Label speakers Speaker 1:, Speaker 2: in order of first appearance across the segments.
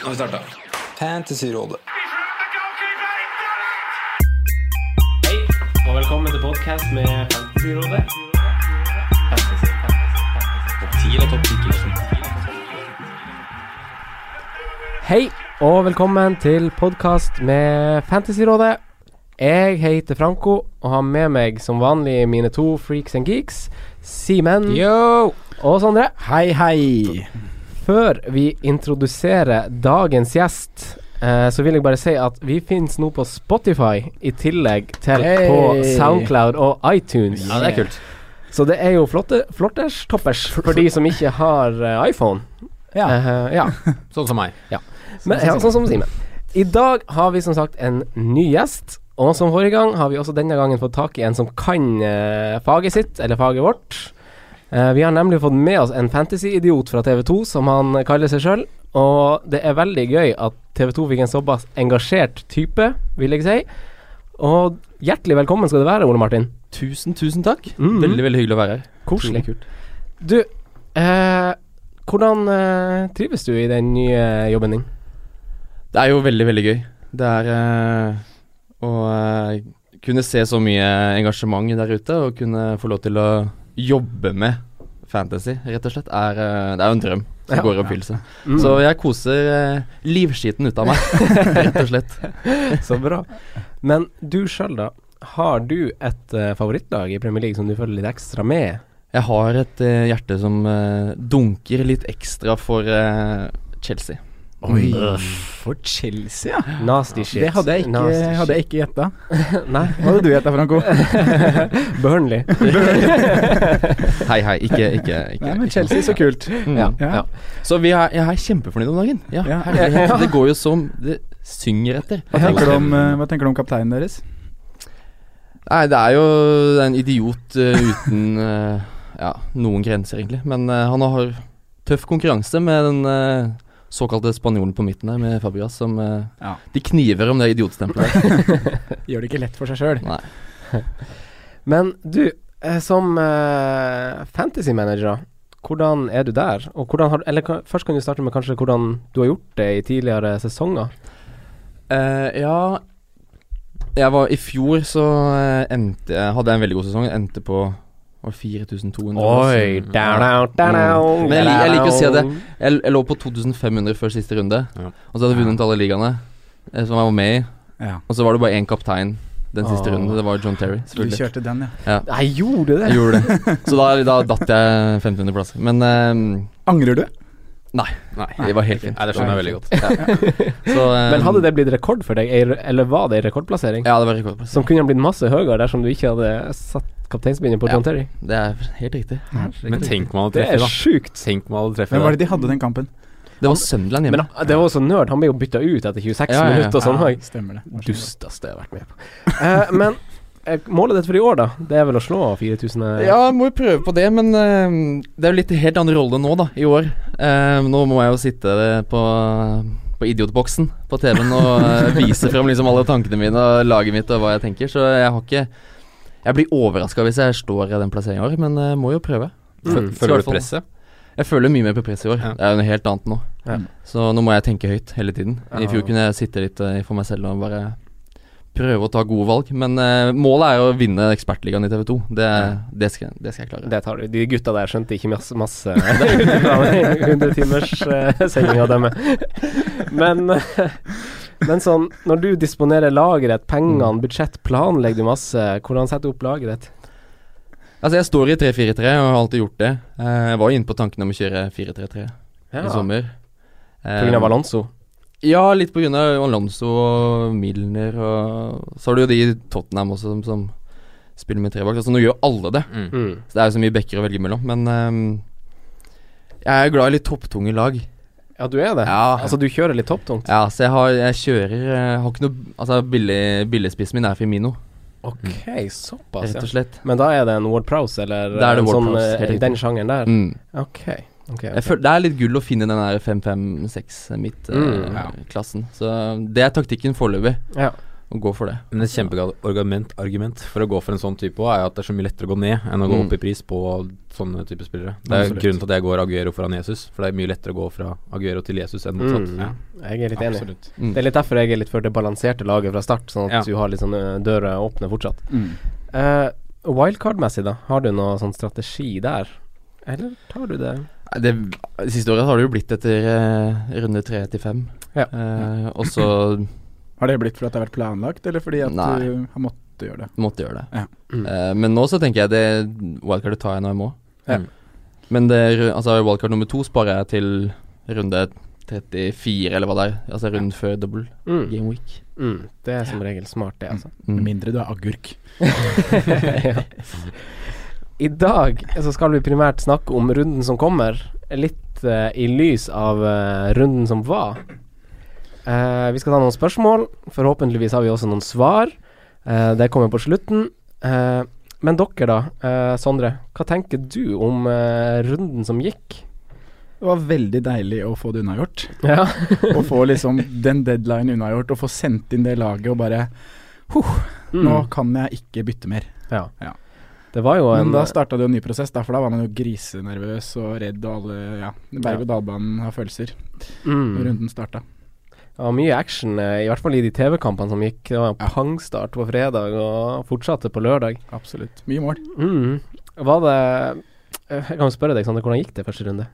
Speaker 1: Nå har vi starta.
Speaker 2: Fantasyrådet.
Speaker 3: Hei, og velkommen til podcast med Fantasyrådet. Fantasy, Hei, og velkommen til podcast med Fantasyrådet. Jeg heter Franco, og har med meg som vanlig mine to freaks and geeks, Simen og Sondre.
Speaker 2: Hei, hei.
Speaker 3: Før vi introduserer dagens gjest, eh, så vil jeg bare si at vi finnes nå på Spotify, i tillegg til
Speaker 2: Hey.
Speaker 3: på Soundcloud og iTunes.
Speaker 2: Ja, det er kult.
Speaker 3: Så det er jo flotte, flotters toppers for de som ikke har eh, iPhone.
Speaker 2: Ja.
Speaker 3: Eh, ja.
Speaker 1: Sånn som meg.
Speaker 3: Men, ja, sånn som Simen. I dag har vi som sagt en ny gjest. Og som forrige gang har vi også denne gangen fått tak i en som kan eh, faget sitt, eller faget vårt. Eh, vi har nemlig fått med oss en fantasy-idiot fra TV2, som han kaller seg sjøl. Og det er veldig gøy at TV2 fikk en såpass engasjert type, vil jeg si. Og hjertelig velkommen skal du være, Ole Martin.
Speaker 4: Tusen, tusen takk.
Speaker 2: Mm.
Speaker 3: Mhm.
Speaker 4: Veldig veldig hyggelig å være her.
Speaker 3: Koselig.
Speaker 4: Utrolig kult.
Speaker 3: Du, eh, hvordan eh, trives du i den nye jobben din?
Speaker 4: Det er jo veldig, veldig gøy. Det er eh, å eh, kunne se så mye engasjement der ute, og kunne få lov til å jobbe med fantasy, rett og slett, er, eh, det er jo en drøm som
Speaker 3: Ja.
Speaker 4: går i oppfyllelse.
Speaker 2: Mm.
Speaker 4: Så jeg koser eh, livskiten ut av meg, rett og slett.
Speaker 3: Så bra. Men du sjøl, da. Har du et eh, favorittlag i Premier League som du følger litt ekstra med?
Speaker 4: Jeg har et eh, hjerte som eh, dunker litt ekstra for eh, Chelsea. Mm.
Speaker 2: Oi. For Chelsea, ja.
Speaker 3: Nasty shit.
Speaker 2: Det hadde jeg ikke,
Speaker 3: Nasty
Speaker 2: hadde jeg ikke gjetta.
Speaker 3: shit. Nei.
Speaker 2: Hva hadde du gjetta, Franco?
Speaker 3: Burnley.
Speaker 4: Hei, hei, ikke, ikke, ikke.
Speaker 2: Nei, men Chelsea, så kult.
Speaker 4: Mm.
Speaker 3: ja,
Speaker 2: Ja.
Speaker 3: ja.
Speaker 4: Så vi er, jeg er kjempefornøyd om dagen. Ja,
Speaker 2: Ja.
Speaker 4: herregud, Det går jo som det synger etter.
Speaker 2: Hva tenker, du om, eh, hva tenker du om kapteinen deres?
Speaker 4: Nei, det er jo det er en idiot eh, uten eh, ja, noen grenser, egentlig. Men eh, han har tøff konkurranse med den eh, såkalte spanjolen på midten der, med Fabregas, som eh,
Speaker 2: Ja.
Speaker 4: De kniver om det idiotstempelet.
Speaker 2: Gjør det ikke lett for seg sjøl.
Speaker 4: Nei.
Speaker 3: Men du, eh, som eh, fantasy-manager, hvordan er du der? Og hvordan har, eller ka- først kan du starte med kanskje hvordan du har gjort det i tidligere sesonger.
Speaker 4: Eh, ja Jeg var I fjor så eh, endte jeg Hadde jeg en veldig god sesong. Endte på var det 4200.
Speaker 3: Mm.
Speaker 4: plass? Men jeg lik- jeg liker å se det. Jeg, jeg lå på 2500 før siste runde,
Speaker 1: Ja.
Speaker 4: og så hadde jeg vunnet alle ligaene eh, som jeg var med i.
Speaker 2: Ja.
Speaker 4: Og så var det bare én kaptein den
Speaker 1: Ah.
Speaker 4: siste
Speaker 3: Åh.
Speaker 4: runden. Det var John Terry.
Speaker 2: Du
Speaker 4: selvfølgelig.
Speaker 2: kjørte den, ja.
Speaker 3: Nei, gjorde du det?
Speaker 4: Jeg gjorde det. Så da, da datt jeg 1500 plasser. Men ehm,
Speaker 2: Angrer du?
Speaker 1: Nei.
Speaker 4: det var helt fint.
Speaker 1: Nei, det skjønner jeg veldig godt.
Speaker 4: Så, ehm,
Speaker 3: Men hadde det blitt rekord for deg, ei- eller var det en rekordplassering?
Speaker 4: Ja, det var rekordplass.
Speaker 3: Som kunne ha blitt masse høyere dersom du ikke hadde satt kapteinsbindet på
Speaker 4: Ja.
Speaker 3: John Terry.
Speaker 4: Det er helt riktig.
Speaker 1: Men tenk om han hadde
Speaker 3: Det er
Speaker 1: treffet, da.
Speaker 3: sjukt.
Speaker 1: Tenk om han hadde
Speaker 2: Hvem
Speaker 1: treffet.
Speaker 2: var det de hadde den kampen?
Speaker 4: Det var Sunderland
Speaker 3: Men
Speaker 4: hjemme.
Speaker 3: ah, det var også nerd. Han ble jo bytta ut etter 26
Speaker 4: Ja, ja, ja.
Speaker 3: minutter og sånn.
Speaker 2: Ja,
Speaker 3: Ja.
Speaker 2: stemmer det.
Speaker 3: Dusteste jeg har vært med på. Eh, men eh, målet ditt for i år, da? Det er vel å slå 4000? eh,
Speaker 4: Ja, må jo prøve på det, men ehm, det er jo litt helt annen rolle nå, da, i år. Ehm, nå må jeg jo sitte på, på idiotboksen på TV-en og eh, vise frem liksom alle tankene mine og laget mitt og hva jeg tenker, så jeg har ikke Jeg blir overraska hvis jeg står i den plasseringen i år, men eh, må jo prøve.
Speaker 1: Fø-
Speaker 4: Mm. Så i
Speaker 1: Føler du
Speaker 4: hvert fall-
Speaker 1: presset?
Speaker 4: Jeg føler mye mer på press i år.
Speaker 1: Ja.
Speaker 4: Det er jo noe helt annet nå.
Speaker 3: Ja.
Speaker 4: Så nå må jeg tenke høyt hele tiden. I
Speaker 3: Ja.
Speaker 4: fjor kunne jeg sitte litt eh, for meg selv og bare prøve å ta gode valg. Men eh, målet er jo å vinne Ekspertligaen i TV 2. Det, det, skal, det skal jeg klare.
Speaker 3: Det tar du. De gutta der skjønte ikke masse, masse fra 100 timers eh, sending av dem. Men, eh, men sånn, når du disponerer laget ditt,
Speaker 4: Mm.
Speaker 3: pengene, budsjett, planlegger du masse? Hvordan setter du opp laget ditt?
Speaker 4: Altså, jeg står i 3-4-3 og har alltid gjort det. Eh, jeg var jo inne på tanken om å kjøre 4-3-3 i sommer. Eh,
Speaker 3: Pga. Alonso.
Speaker 4: Ja, litt på grunn av Alonso og Milner og Så har du jo de i Tottenham også som, som spiller med tre bak. Altså, nå gjør jo alle det.
Speaker 1: Mm.
Speaker 3: Mm.
Speaker 4: Så det er jo så mye bekker å velge mellom, men ehm, jeg er glad i litt topptunge lag.
Speaker 3: Ja, du er det?
Speaker 4: Ja.
Speaker 3: Altså, du kjører litt topptungt?
Speaker 4: Ja, så jeg, har, jeg kjører eh, har ikke noe, Altså, billig, billigspissen min er Firmino, Mm.
Speaker 3: Ok, såpass,
Speaker 4: rett
Speaker 3: ja.
Speaker 4: og slett.
Speaker 3: Men da er det en Ward Prowse, eller
Speaker 4: Da er det
Speaker 3: en
Speaker 4: Ward
Speaker 3: sånn,
Speaker 4: Prowse, helt
Speaker 3: eh, i
Speaker 4: riktig.
Speaker 3: den sjangeren der?
Speaker 4: Mm.
Speaker 3: Ok. ok,
Speaker 4: Jeg
Speaker 3: ok.
Speaker 4: føler, det er litt gull å finne den eh, der 5-5-6 midt-klassen.
Speaker 3: Mm.
Speaker 4: så det er taktikken foreløpig.
Speaker 3: Ja.
Speaker 4: og gå for det.
Speaker 1: Men et kjempegodt argument, argument for å gå for en sånn type også, er jo at det er så mye lettere å gå ned enn å gå
Speaker 4: Mm.
Speaker 1: opp i pris på sånne type spillere. Det er
Speaker 2: Absolutt.
Speaker 1: grunnen til at jeg går Aguero foran Jesus, for det er mye lettere å gå fra Aguero til Jesus enn motsatt.
Speaker 3: Mm.
Speaker 1: Ja.
Speaker 3: Jeg er litt enig.
Speaker 2: Absolutt.
Speaker 4: Mm.
Speaker 3: Det er litt derfor jeg er litt for det balanserte laget fra start, sånn at
Speaker 1: Ja.
Speaker 3: du har litt sånn ø, døra åpne fortsatt.
Speaker 2: Mm.
Speaker 3: Eh, Wildcard-messig, da? Har du noe sånn strategi der? Eller tar du det
Speaker 4: Nei, Det, de siste året har det jo blitt etter eh, runde tre til fem.
Speaker 3: Ja.
Speaker 4: Eh, og så
Speaker 2: Har det blitt fordi det har vært planlagt, eller fordi at
Speaker 4: Nei.
Speaker 2: du har måttet gjøre det?
Speaker 4: måtte gjøre det.
Speaker 2: Ja.
Speaker 3: Mm.
Speaker 4: Eh, men nå så tenker jeg det wildcardet tar jeg når jeg må. Mm.
Speaker 1: Ja.
Speaker 4: Men det, er- altså, wildcard nummer to sparer jeg til runde 34, eller hva det er. Altså rundt før double
Speaker 3: mm.
Speaker 4: game week.
Speaker 3: mm. Det er som regel smart, det, altså.
Speaker 2: Med
Speaker 4: Mm.
Speaker 2: mindre du er agurk.
Speaker 3: ja. I dag så skal vi primært snakke om runden som kommer, litt eh, i lys av eh, runden som var. Eh, vi skal ta noen spørsmål, forhåpentligvis har vi også noen svar. Eh, det kommer på slutten. Eh, men dere da, eh, Sondre, hva tenker du om eh, runden som gikk?
Speaker 2: Det var veldig deilig å få det unnagjort.
Speaker 3: Ja.
Speaker 2: Å få liksom den deadline unnagjort, og få sendt inn det laget og bare
Speaker 3: Mm.
Speaker 2: Nå kan jeg ikke bytte mer.
Speaker 3: Ja.
Speaker 2: Ja.
Speaker 3: Det var jo en eh,
Speaker 2: Men da starta det jo en ny prosess, da, for da var man jo grisenervøs og redd og alle Ja, berg-og-dal-banen har følelser.
Speaker 3: mm.
Speaker 2: når Runden starta.
Speaker 3: Det var mye action, eh, i hvert fall i de TV-kampene som gikk. Det var
Speaker 2: Ja.
Speaker 3: pangstart på fredag og fortsatte på lørdag.
Speaker 2: Absolutt. Mye mål.
Speaker 3: Mm. Var det Jeg kan jo spørre deg, Sander, hvordan gikk det første runde?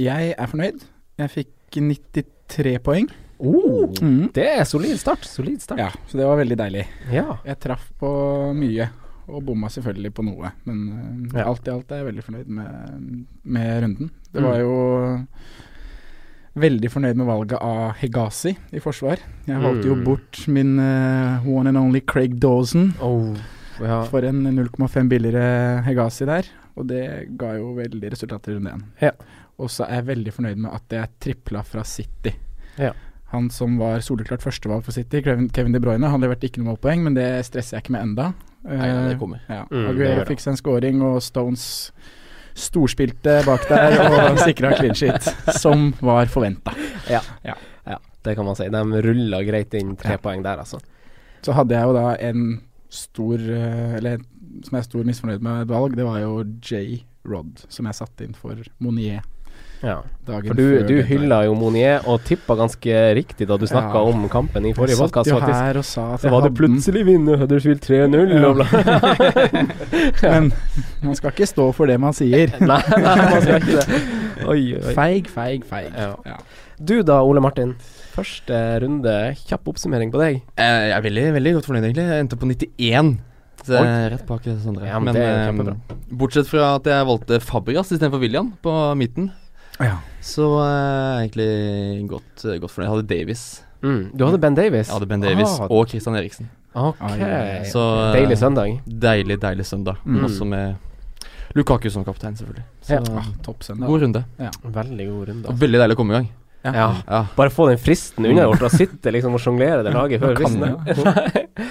Speaker 2: Jeg er fornøyd. Jeg fikk 93 poeng.
Speaker 3: Oh.
Speaker 2: Mhm.
Speaker 3: Det er solid start. Solid start.
Speaker 2: Ja, så det var veldig deilig.
Speaker 3: Ja.
Speaker 2: Jeg traff på mye, og bomma selvfølgelig på noe. Men eh,
Speaker 3: Ja. Mm.
Speaker 2: alt i alt er jeg veldig fornøyd med, med runden. Det var jo veldig fornøyd med valget av Hegazi i forsvar. Jeg valgte jo
Speaker 3: Mm.
Speaker 2: bort min eh, one and only Craig Dawson
Speaker 3: Oh. ja.
Speaker 2: for en 0,5 billigere Hegazi der. Og det ga jo veldig resultater i runde én.
Speaker 3: Ja.
Speaker 2: Og så er jeg veldig fornøyd med at jeg tripla fra City.
Speaker 3: Ja.
Speaker 2: Han som var soleklart førstevalg for City, Kevin Kevin De Bruyne, han leverte ikke noe målpoeng, men det stresser jeg ikke med enda.
Speaker 4: Nei, ja,
Speaker 2: Eh,
Speaker 4: det kommer.
Speaker 2: ja.
Speaker 3: Mm, det gjør
Speaker 2: Aguero
Speaker 3: det.
Speaker 2: fikk seg en scoring, og Stones storspilte bak der og sikra clean sheet, som var forventa.
Speaker 3: Det kan man si. De rulla greit inn tre
Speaker 2: Ja.
Speaker 3: poeng der, altså.
Speaker 2: Så hadde jeg jo da en stor eh, Eller som jeg er stor misfornøyd med et valg, det var jo J. Rod, som jeg satte inn for Monier
Speaker 3: Ja.
Speaker 2: dagen
Speaker 3: For du,
Speaker 2: før
Speaker 3: du
Speaker 2: deadline.
Speaker 3: hylla jo Monier og tippa ganske riktig da du snakka
Speaker 2: Ja.
Speaker 3: om kampen i forrige
Speaker 2: Jeg satt
Speaker 3: podkast,
Speaker 2: jo
Speaker 3: faktisk.
Speaker 2: her og sa at
Speaker 3: Så
Speaker 2: jeg
Speaker 3: var det
Speaker 2: hadde den,
Speaker 3: plutselig vinner Huddersfield 3-0
Speaker 2: Ja.
Speaker 3: og bla.
Speaker 2: Men man skal ikke stå for det man sier.
Speaker 3: nei, nei, man skal ikke det. Oi, oi.
Speaker 2: Feig, feig, feig.
Speaker 3: Ja.
Speaker 2: Ja.
Speaker 3: Du da, Ole Martin. Første runde, kjapp oppsummering på deg.
Speaker 4: Eh, jeg er veldig, veldig godt fornøyd, egentlig. Jeg endte på 91. Så jeg er rett bak Sondre.
Speaker 3: Ja, men det er
Speaker 4: eh,
Speaker 3: kjempebra.
Speaker 4: bortsett fra at jeg valgte Fabregas istedenfor William på midten,
Speaker 2: Ja.
Speaker 4: så eh, jeg er egentlig godt, eh, godt fornøyd. Jeg hadde Davies.
Speaker 3: Du hadde Ben Davies.
Speaker 4: Jeg hadde Ben Davies
Speaker 3: Ah.
Speaker 4: og Christian Eriksen.
Speaker 3: Ok.
Speaker 2: Ai, ai, ai.
Speaker 4: Så eh,
Speaker 3: Deilig søndag.
Speaker 4: Deilig, deilig søndag.
Speaker 2: Mm.
Speaker 4: Også med Lukaku som kaptein, selvfølgelig. Så
Speaker 3: Ja.
Speaker 2: Ah, Topp søndag.
Speaker 4: god runde.
Speaker 3: Veldig god runde.
Speaker 4: Og veldig deilig å komme i gang.
Speaker 2: Ja.
Speaker 3: Ja.
Speaker 4: Ja.
Speaker 3: Bare få den fristen unnagjort og sitte liksom og sjonglere det laget før
Speaker 4: kan
Speaker 3: fristen.
Speaker 2: det,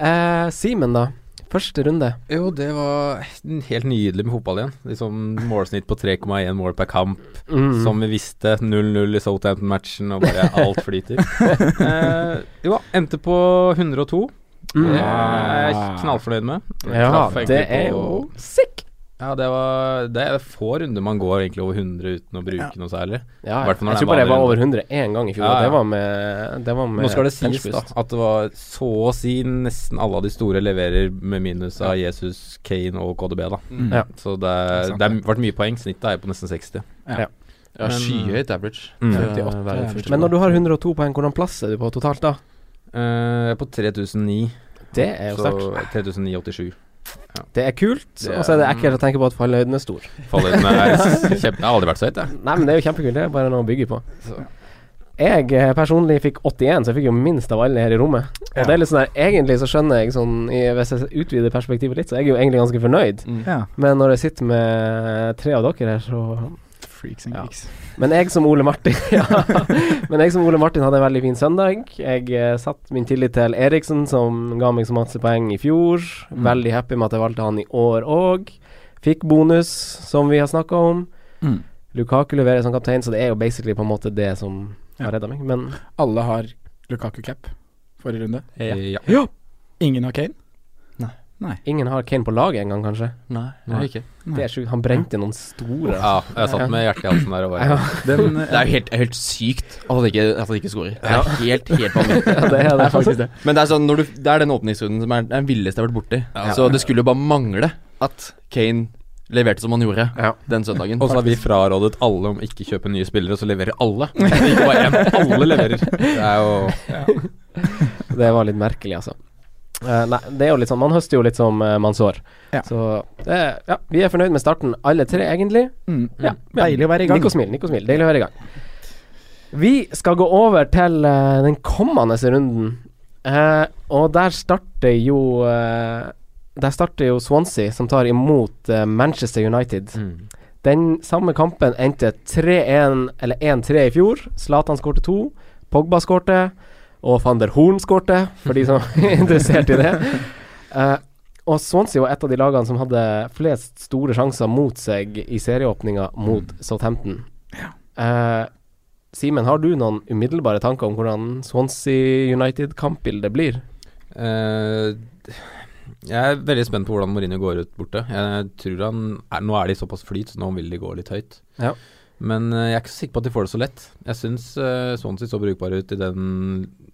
Speaker 3: Eh, Simen, da. Første runde.
Speaker 1: Jo, det var helt nydelig med fotball igjen. Liksom Målsnitt på 3,1 mål per kamp,
Speaker 3: Mm.
Speaker 1: som vi visste. 0-0 i Southampton-matchen, og bare alt flyter. eh, jo, endte på 102.
Speaker 3: Mm.
Speaker 1: Det er jeg knallfornøyd med.
Speaker 3: Ja,
Speaker 1: Traff egentlig
Speaker 3: det
Speaker 1: på-
Speaker 3: er jo sick.
Speaker 1: Ja, det, var, det er få runder man går egentlig over 100 uten å bruke noe særlig.
Speaker 3: Ja, jeg
Speaker 1: Hvert fall når det er
Speaker 3: tror bare jeg var
Speaker 1: vanlig
Speaker 3: over 100 én gang i fjor,
Speaker 1: Ja,
Speaker 3: og det
Speaker 1: ja.
Speaker 3: var med, det var med
Speaker 1: Nå skal det
Speaker 3: bench
Speaker 1: sies da
Speaker 3: boost.
Speaker 1: at det var så å si nesten alle av de store leverer med minus av Jesus, Kane og KDB, da.
Speaker 2: Mm.
Speaker 3: Ja.
Speaker 1: Så det, er-
Speaker 2: Sant,
Speaker 1: det har
Speaker 2: det.
Speaker 1: vært mye poeng. Snittet er jo på nesten 60.
Speaker 4: Ja,
Speaker 1: Men,
Speaker 4: Skyhøyt average.
Speaker 1: Mm.
Speaker 4: for å
Speaker 2: 58
Speaker 4: være
Speaker 2: average.
Speaker 4: første
Speaker 3: Men når
Speaker 4: runde.
Speaker 3: du har 102 poeng, hvordan plass er du på totalt da?
Speaker 1: Eh, på 3009.
Speaker 3: Det er jo sterkt.
Speaker 1: Så 3987.
Speaker 3: Det er kult,
Speaker 1: Det er-
Speaker 3: og så er det ekkelt å tenke på at fallhøyden er stor.
Speaker 1: Fallhøyden er kjempe... Det har aldri vært så høyt, jeg.
Speaker 3: Nei, men det er jo kjempekult. Det er bare noe å bygge på.
Speaker 1: Så.
Speaker 3: Jeg eh, personlig fikk 81, så jeg fikk jo minst av alle her i rommet. Og
Speaker 2: Ja.
Speaker 3: det er litt sånn der, Egentlig så skjønner jeg sånn i, Hvis jeg utvider perspektivet litt, så er jeg jo egentlig ganske fornøyd.
Speaker 4: Mm.
Speaker 2: Ja.
Speaker 3: Men når jeg sitter med tre av dere her, så
Speaker 2: Freaks and
Speaker 3: Ja.
Speaker 2: geeks.
Speaker 3: Men jeg som Ole Martin ja. Men jeg som Ole Martin hadde en veldig fin søndag. Jeg eh, satt min tillit til Eriksen, som ga meg så masse poeng i fjor.
Speaker 2: Mm.
Speaker 3: Veldig happy med at jeg valgte han i år òg. Fikk bonus, som vi har snakka om.
Speaker 2: Mm.
Speaker 3: Lukaku leverer som kaptein, så det er jo basically på en måte det som
Speaker 2: Ja.
Speaker 3: har redda meg. Men
Speaker 2: Alle har Lukaku cap. forrige runde.
Speaker 1: Ja.
Speaker 2: Ingen har Kane.
Speaker 3: Ingen har Kane på laget engang, kanskje.
Speaker 4: Nei, det
Speaker 1: Nei.
Speaker 4: er ikke.
Speaker 3: Det er sjukt. Han brente noen store
Speaker 1: Ja, jeg satt med hjertet i halsen der og bare
Speaker 3: Ja,
Speaker 2: Den,
Speaker 4: Det er jo helt, helt sykt at han ikke, at han ikke scorer. Det er helt, helt vanvittig.
Speaker 3: ja, det er det. faktisk det.
Speaker 4: Men det er, sånn, når du, det er den åpningsrunden som er den villeste jeg har vært borti.
Speaker 1: Ja.
Speaker 4: Så det skulle jo bare mangle at Kane leverte som han gjorde
Speaker 3: Ja.
Speaker 4: den søndagen.
Speaker 1: Og så har vi frarådet alle om ikke kjøpe nye spillere, så leverer alle. Ikke bare én. Alle leverer. Det er jo
Speaker 3: Det var litt merkelig, altså. Eh, nei, det er jo litt sånn Man høster jo litt som eh, man sår.
Speaker 2: Ja.
Speaker 3: Så det, ja, vi er fornøyd med starten, alle tre, egentlig.
Speaker 2: mm,
Speaker 3: Ja,
Speaker 2: Deilig å være i gang.
Speaker 3: Nikk og smil, nikk og smil. Deilig å være i gang. Vi skal gå over til eh, den kommende runden, Eh, og der starter jo eh, Der starter jo Swansea, som tar imot eh, Manchester United.
Speaker 1: mm.
Speaker 3: Den samme kampen endte 3-1, eller 1-3 i fjor. Zlatan skårte to, Pogba skårte, og van der Horn skårte, for de som er interessert i det. Eh, og Swansea var et av de lagene som hadde flest store sjanser mot seg i serieåpninga mot Southampton. Eh, Simen, har du noen umiddelbare tanker om hvordan Swansea United-kampbildet blir?
Speaker 1: Eh, Jeg er veldig spent på hvordan Mourinho går ut borte. Jeg tror han er, Nå er de såpass flyt, så nå vil de gå litt høyt.
Speaker 3: Ja.
Speaker 1: Men eh, jeg er ikke så sikker på at de får det så lett. Jeg syns uh, Swansea så brukbare ut i den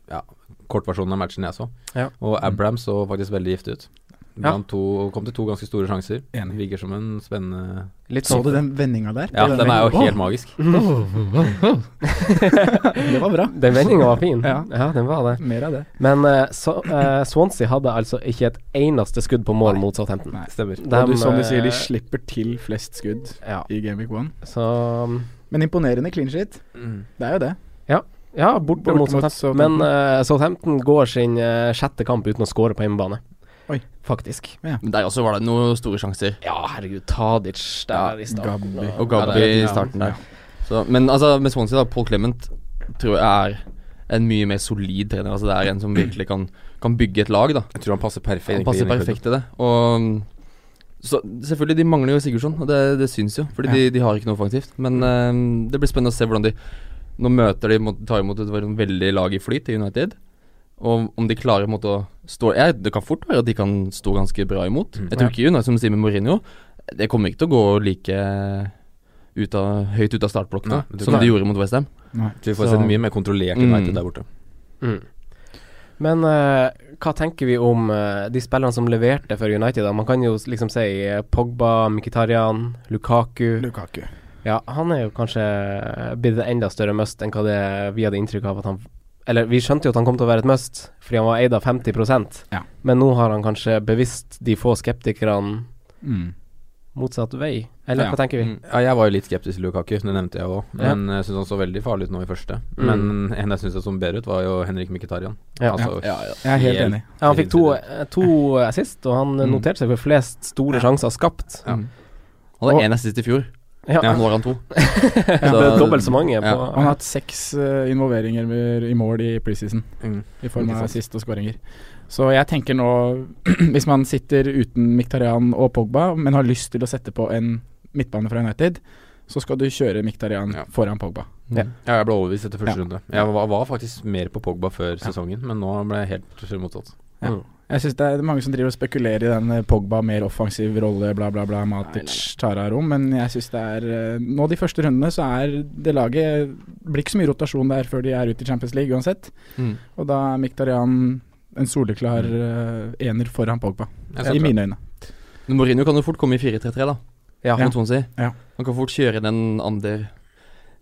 Speaker 1: ja, kortversjonen av matchen jeg så.
Speaker 3: Ja.
Speaker 1: Og Abraham så faktisk veldig giftig ut.
Speaker 3: Ja.
Speaker 1: Han to, kom til to ganske store sjanser.
Speaker 2: Enig.
Speaker 1: Virker som en spennende
Speaker 3: Litt
Speaker 2: Så
Speaker 3: sånn-
Speaker 2: du den vendinga der?
Speaker 1: Ja, den er jo
Speaker 2: Åh,
Speaker 1: helt magisk.
Speaker 2: Det var bra.
Speaker 3: Den vendinga var fin.
Speaker 2: Ja.
Speaker 3: ja, den var det.
Speaker 2: Mer av det.
Speaker 3: Men eh, så, eh, Swansea hadde altså ikke et eneste skudd på mål mot Southampton.
Speaker 2: Nei.
Speaker 1: Stemmer.
Speaker 3: Dem,
Speaker 2: og du, som du sier,
Speaker 3: eh,
Speaker 2: de slipper til flest skudd
Speaker 3: Ja,
Speaker 2: i Game Week 1.
Speaker 3: så mm,
Speaker 2: Men imponerende clean shit.
Speaker 1: Mm.
Speaker 2: Det er jo det.
Speaker 3: Ja, borte,
Speaker 2: Borte
Speaker 3: mot
Speaker 2: mot
Speaker 3: Southampton.
Speaker 2: Southampton.
Speaker 3: Men eh, Southampton går sin eh, sjette kamp uten å score på hjemmebane.
Speaker 2: Oi.
Speaker 3: Faktisk.
Speaker 4: Men der også var det noen store sjanser.
Speaker 3: Ja, herregud, Tadic der i starten.
Speaker 2: Gabby.
Speaker 3: og-
Speaker 4: Og Gabby
Speaker 1: Ja, det-
Speaker 4: i starten der. Så, men altså, med Swansea, da, Paul Clement tror jeg er en mye mer solid trener. Altså, det er en som virkelig kan, kan bygge et lag, da.
Speaker 1: Jeg tror han passer perfekt.
Speaker 4: Han
Speaker 1: egentlig
Speaker 4: passer
Speaker 1: inn i klubben.
Speaker 4: perfekt til det. Og mm, så, selvfølgelig, de mangler jo Sigurdsson, og det, det syns jo. Fordi de, de har ikke noe offensivt.
Speaker 1: Mm.
Speaker 4: Men eh, det blir spennende å se hvordan de Nå møter de mot- tar imot et veldig- veldig lag i flyt i United. Og om de klarer på en måte, å stå jeg, Det kan fort være at de kan stå ganske bra imot.
Speaker 1: Mm.
Speaker 4: Jeg tror ikke United, som Simen Mourinho Det kommer ikke til å gå like ut av, høyt ut av startblokkene
Speaker 1: Nei, det tror
Speaker 4: som
Speaker 1: jeg.
Speaker 4: de gjorde mot Westham.
Speaker 2: Nei.
Speaker 1: Så vi får
Speaker 4: Så-
Speaker 1: se en mye mer kontrollert
Speaker 4: Mm.
Speaker 1: United der borte.
Speaker 3: Mm. Men eh, hva tenker vi om eh, de spillerne som leverte for United? da? Man kan jo s- liksom si eh, Pogba, Mkhitaryan, Lukaku
Speaker 2: Lukaku.
Speaker 3: Ja, han er jo kanskje blitt en enda større must enn hva det vi hadde inntrykk av at han Eller vi skjønte jo at han kom til å være et must, fordi han var eid av 50
Speaker 2: Ja.
Speaker 3: men nå har han kanskje bevisst de få skeptikerne
Speaker 2: Mm.
Speaker 3: motsatt vei. Eller
Speaker 2: Ja.
Speaker 3: hva tenker vi?
Speaker 4: Mm.
Speaker 1: Ja, jeg var jo litt skeptisk til Lukaku, det nevnte jeg òg.
Speaker 3: Ja.
Speaker 1: Men jeg syns han så veldig farlig ut nå i første.
Speaker 3: Mm.
Speaker 1: Men en jeg syns så bedre ut, var jo Henrik Mkhitaryan.
Speaker 3: Ja.
Speaker 1: Altså,
Speaker 2: Jeg er helt
Speaker 1: Helt.
Speaker 2: enig.
Speaker 3: Ja, han fikk to, eh, to assist, og han eh,
Speaker 4: Mm.
Speaker 3: noterte seg for flest store sjanser skapt.
Speaker 1: Ja.
Speaker 4: Han
Speaker 2: Og-
Speaker 4: hadde én assist i fjor,
Speaker 3: Ja.
Speaker 4: nå har han to.
Speaker 3: Ja, det er dobbelt så mange på
Speaker 4: Ja.
Speaker 2: Han har hatt seks eh, involveringer med, i mål i preseason,
Speaker 1: Mm.
Speaker 2: i form
Speaker 1: Ikke
Speaker 2: av
Speaker 1: sant.
Speaker 2: assist og skåringer. Så jeg tenker nå, hvis man sitter uten Miktarian og Pogba, men har lyst til å sette på en midtbane fra United, så skal du kjøre Miktarian
Speaker 1: Ja.
Speaker 2: foran Pogba.
Speaker 3: Ja.
Speaker 1: Ja, jeg ble overbevist etter første
Speaker 2: Ja.
Speaker 1: runde. Jeg var, var faktisk mer på Pogba før sesongen, men nå ble jeg helt motsatt.
Speaker 2: Ja.
Speaker 3: Mm.
Speaker 2: Jeg syns det er mange som driver og spekulerer i den eh, Pogba mer offensiv rolle, bla, bla, bla, Matic tar av rom, men jeg syns det er eh, Nå de første rundene så er det laget Blir ikke så mye rotasjon der før de er ute i Champions League uansett,
Speaker 4: Mm.
Speaker 2: og da er Miktarian en soleklar eh, ener foran Pogba,
Speaker 1: Jeg ser
Speaker 2: i
Speaker 1: bra.
Speaker 2: mine øyne.
Speaker 4: Men Mourinho kan jo fort komme i 4-3-3, da.
Speaker 3: Ja.
Speaker 4: mot Swansea.
Speaker 2: Ja.
Speaker 4: Han kan fort kjøre den Ander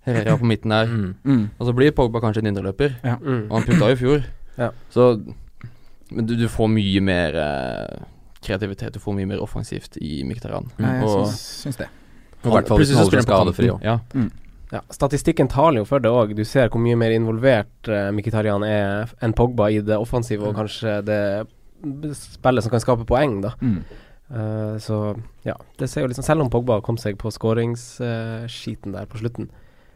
Speaker 4: Herrera på midten der.
Speaker 1: Mm.
Speaker 2: Mm.
Speaker 4: Og så blir Pogba kanskje en indreløper.
Speaker 3: Mm.
Speaker 4: Og han putta jo i fjor.
Speaker 3: Ja.
Speaker 4: Så Men du, du får mye mer eh, kreativitet, du får mye mer offensivt i Mkhitaryan.
Speaker 1: Mm.
Speaker 2: Nei, jeg
Speaker 4: Og-
Speaker 2: syns, syns det.
Speaker 1: Og I hvert fall hvis
Speaker 4: Plutselig
Speaker 1: han
Speaker 4: så
Speaker 1: holder seg
Speaker 4: spiller han på
Speaker 1: skadefri
Speaker 4: kanten.
Speaker 1: òg.
Speaker 4: Ja.
Speaker 3: Ja, statistikken taler jo for det òg. Du ser hvor mye mer involvert uh, Mkhitaryan er f- enn Pogba i det offensive, og kanskje det b- spillet som kan skape poeng, da.
Speaker 2: Mm.
Speaker 3: Eh, så ja, det ser jo liksom Selv om Pogba kom seg på skåringsskiten der på slutten.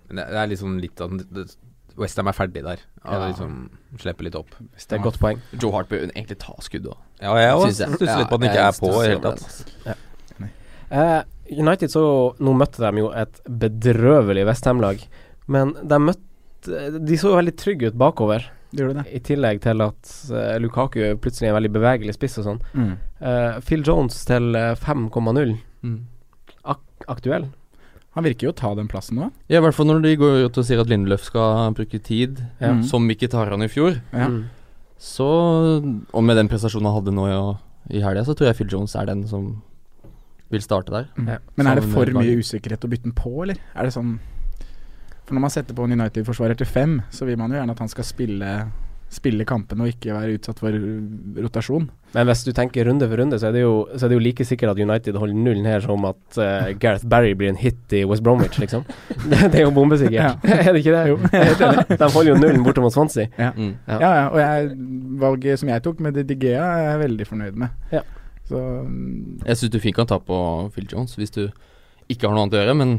Speaker 1: Men Det, det er liksom litt at Westham er ferdig der. Ja,
Speaker 3: Ja.
Speaker 1: liksom Slipper litt opp.
Speaker 3: Det er et godt poeng.
Speaker 4: Joe Hart bør egentlig ta skuddet òg.
Speaker 1: Ja, jeg òg
Speaker 4: Syns jeg.
Speaker 1: stusser litt på at han
Speaker 4: Ja,
Speaker 1: ikke
Speaker 4: jeg
Speaker 1: er på i det
Speaker 4: stusser
Speaker 1: hele tatt.
Speaker 4: over
Speaker 3: Eh, United så jo Nå møtte de jo et bedrøvelig Westham-lag, men de møtte De så jo veldig trygge ut bakover.
Speaker 2: Det gjør det.
Speaker 3: I tillegg til at eh, Lukaku plutselig er en veldig bevegelig spiss og sånn.
Speaker 2: Mm.
Speaker 3: Eh, Phil Jones til eh, 5,0
Speaker 4: Mm.
Speaker 3: aktuell.
Speaker 2: Han virker jo å ta den plassen nå.
Speaker 4: Ja, I hvert fall når de går ut og sier at Lindløf skal bruke tid,
Speaker 2: Ja.
Speaker 4: mm. som ikke tar han i fjor.
Speaker 2: Ja.
Speaker 3: Mm.
Speaker 4: Så, og med den prestasjonen han hadde nå i, i helga, så tror jeg Phil Jones er den som vil starte der.
Speaker 2: Mm.
Speaker 3: Ja.
Speaker 2: Men er det
Speaker 4: Sammen
Speaker 2: for
Speaker 4: med
Speaker 2: mye
Speaker 4: laget.
Speaker 2: usikkerhet å bytte den på, eller? Er det sånn For når man setter på en United-forsvarer til fem, så vil man jo gjerne at han skal spille Spille kampene og ikke være utsatt for uh, rotasjon.
Speaker 3: Men hvis du tenker runde for runde, så er det jo, så er det jo like sikkert at United holder nullen her som at eh, Gareth Barry blir en hit i West Bromwich, liksom. det, det er jo bombesikkert. er det ikke det? De holder jo nullen borte mot Swansea.
Speaker 4: Mm.
Speaker 3: Ja.
Speaker 2: Ja, ja, og jeg, valget som jeg tok med Digea, er jeg veldig fornøyd med.
Speaker 3: Ja.
Speaker 2: Så mm,
Speaker 4: Jeg syns du fint kan ta på Phil Jones hvis du ikke har noe annet å gjøre, men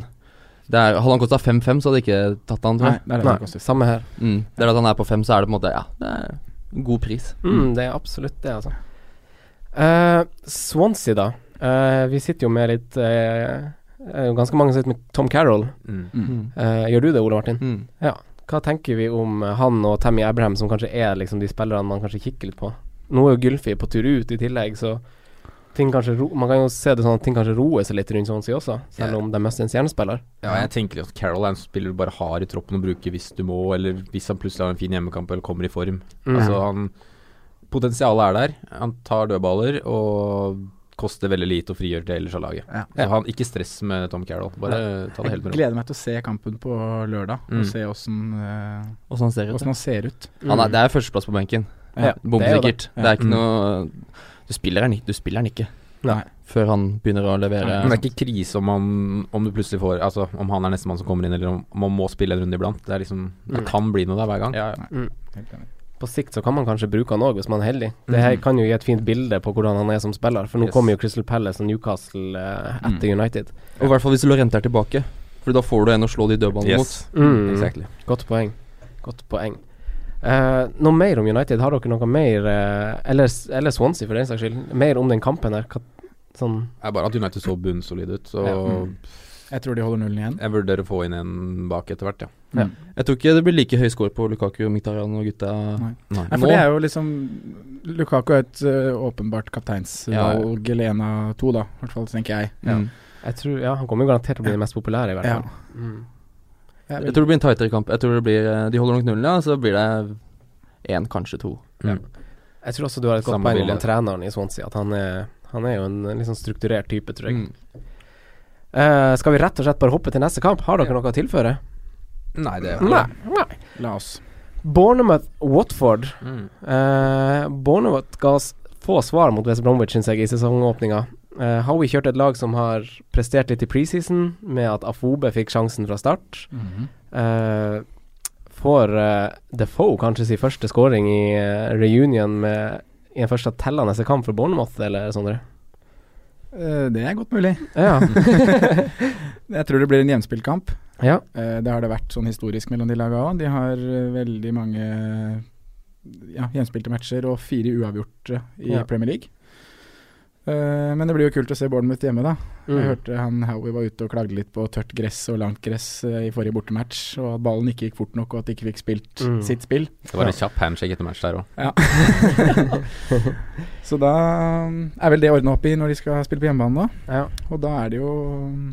Speaker 4: det er, hadde han kosta 5-5, så hadde jeg ikke tatt han, tror
Speaker 2: Nei,
Speaker 4: jeg.
Speaker 2: det er det
Speaker 3: Nei,
Speaker 2: det koster.
Speaker 3: samme her.
Speaker 4: Mm. Det er at han er på 5, så er det på en måte Ja, det er en god pris.
Speaker 3: Mm, det er absolutt det, altså. Eh, Swansea, da. Eh, vi sitter jo med litt eh, eh, Ganske mange som sitter med Tom Carroll.
Speaker 1: Mm.
Speaker 2: Mm.
Speaker 3: Eh, gjør du det, Ole Martin?
Speaker 4: Mm.
Speaker 3: Hva tenker vi om eh, han og Tammy Abraham, som kanskje er liksom de spillerne man kanskje kikker litt på? Nå er jo Gylfi på tur ut i tillegg, så ting kanskje ro man kan jo se det sånn at ting kanskje roer seg litt rundt Swansea også, selv
Speaker 1: Ja.
Speaker 3: om det er mest en stjernespiller.
Speaker 1: Ja, jeg tenker at Carroll er en spiller du bare har i troppen å bruke hvis du må, eller hvis han plutselig har en fin hjemmekamp eller kommer i form.
Speaker 3: Mm.
Speaker 1: Altså han Potensialet er der. Han tar dødballer og koster veldig lite og frigjør til ellers av laget.
Speaker 2: Ja.
Speaker 1: Så han ikke stress med Tom Carroll. Bare ta det
Speaker 2: Jeg
Speaker 1: helt med ro.
Speaker 2: gleder meg til å se kampen på lørdag,
Speaker 1: Mm.
Speaker 2: og se åssen eh,
Speaker 4: Og sånn ser det ut.
Speaker 2: åssen han ser ut.
Speaker 4: Mm. Han er, det er førsteplass på benken.
Speaker 2: Ja,
Speaker 4: Bombesikkert.
Speaker 2: det.
Speaker 4: Det er ikke
Speaker 1: Mm.
Speaker 4: noe Du spiller han, ikke- du spiller han ikke
Speaker 2: Nei.
Speaker 4: før han begynner å levere.
Speaker 1: Men det er ikke krise om han Om du plutselig får Altså om han er nestemann som kommer inn, eller om om han må spille en runde iblant. Det er liksom Det
Speaker 3: Mm.
Speaker 1: kan bli noe der hver gang.
Speaker 4: ja, ja.
Speaker 2: Helt enig.
Speaker 3: På sikt så kan man kanskje bruke han òg, hvis man er heldig. Det her
Speaker 4: Mm.
Speaker 1: Mhm.
Speaker 3: kan jo gi et fint bilde på hvordan han er som spiller, for nå
Speaker 1: Yes.
Speaker 3: kommer jo Crystal Palace og Newcastle eh, etter
Speaker 4: Mm.
Speaker 3: United.
Speaker 4: Og i hvert fall hvis Lorente er tilbake. For da får du en å slå de dødballene mot.
Speaker 1: Yes.
Speaker 3: Mm.
Speaker 1: Exactly.
Speaker 3: Godt poeng. Godt poeng. Eh, noe mer om United? Har dere noe mer eh, eller, eller Swansea, for den saks skyld. Mer om den kampen her? Hva, sånn
Speaker 1: Det er bare at United så bunnsolid ut, så
Speaker 3: Ja.
Speaker 2: Mm. Jeg tror de holder nullen igjen.
Speaker 1: jeg vurderer å få inn en bak etter hvert, ja.
Speaker 3: Ja.
Speaker 2: Mm.
Speaker 4: Jeg tror ikke det blir like høy score på Lukaku og Miktarian og gutta.
Speaker 2: Nei.
Speaker 1: Nei.
Speaker 2: Nei,
Speaker 4: Nå-
Speaker 2: for det er jo liksom Lukaku er et ø, åpenbart kapteinsvalg, eller en av to, da. I hvert fall tenker jeg.
Speaker 4: Mm.
Speaker 3: Jeg tror Ja, han kommer jo garantert til å bli den mest populære, i hvert
Speaker 2: Ja.
Speaker 3: fall. Mm.
Speaker 2: Jeg er
Speaker 4: Jeg
Speaker 2: veldig-
Speaker 4: tror det blir en tightere kamp. Jeg tror det blir eh, De holder nok nullen, ja. Så blir det én, kanskje to.
Speaker 3: Jeg tror også du har et godt
Speaker 1: Samme
Speaker 3: poeng om
Speaker 1: bilde.
Speaker 3: han treneren i Swansea, at han er, han er jo en litt sånn strukturert type, tror jeg.
Speaker 4: Mm.
Speaker 3: Eh, skal vi rett og slett bare hoppe til neste kamp? Har dere noe å tilføre?
Speaker 1: Nei, det er
Speaker 3: Nei. Nei.
Speaker 2: La oss.
Speaker 3: Bournemouth-Watford.
Speaker 1: Mm.
Speaker 3: Eh, Bournemouth ga oss få svar mot West Bromwich, syns jeg, i sesongåpninga. Eh, Howie kjørte et lag som har prestert litt i preseason, med at Afobe fikk sjansen fra start.
Speaker 4: Mhm.
Speaker 3: Eh, får eh, Defoe kanskje sin første scoring i eh, reunion med i en første tellende kamp for Bournemouth, eller Sondre?
Speaker 2: Eh, det er godt mulig.
Speaker 3: Ja.
Speaker 2: Jeg tror det blir en jevnspilt kamp.
Speaker 3: ja.
Speaker 2: Eh, det har det vært sånn historisk mellom de laga òg. De har eh, veldig mange ja, jevnspilte matcher og fire uavgjorte i
Speaker 3: Ja.
Speaker 2: Premier League. Eh, men det blir jo kult å se Bournemouth hjemme, da. Jeg
Speaker 3: Mm.
Speaker 2: hørte han Howie var ute og klagde litt på tørt gress og langt gress eh, i forrige bortematch, og at ballen ikke gikk fort nok, og at de ikke fikk spilt
Speaker 3: Mm.
Speaker 2: sitt spill.
Speaker 1: Det var en kjapp handshake etter match der òg.
Speaker 2: Så da mm, er vel det ordna opp i når de skal spille på hjemmebane, da.
Speaker 3: ja.
Speaker 2: Og da er det jo mm,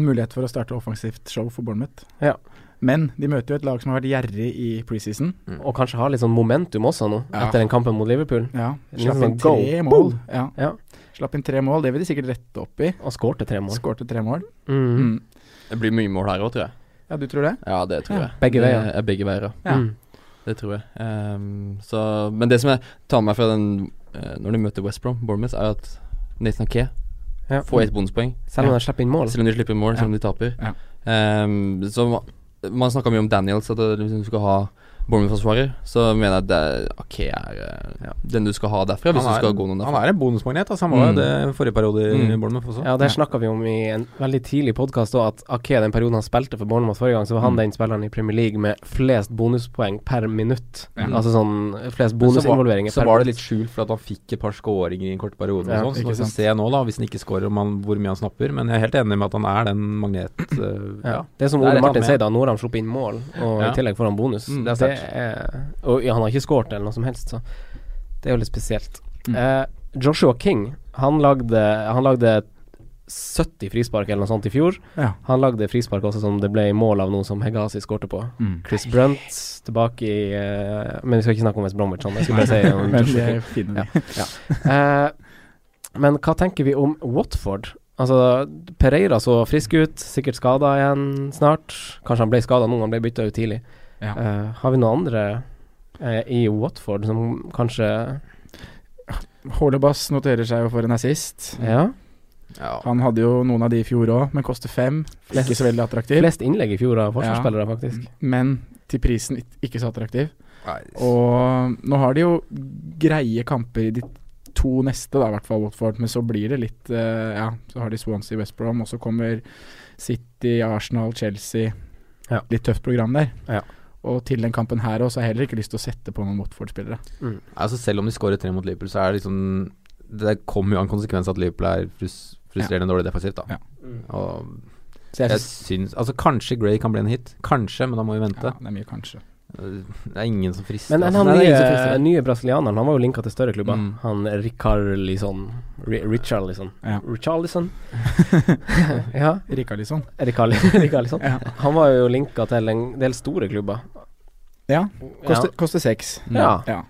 Speaker 2: en mulighet for å starte offensivt show for Bournemouth.
Speaker 3: Ja.
Speaker 2: Men de møter jo et lag som har vært gjerrig i preseason.
Speaker 3: Og kanskje ha litt sånn momentum også nå,
Speaker 2: Ja.
Speaker 3: etter den kampen mot Liverpool.
Speaker 2: Ja,
Speaker 3: Litt
Speaker 2: slapp
Speaker 3: sånn
Speaker 2: inn
Speaker 3: go,
Speaker 2: tre mål.
Speaker 3: boom.
Speaker 2: Ja.
Speaker 3: Ja.
Speaker 2: Slapp inn tre mål, det vil de sikkert rette opp i.
Speaker 3: Og skårte tre mål.
Speaker 2: Skårte tre mål.
Speaker 3: Mm.
Speaker 2: Mm.
Speaker 4: Det blir mye mål her òg, tror jeg.
Speaker 2: Ja, du tror det?
Speaker 4: Ja, det tror
Speaker 2: Ja.
Speaker 4: jeg.
Speaker 3: Begge
Speaker 4: Det
Speaker 3: veier.
Speaker 4: er Begge veier, ja.
Speaker 2: Ja.
Speaker 3: Mm.
Speaker 4: Det tror jeg. Ehm, så, men det som jeg tar med meg fra den eh, når de møter West Brom, Bournemouth, er at Nathan Kee
Speaker 3: Ja.
Speaker 4: får ett bonuspoeng.
Speaker 3: Selv om de slipper inn mål.
Speaker 4: Selv om de slipper mål, selv om de taper.
Speaker 2: Ja.
Speaker 4: Ehm, så ma- man snakka mye om Daniels, at du liksom skal ha Bournemouth-forsvarer. Så mener jeg at det- Ake er eh, den du skal ha derfra, hvis
Speaker 1: Han
Speaker 4: du
Speaker 1: er-
Speaker 4: skal gå noen derfra.
Speaker 1: Han er en bonusmagnet. Altså. Han var jo
Speaker 4: Mm.
Speaker 1: det forrige periode i
Speaker 4: Mm.
Speaker 1: Bournemouth også.
Speaker 3: Ja, det
Speaker 2: Ja.
Speaker 3: snakka vi om i en veldig tidlig podkast òg, at Ake, den perioden han spilte for Bournemouth forrige gang, så var han
Speaker 2: Mm.
Speaker 3: den spilleren i Premier League med flest bonuspoeng per minutt.
Speaker 2: Ja.
Speaker 3: Altså sånn flest
Speaker 1: Men så var-
Speaker 3: bonusinvolveringer
Speaker 1: Så
Speaker 3: per
Speaker 1: var det litt skjult for at han fikk et par skåringer i en kort periode.
Speaker 3: Ja,
Speaker 1: og sånn, så
Speaker 2: ikke
Speaker 1: vi får
Speaker 2: sant.
Speaker 1: se nå, da, hvis han ikke skårer, om han, hvor mye han snapper. Men jeg er helt enig med at han er den magnet... øh,
Speaker 3: Ja. Det er som
Speaker 1: Det er et
Speaker 3: Ole
Speaker 1: eller
Speaker 3: Martin
Speaker 1: annet
Speaker 3: sier, da. Nå har de sluppet inn mål, og
Speaker 1: Ja.
Speaker 3: i tillegg får han bonus.
Speaker 4: Mm,
Speaker 3: det,
Speaker 1: det er
Speaker 3: er er, og ja, han har ikke scoret eller noe som helst, så det er jo litt spesielt.
Speaker 2: Mm.
Speaker 3: Eh, Joshua King, han lagde, han lagde 70 frispark eller noe sånt i fjor.
Speaker 2: Ja.
Speaker 3: Han lagde frispark også som det ble mål av noe som Hegasi skårte på.
Speaker 2: Mm.
Speaker 3: Chris Brunt tilbake i eh, Men vi skal ikke snakke om West Bromwich, sånn. Jeg skulle bare si om
Speaker 2: Men
Speaker 3: Joshua
Speaker 2: det
Speaker 3: King.
Speaker 2: er fine, de.
Speaker 3: Eh, men hva tenker vi om Watford? Altså, Pereira så frisk ut, sikkert skada igjen snart. Kanskje han ble skada nå, han ble bytta ut tidlig.
Speaker 2: Ja.
Speaker 3: Eh, har vi noen andre eh, i Watford som kanskje
Speaker 2: Hålebass noterer seg jo for en assist.
Speaker 3: Ja,
Speaker 1: Ja.
Speaker 2: Han hadde jo noen av de i fjor òg, men koster fem. Ikke så veldig attraktiv.
Speaker 3: flest innlegg i fjor av forsvarsspillere, faktisk.
Speaker 2: Men til prisen it- ikke så attraktiv.
Speaker 1: Nei,
Speaker 2: Og nå har de jo greie kamper i de to neste, da, i hvert fall Watford. Men så blir det litt eh, Ja, så har de Swansea, West Brom, og så kommer City, Arsenal, Chelsea.
Speaker 3: Ja.
Speaker 2: Litt tøft program der.
Speaker 3: Ja.
Speaker 2: Og til den kampen her også har jeg heller ikke lyst til å sette på noen Watford-spillere.
Speaker 1: altså Selv om de skårer tre mot Liverpool, så er det liksom Det kommer jo av en konsekvens at Liverpool er frus frustrerende dårlig defensivt, da.
Speaker 2: Ja.
Speaker 1: Og
Speaker 2: Mm. Så jeg
Speaker 1: jeg
Speaker 2: syns
Speaker 1: syns Altså, kanskje Gray kan bli en hit. Kanskje, men da må vi
Speaker 2: ja,
Speaker 1: vente.
Speaker 2: det er mye, kanskje.
Speaker 1: Det er ingen som frister.
Speaker 3: Men
Speaker 1: altså.
Speaker 3: en av
Speaker 1: Nei, det
Speaker 3: de
Speaker 1: er ingen som
Speaker 3: nye,
Speaker 1: frister.
Speaker 3: nye brasilianeren, han var jo linka til større klubber.
Speaker 1: Mm.
Speaker 3: Han Ricarlison Ri- Richarlison.
Speaker 2: Ja.
Speaker 3: Richarlison. ja,
Speaker 2: Rikarlison.
Speaker 3: Ricarli- Ricarlison.
Speaker 2: Ja.
Speaker 3: Han var jo linka til en del store klubber.
Speaker 2: Ja, koster,
Speaker 3: ja.
Speaker 2: koster seks.
Speaker 3: Ja.
Speaker 2: Ja.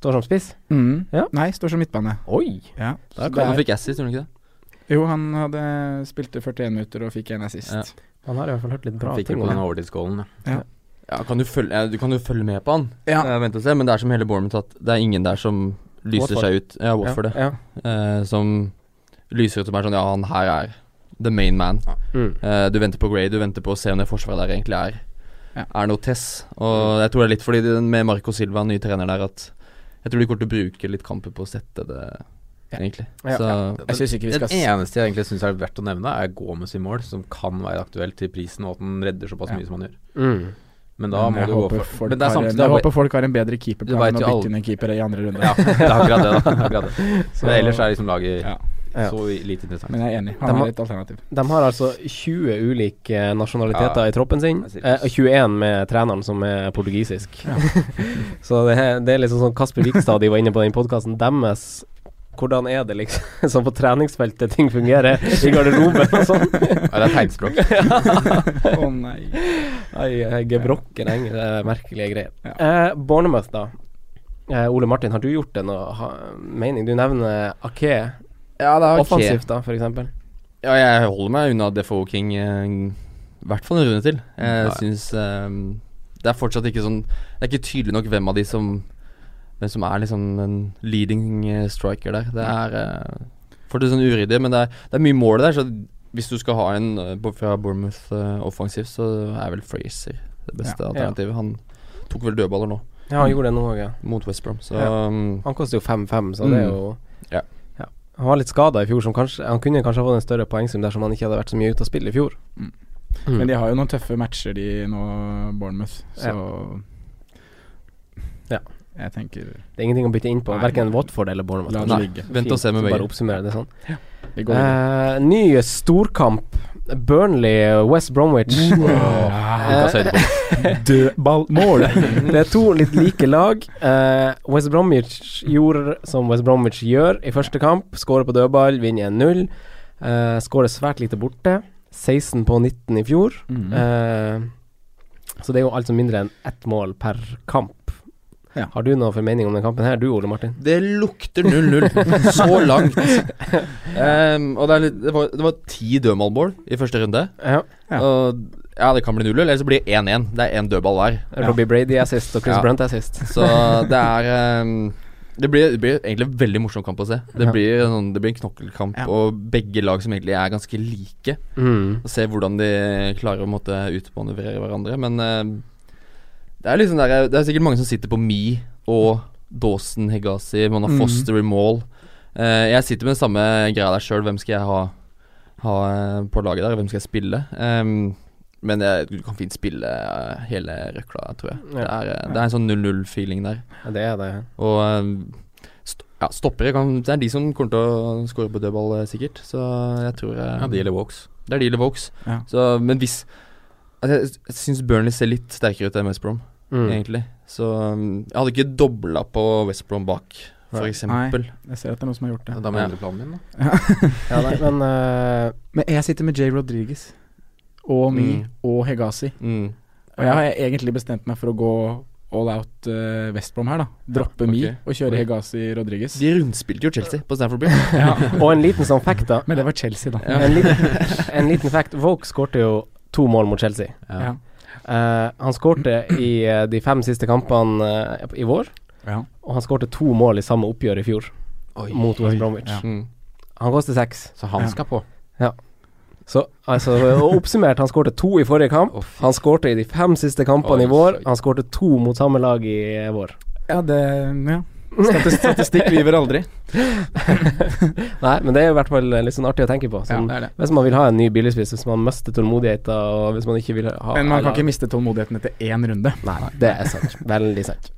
Speaker 3: Står som spiss.
Speaker 2: Mm.
Speaker 3: Ja.
Speaker 2: Nei, står som midtbane.
Speaker 3: Oi!
Speaker 2: Ja.
Speaker 4: Da kan,
Speaker 2: Så det er-
Speaker 4: han fikk assist, gjorde han ikke det?
Speaker 2: Jo, han hadde spilte 41 minutter og fikk en assist.
Speaker 4: Ja.
Speaker 3: Han har i hvert fall hørt litt bra
Speaker 1: Han fikk
Speaker 3: ting
Speaker 1: jo på
Speaker 3: om
Speaker 1: den
Speaker 3: det.
Speaker 1: overtidsskålen. Ja.
Speaker 4: Ja, kan du, følge, ja, du kan jo følge med på han,
Speaker 2: Ja.
Speaker 4: Eh, vent og se, men det er som hele Bournemouth at det er ingen der som lyser
Speaker 3: Watford.
Speaker 4: seg ut. Ja, Watford, det.
Speaker 3: Ja.
Speaker 4: Eh, som lyser ut som er sånn Ja, han her er the main man.
Speaker 3: Mm.
Speaker 4: Eh, du venter på Gray, du venter på å se om det forsvaret der egentlig er
Speaker 2: Ja.
Speaker 4: Er noe tess. Og jeg tror det er litt fordi det, med Marco Silva, ny trener der, at jeg tror de kommer til å bruke litt kamper på å sette det, egentlig.
Speaker 3: Ja,
Speaker 4: Så
Speaker 2: Jeg syns ikke vi
Speaker 1: Den
Speaker 2: skal s-
Speaker 1: eneste jeg egentlig syns er verdt å nevne, er Gomez i mål, som kan være aktuelt til prisen, og at den redder såpass
Speaker 2: Ja.
Speaker 1: mye som han gjør.
Speaker 3: Mm.
Speaker 1: Men da
Speaker 2: Men
Speaker 1: må
Speaker 2: jeg
Speaker 1: du gå
Speaker 2: håper
Speaker 1: for
Speaker 2: folk
Speaker 1: Men det er
Speaker 2: har en-
Speaker 1: samtidig
Speaker 2: Jeg
Speaker 1: da-
Speaker 2: håper folk har en bedre
Speaker 1: Du vet
Speaker 2: keeperplan enn å
Speaker 1: jo alle-
Speaker 2: bytte inn en keeper i andre runde.
Speaker 1: Ja, det er akkurat det. da Det er akkurat det. Men ellers er liksom laget
Speaker 2: Ja.
Speaker 3: Ja.
Speaker 1: så lite interessant.
Speaker 2: Men jeg er enig,
Speaker 3: De
Speaker 2: han
Speaker 3: har-
Speaker 2: har et alternativ.
Speaker 3: De har altså 20 ulike eh, nasjonaliteter
Speaker 1: Ja.
Speaker 3: i troppen sin,
Speaker 1: Det er
Speaker 3: eh,
Speaker 1: cirkus.
Speaker 3: og 21 med treneren som er portugisisk. Så det, er- det er liksom sånn Kasper Vikstad de var inne på den podkasten deres Hvordan er det liksom sånn på treningsfeltet ting fungerer, i garderoben og sånn?
Speaker 1: Ja, det er tegnspråk.
Speaker 2: Å nei.
Speaker 3: Ai, eh, Gebrokken henger, det er merkelige greier. Eh, Bournemouth, da. Eh, Ole Martin, har du gjort deg noe ha, mening? Du nevner Ake
Speaker 4: ja, det er
Speaker 3: offensivt, da, for eksempel.
Speaker 4: Ja, jeg holder meg unna DFO King eh, i hvert fall en runde til. Jeg
Speaker 1: Ja.
Speaker 4: synes eh, Det er fortsatt ikke sånn Det er ikke tydelig nok hvem av de som Hvem som er liksom en leading eh, striker der. Det er uh, fortsatt sånn uryddig, men det er, det er mye mål der, så hvis du skal ha en eh, bo- fra Bournemouth eh, offensivt, så er vel Fraser det beste
Speaker 3: Ja.
Speaker 4: alternativet. Han tok vel dødballer nå,
Speaker 3: Ja, han gjorde det nå òg, ja.
Speaker 4: mot West Brom, så
Speaker 3: Ja.
Speaker 4: um,
Speaker 3: Han koster jo 5-5, så
Speaker 4: Mm.
Speaker 3: det er jo
Speaker 4: Ja.
Speaker 3: Han var litt skada i fjor, som kanskje Han kunne kanskje ha fått en større poengsum dersom han ikke hadde vært så mye ute av spill i fjor.
Speaker 2: Mm.
Speaker 3: Mm.
Speaker 2: Men de har jo noen tøffe matcher, de nå, Bournemouth, så
Speaker 3: Ja.
Speaker 2: Jeg tenker
Speaker 3: Det er ingenting å bytte inn på,
Speaker 2: Nei.
Speaker 3: verken Watford eller Bournemouth.
Speaker 2: La det
Speaker 4: Nei,
Speaker 2: ligge.
Speaker 4: vent og se med
Speaker 3: Bare
Speaker 4: begge.
Speaker 3: oppsummere det sånn.
Speaker 2: Vi går videre.
Speaker 3: Eh, ny storkamp. Burnley, West Bromwich.
Speaker 1: Ukas
Speaker 3: Eh,
Speaker 1: høydepunkt.
Speaker 2: Dødballmål!
Speaker 3: Det er to litt like lag. Eh, West Bromwich gjorde som West Bromwich gjør i første kamp. Skårer på dødball, vinner 1-0. Eh, Skårer svært lite borte. 16 på 19 i fjor.
Speaker 2: Mm.
Speaker 3: Eh, så det er jo altså mindre enn ett mål per kamp.
Speaker 2: Ja.
Speaker 3: Har du noe formening om den kampen her, du Ole Martin?
Speaker 4: Det lukter 0-0 så langt. Ehm, og det, er litt, det, var, det var ti dødballmål i første runde.
Speaker 3: Ja.
Speaker 2: Ja.
Speaker 4: Og ja, det kan bli 0-0, eller så blir det 1-1. Det er én dødball hver.
Speaker 3: Robbie Brady assist og Chris
Speaker 4: Ja.
Speaker 3: Brunt assist.
Speaker 4: Så det er ehm, det, blir, det blir egentlig en veldig morsom kamp å se. Det
Speaker 3: Ja.
Speaker 4: blir, en sånn, det blir en knokkelkamp,
Speaker 2: Ja.
Speaker 4: og begge lag som egentlig er ganske like.
Speaker 3: Mm.
Speaker 4: Og se hvordan de klarer å måtte utmanøvrere hverandre. Men ehm, det er liksom der, Det er sikkert mange som sitter på Me og Dawson Hegazi. Man har
Speaker 2: Mhm.
Speaker 4: Foster i mål. Eh, jeg sitter med den samme greia der sjøl. Hvem skal jeg ha, ha eh, på laget der? Hvem skal jeg spille? Ehm, men jeg, du kan fint spille eh, hele røkla, tror jeg. Det,
Speaker 3: Ja.
Speaker 4: er, eh, det er en sånn 0-0-feeling der.
Speaker 3: Ja, det er det.
Speaker 4: Og ehm, st ja, stoppere kan Det er de som kommer til å skåre på dødball, eh, sikkert. Så jeg tror eh,
Speaker 1: Ja, det gjelder walks.
Speaker 4: det er deal of Oaks.
Speaker 2: Ja.
Speaker 4: Så, men hvis altså, Jeg syns Burnley ser litt sterkere ut enn West Brom.
Speaker 3: Mm.
Speaker 4: egentlig. Så um, jeg hadde ikke dobla på West Brom bak,
Speaker 2: Nei.
Speaker 4: f.eks. Ja,
Speaker 2: Jeg ser at det er noen som har gjort det.
Speaker 1: Da må
Speaker 4: Ja.
Speaker 1: jeg endre planen min, da.
Speaker 3: Ja, nei, men eh,
Speaker 2: Men jeg sitter med Jay Rodriguez og Me
Speaker 4: Mm.
Speaker 2: og Hegazi.
Speaker 4: mm.
Speaker 2: Og jeg har egentlig bestemt meg for å gå all out eh, West Brom her, da. Droppe
Speaker 4: ok.
Speaker 2: Me og kjøre Hegazi Rodriguez.
Speaker 4: De rundspilte jo Chelsea på Stanford Bridge.
Speaker 2: Ja.
Speaker 3: Og en liten sånn fact, da.
Speaker 2: Men det var Chelsea, da.
Speaker 3: En, liten, en liten fact. Vogue skårte jo to mål mot Chelsea.
Speaker 1: Ja.
Speaker 2: Ja.
Speaker 3: Eh, han skårte i eh, de fem siste kampene eh, i vår,
Speaker 2: Ja.
Speaker 3: og han skårte to mål i samme oppgjør i fjor,
Speaker 1: Oi.
Speaker 3: mot West Bromwich.
Speaker 2: Ja.
Speaker 4: Mm.
Speaker 3: Han koster seks.
Speaker 1: Så han
Speaker 2: Ja.
Speaker 1: skal på.
Speaker 3: Så altså, og oppsummert, han skårte to i forrige kamp.
Speaker 1: Å, fy.
Speaker 3: Han skårte i de fem siste
Speaker 1: Oi,
Speaker 3: kampene i vår.
Speaker 1: oi.
Speaker 3: Han skårte to mot samme lag i eh, vår.
Speaker 2: Ja, det Ja.
Speaker 4: Statis- Statistikk lyver aldri.
Speaker 3: Nei, men det er i hvert fall eh, litt sånn artig å tenke på. Sånn,
Speaker 2: det er det.
Speaker 3: Hvis man vil ha en ny billigspiss, hvis man mister tålmodigheten, og hvis man ikke vil ha
Speaker 2: Men man kan ikke miste tålmodigheten etter én runde.
Speaker 3: Nei, det er sant. Veldig sant.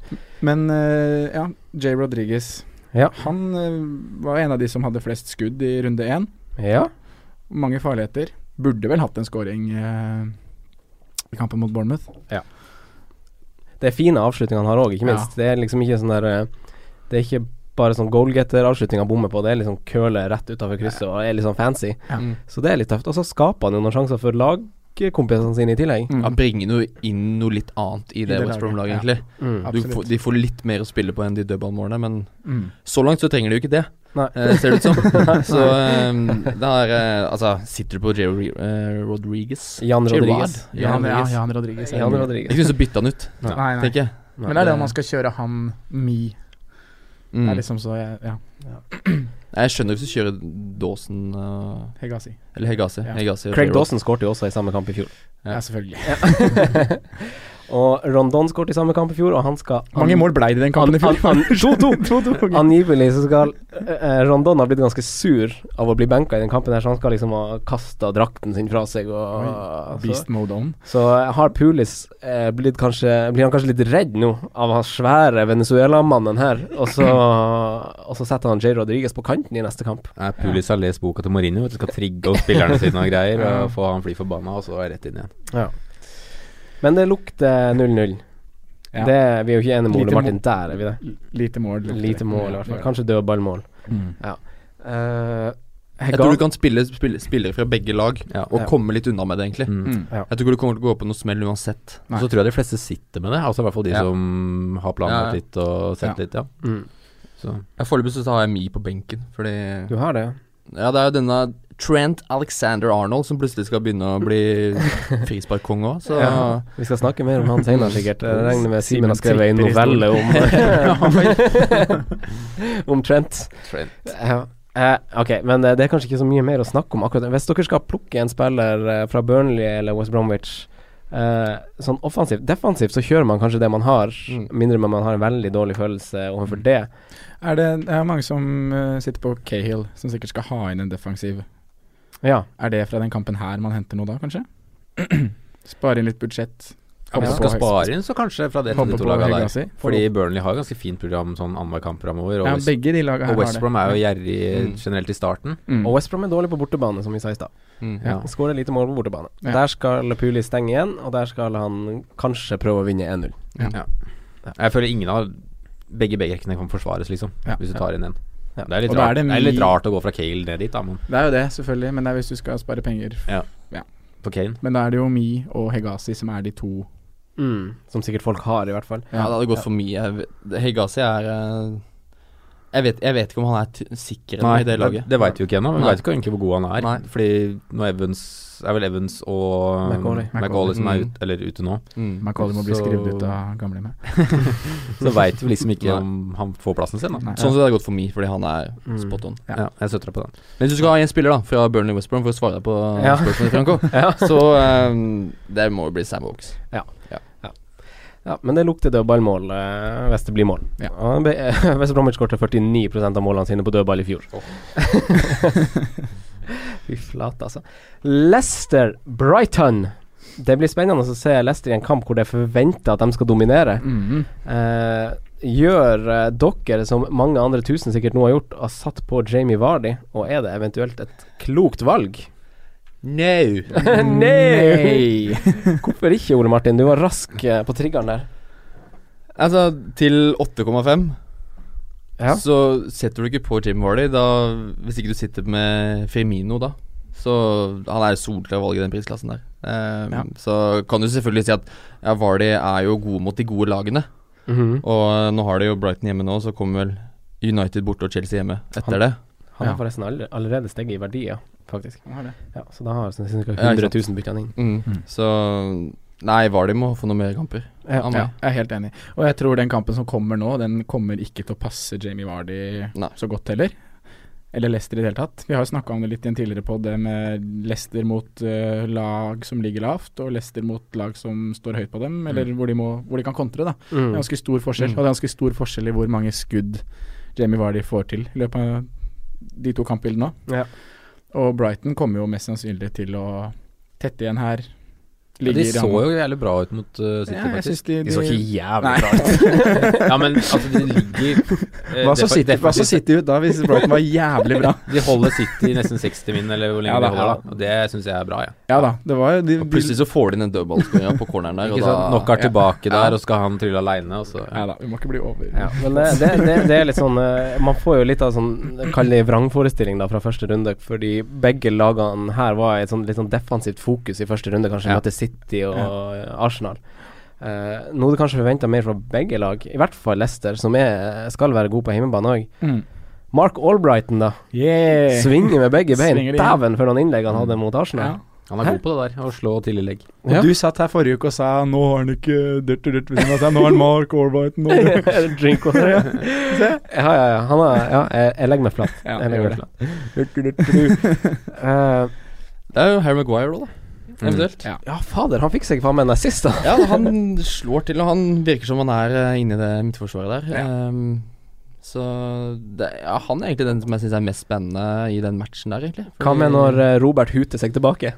Speaker 2: Men eh, ja, Jay Rodriguez.
Speaker 3: Ja.
Speaker 2: Han eh, var en av de som hadde flest skudd i runde én.
Speaker 3: Ja.
Speaker 2: Mange farligheter. Burde vel hatt en scoring eh, i kampen mot Bournemouth.
Speaker 3: Det er fine avslutninger han har òg, ikke
Speaker 2: Ja.
Speaker 3: minst. Det er liksom ikke sånn der eh, Det er ikke bare sånn goalgetter-avslutning han bommer på, det er liksom curler rett utafor krysset og er litt sånn fancy.
Speaker 2: Ja.
Speaker 4: Mm.
Speaker 3: Så det er litt tøft. Og så skaper han jo noen sjanser for lagkompisene sine i tillegg.
Speaker 2: Mm.
Speaker 4: Han bringer jo inn noe litt annet i det,
Speaker 2: det
Speaker 4: West Brom-laget,
Speaker 2: laget,
Speaker 4: egentlig.
Speaker 3: Mm.
Speaker 2: Ja.
Speaker 4: Du
Speaker 2: Absolutt.
Speaker 4: får, de får litt mer å spille på enn de dødballmålene, men
Speaker 2: Mm.
Speaker 4: så langt så trenger de jo ikke det,
Speaker 3: Nei.
Speaker 4: eh, ser det ut som. så um, det er eh, Altså, sitter du på Jerry eh, Rodriguez?
Speaker 3: Jan Rodriguez.
Speaker 4: Gerard?
Speaker 2: Ja,
Speaker 4: Jan
Speaker 2: men- ja,
Speaker 4: Rodriguez.
Speaker 2: Jan Rodriguez. er
Speaker 3: Jan
Speaker 2: mulig.
Speaker 4: Jeg
Speaker 3: Rodriguez.
Speaker 4: kunne så bytte han ut,
Speaker 2: Nei, nei.
Speaker 4: tenker jeg.
Speaker 2: Men det er det om
Speaker 4: det-
Speaker 2: man skal kjøre han me.
Speaker 4: Mm.
Speaker 2: Det er liksom så jeg, Ja,
Speaker 4: Jeg skjønner hvis du kjører Dawson eh,
Speaker 2: Hegasi.
Speaker 4: Eller Hegasi.
Speaker 2: Ja.
Speaker 4: Hegasi og
Speaker 3: Craig
Speaker 4: Gerrard.
Speaker 3: Dawson skårte jo også i samme kamp i fjor.
Speaker 2: Ja.
Speaker 4: Ja.
Speaker 2: selvfølgelig.
Speaker 3: og Rondon skårte i samme kamp i fjor, og han skal
Speaker 2: Mange mål blei det i den kampen i
Speaker 3: an-
Speaker 2: fjor?
Speaker 3: an- 2-2.
Speaker 2: 2-2.
Speaker 3: Angivelig så skal eh, eh, Rondon ha blitt ganske sur av å bli benka i den kampen, her så han skal liksom ha kasta drakten sin fra seg. Og, så,
Speaker 2: Beast mode on.
Speaker 3: så har Pulis eh, blitt kanskje Blir han kanskje litt redd nå av han svære Venezuela-mannen her, og så, og så setter han Jay Rodriguez på kanten i neste kamp.
Speaker 1: Nei, Pulis har lest boka til Mourinho, vet du, skal trigge opp spillerne sine og greier,
Speaker 2: Ja.
Speaker 1: og få han fly forbanna, og så er jeg rett inn igjen.
Speaker 3: Men det lukter 0-0.
Speaker 2: Ja.
Speaker 3: Det Vi er jo ikke enige med
Speaker 2: Lite
Speaker 3: Ole
Speaker 2: mo-
Speaker 3: Martin der, er vi det?
Speaker 2: Lite mål.
Speaker 3: Lite mål, i hvert fall. Kanskje dødballmål.
Speaker 2: Mm.
Speaker 3: Uh,
Speaker 4: Eh, Jeg tror du kan spille, spille spillere fra begge lag
Speaker 1: Ja.
Speaker 4: og
Speaker 3: Ja.
Speaker 4: komme litt unna med det, egentlig.
Speaker 1: Mm.
Speaker 2: Mm.
Speaker 4: Jeg tror ikke du kommer til å gå på noe smell uansett.
Speaker 2: Nei.
Speaker 1: Så tror jeg de fleste sitter med det, altså i hvert fall de
Speaker 4: Ja.
Speaker 1: som har planlagt
Speaker 4: Ja, ja.
Speaker 1: litt og sett litt, ja.
Speaker 3: mm.
Speaker 1: Så.
Speaker 4: Jeg Foreløpig så har jeg Mi på benken, fordi
Speaker 3: Du har det, ja.
Speaker 4: Ja, det er jo denne Trent Alexander Arnold som plutselig skal begynne å bli frisparkkonge òg, så ja.
Speaker 3: Ja, vi skal snakke mer om han senere, sikkert. Jeg regner med Simen har
Speaker 2: Simen
Speaker 3: skrevet en
Speaker 2: tripper i
Speaker 3: novelle om Om Trent.
Speaker 1: Trent.
Speaker 3: Ja. Eh, ok, men eh, det er kanskje ikke så mye mer å snakke om akkurat Hvis dere skal plukke en spiller eh, fra Burnley eller West Bromwich eh, Sånn offensivt Defensivt så kjører man kanskje det man har,
Speaker 4: Mm.
Speaker 3: mindre men man har en veldig dårlig følelse overfor det.
Speaker 2: Er det, det er mange som eh, sitter på Cahill, som sikkert skal ha inn en defensiv.
Speaker 3: Ja.
Speaker 2: Er det fra den kampen her man henter noe da, kanskje? Spare inn litt budsjett.
Speaker 1: Ja, hvis du
Speaker 2: Hoppe
Speaker 1: skal
Speaker 2: på-
Speaker 1: spare inn, så kanskje fra det til
Speaker 2: Hoppe
Speaker 1: de to
Speaker 2: på
Speaker 1: lagene der.
Speaker 2: Hegasi.
Speaker 1: Fordi Burnley har jo ganske fint program sånn annenhver kamp framover, og,
Speaker 2: ja,
Speaker 1: West-
Speaker 2: begge de laga her
Speaker 1: og West
Speaker 2: har det.
Speaker 1: Brom er jo gjerrig
Speaker 4: Mm.
Speaker 1: generelt i starten.
Speaker 2: Mm.
Speaker 3: Og West Brom er dårlig på bortebane, som vi sa i stad.
Speaker 4: mm.
Speaker 1: Ja.
Speaker 3: Skårer lite mål på bortebane.
Speaker 2: Ja.
Speaker 3: Der skal Puli stenge igjen, og der skal han kanskje prøve å vinne 1-0.
Speaker 1: Jeg føler ingen av begge bekkene kan forsvares, liksom,
Speaker 2: Ja.
Speaker 1: hvis du tar inn en.
Speaker 3: Ja.
Speaker 1: Det, er litt
Speaker 2: Og da er
Speaker 1: rart,
Speaker 2: det
Speaker 1: det, er litt
Speaker 2: mye-
Speaker 1: rart å gå fra Kale ned dit, da, men
Speaker 2: Det er jo det, selvfølgelig, men det er hvis du skal spare penger.
Speaker 1: på Kane
Speaker 2: Men da er det jo Mi og Hegasi som er de to
Speaker 3: Mm, som sikkert folk har, i hvert fall.
Speaker 4: ja, det hadde gått for mye. Jeg vet- Hegasi er eh, jeg vet, jeg vet ikke om han er t sikker i det laget.
Speaker 1: Det, det veit vi jo ikke ennå. men Vi
Speaker 4: Nei.
Speaker 1: veit ikke egentlig hvor god han er.
Speaker 4: Nei.
Speaker 1: Fordi når Evans er vel Evans og um,
Speaker 3: Macaulay.
Speaker 1: McAuley som er
Speaker 4: Mm.
Speaker 1: ut, eller ute nå,
Speaker 4: Mm.
Speaker 2: Macauley må bli
Speaker 1: Så-
Speaker 2: skrevet ut av gamle med.
Speaker 1: så veit vi liksom ikke
Speaker 4: Nei.
Speaker 1: om han får plassen sin. Da.
Speaker 2: Nei.
Speaker 4: Sånn som det hadde gått for Mi, fordi han er
Speaker 3: Mm.
Speaker 4: spot on.
Speaker 1: Ja. jeg støtter deg på den.
Speaker 4: Men hvis du skal ha en spiller da fra Burnley West Brom for å svare deg på
Speaker 3: Ja.
Speaker 4: spørsmålet, Franco,
Speaker 3: Ja.
Speaker 4: så eh, det må jo bli Sam Oaks.
Speaker 3: Ja, men det lukter dødballmål eh, hvis det blir mål.
Speaker 2: Ja.
Speaker 3: Og be- West Bromwich skåret 49 av målene sine på dødball i fjor. Fy flate, altså. Leicester Brighton. Det blir spennende å se Leicester i en kamp hvor det er forventa at de skal dominere.
Speaker 2: Mhm.
Speaker 3: Eh, gjør eh, dere som mange andre tusen sikkert nå har gjort, har satt på Jamie Vardy, og er det eventuelt et klokt valg?
Speaker 4: No.
Speaker 3: Nei! Hvorfor ikke, Ole Martin? Du var rask eh, på triggeren der.
Speaker 4: Altså, til 8,5
Speaker 3: Ja.
Speaker 4: så setter du ikke på Jim Vardy da, hvis ikke du sitter med Firmino da. Så han er solklar valg i den prisklassen der. Ehm,
Speaker 2: Ja.
Speaker 4: Så kan du selvfølgelig si at ja, Vardy er jo god mot de gode lagene.
Speaker 3: Mhm.
Speaker 4: Og eh, nå har de jo Brighton hjemme nå, så kommer vel United borte og Chelsea hjemme etter
Speaker 3: Han-
Speaker 4: det.
Speaker 3: Han har
Speaker 2: Ja.
Speaker 3: forresten alle- allerede steget i verdi, ja, faktisk. Ja, så da har ca.
Speaker 4: Ja, ikke
Speaker 3: 100
Speaker 4: sant.
Speaker 3: 000 bytta han inn.
Speaker 4: Mm.
Speaker 2: Mm.
Speaker 4: Så Nei, Vardy må få noen mer kamper.
Speaker 3: Ja.
Speaker 4: Han
Speaker 2: Ja,
Speaker 4: må.
Speaker 2: jeg er helt enig. Og jeg tror den kampen som kommer nå, den kommer ikke til å passe Jamie Vardy
Speaker 4: Nei.
Speaker 2: så godt heller. Eller Leicester i det hele tatt. Vi har jo snakka om det litt i en tidligere pod, det med Leicester mot eh, lag som ligger lavt, og Leicester mot lag som står høyt på dem, eller hvor, de må, hvor de kan kontre, da. Det
Speaker 3: Mm.
Speaker 2: er ganske stor forskjell,
Speaker 4: Mm.
Speaker 2: og det er ganske stor forskjell i hvor mange skudd Jamie Vardy får til i løpet av de to kampbildene nå.
Speaker 3: Ja.
Speaker 2: Og Brighton kommer jo mest sannsynlig til å tette igjen her.
Speaker 1: Ja, de
Speaker 2: Ligger i
Speaker 1: så
Speaker 2: rammen.
Speaker 1: jo jævlig bra ut mot eh, City,
Speaker 2: Ja, jeg synes
Speaker 1: faktisk.
Speaker 2: de-
Speaker 1: de så
Speaker 2: de-
Speaker 1: ikke jævlig
Speaker 2: Nei.
Speaker 1: bra ut. ja, men altså, de ligger eh,
Speaker 2: Hva så
Speaker 1: defa-
Speaker 2: City, hva så
Speaker 1: defensivt-
Speaker 2: City ut da, hvis Brighton var jævlig bra?
Speaker 1: De holder City i nesten 60 min, eller hvor lenge
Speaker 2: Ja da,
Speaker 1: de
Speaker 2: ja
Speaker 1: holder. da. Og det syns jeg er bra, jeg.
Speaker 2: Ja da, det var jo de,
Speaker 4: Og
Speaker 2: de,
Speaker 4: plutselig så får de inn en dødballskåring på corneren der, og
Speaker 1: Ikke sant?
Speaker 4: da
Speaker 1: Nok er tilbake
Speaker 4: Ja.
Speaker 1: der, og skal han trylle aleine, og så
Speaker 2: Nei da, vi må ikke bli over.
Speaker 3: Ja, men det, det, det, det er litt sånn eh, Man får jo litt av sånn Kall det vrangforestilling da fra første runde, fordi begge lagene her var i et sånn litt sånn defensivt fokus i første runde, kanskje
Speaker 1: Ja.
Speaker 3: møtte City og Arsenal. Eh, nå er det kanskje forventa mer fra begge lag, i hvert fall Leicester, som er, skal være god på hjemmebane òg.
Speaker 2: Mm.
Speaker 3: Mark Albrighton, da.
Speaker 2: Yeah.
Speaker 3: Svinger med begge bein.
Speaker 2: Svinger det inn.
Speaker 3: Dæven, for noen innlegg han hadde mot Arsenal.
Speaker 2: Ja.
Speaker 1: Han er god på det der, å slå til i legg.
Speaker 2: Og
Speaker 3: Ja.
Speaker 2: du satt her forrige uke og sa nå har han ikke dørt og dørt ved siden av seg, nå har han Mark Albrighton nå. har han-"
Speaker 3: Drinkwater, ja. Ja, ja, ja. Han er, ja jeg, jeg legger meg flat.
Speaker 2: Ja,
Speaker 3: jeg legger
Speaker 2: gjør
Speaker 3: meg
Speaker 2: det.
Speaker 3: flat. Eh,
Speaker 4: Det er jo Harry Maguire òg, da. Eventuelt.
Speaker 2: Ja.
Speaker 3: Mm. Ja, fader, han fikk seg faen meg en assist, da.
Speaker 4: Ja, han slår til, og han virker som han er eh, inne i det midtforsvaret der. Ehm, så det, ja, han er egentlig den som jeg syns er mest spennende i den matchen der, egentlig.
Speaker 3: Hva med når eh, Robert huter seg tilbake?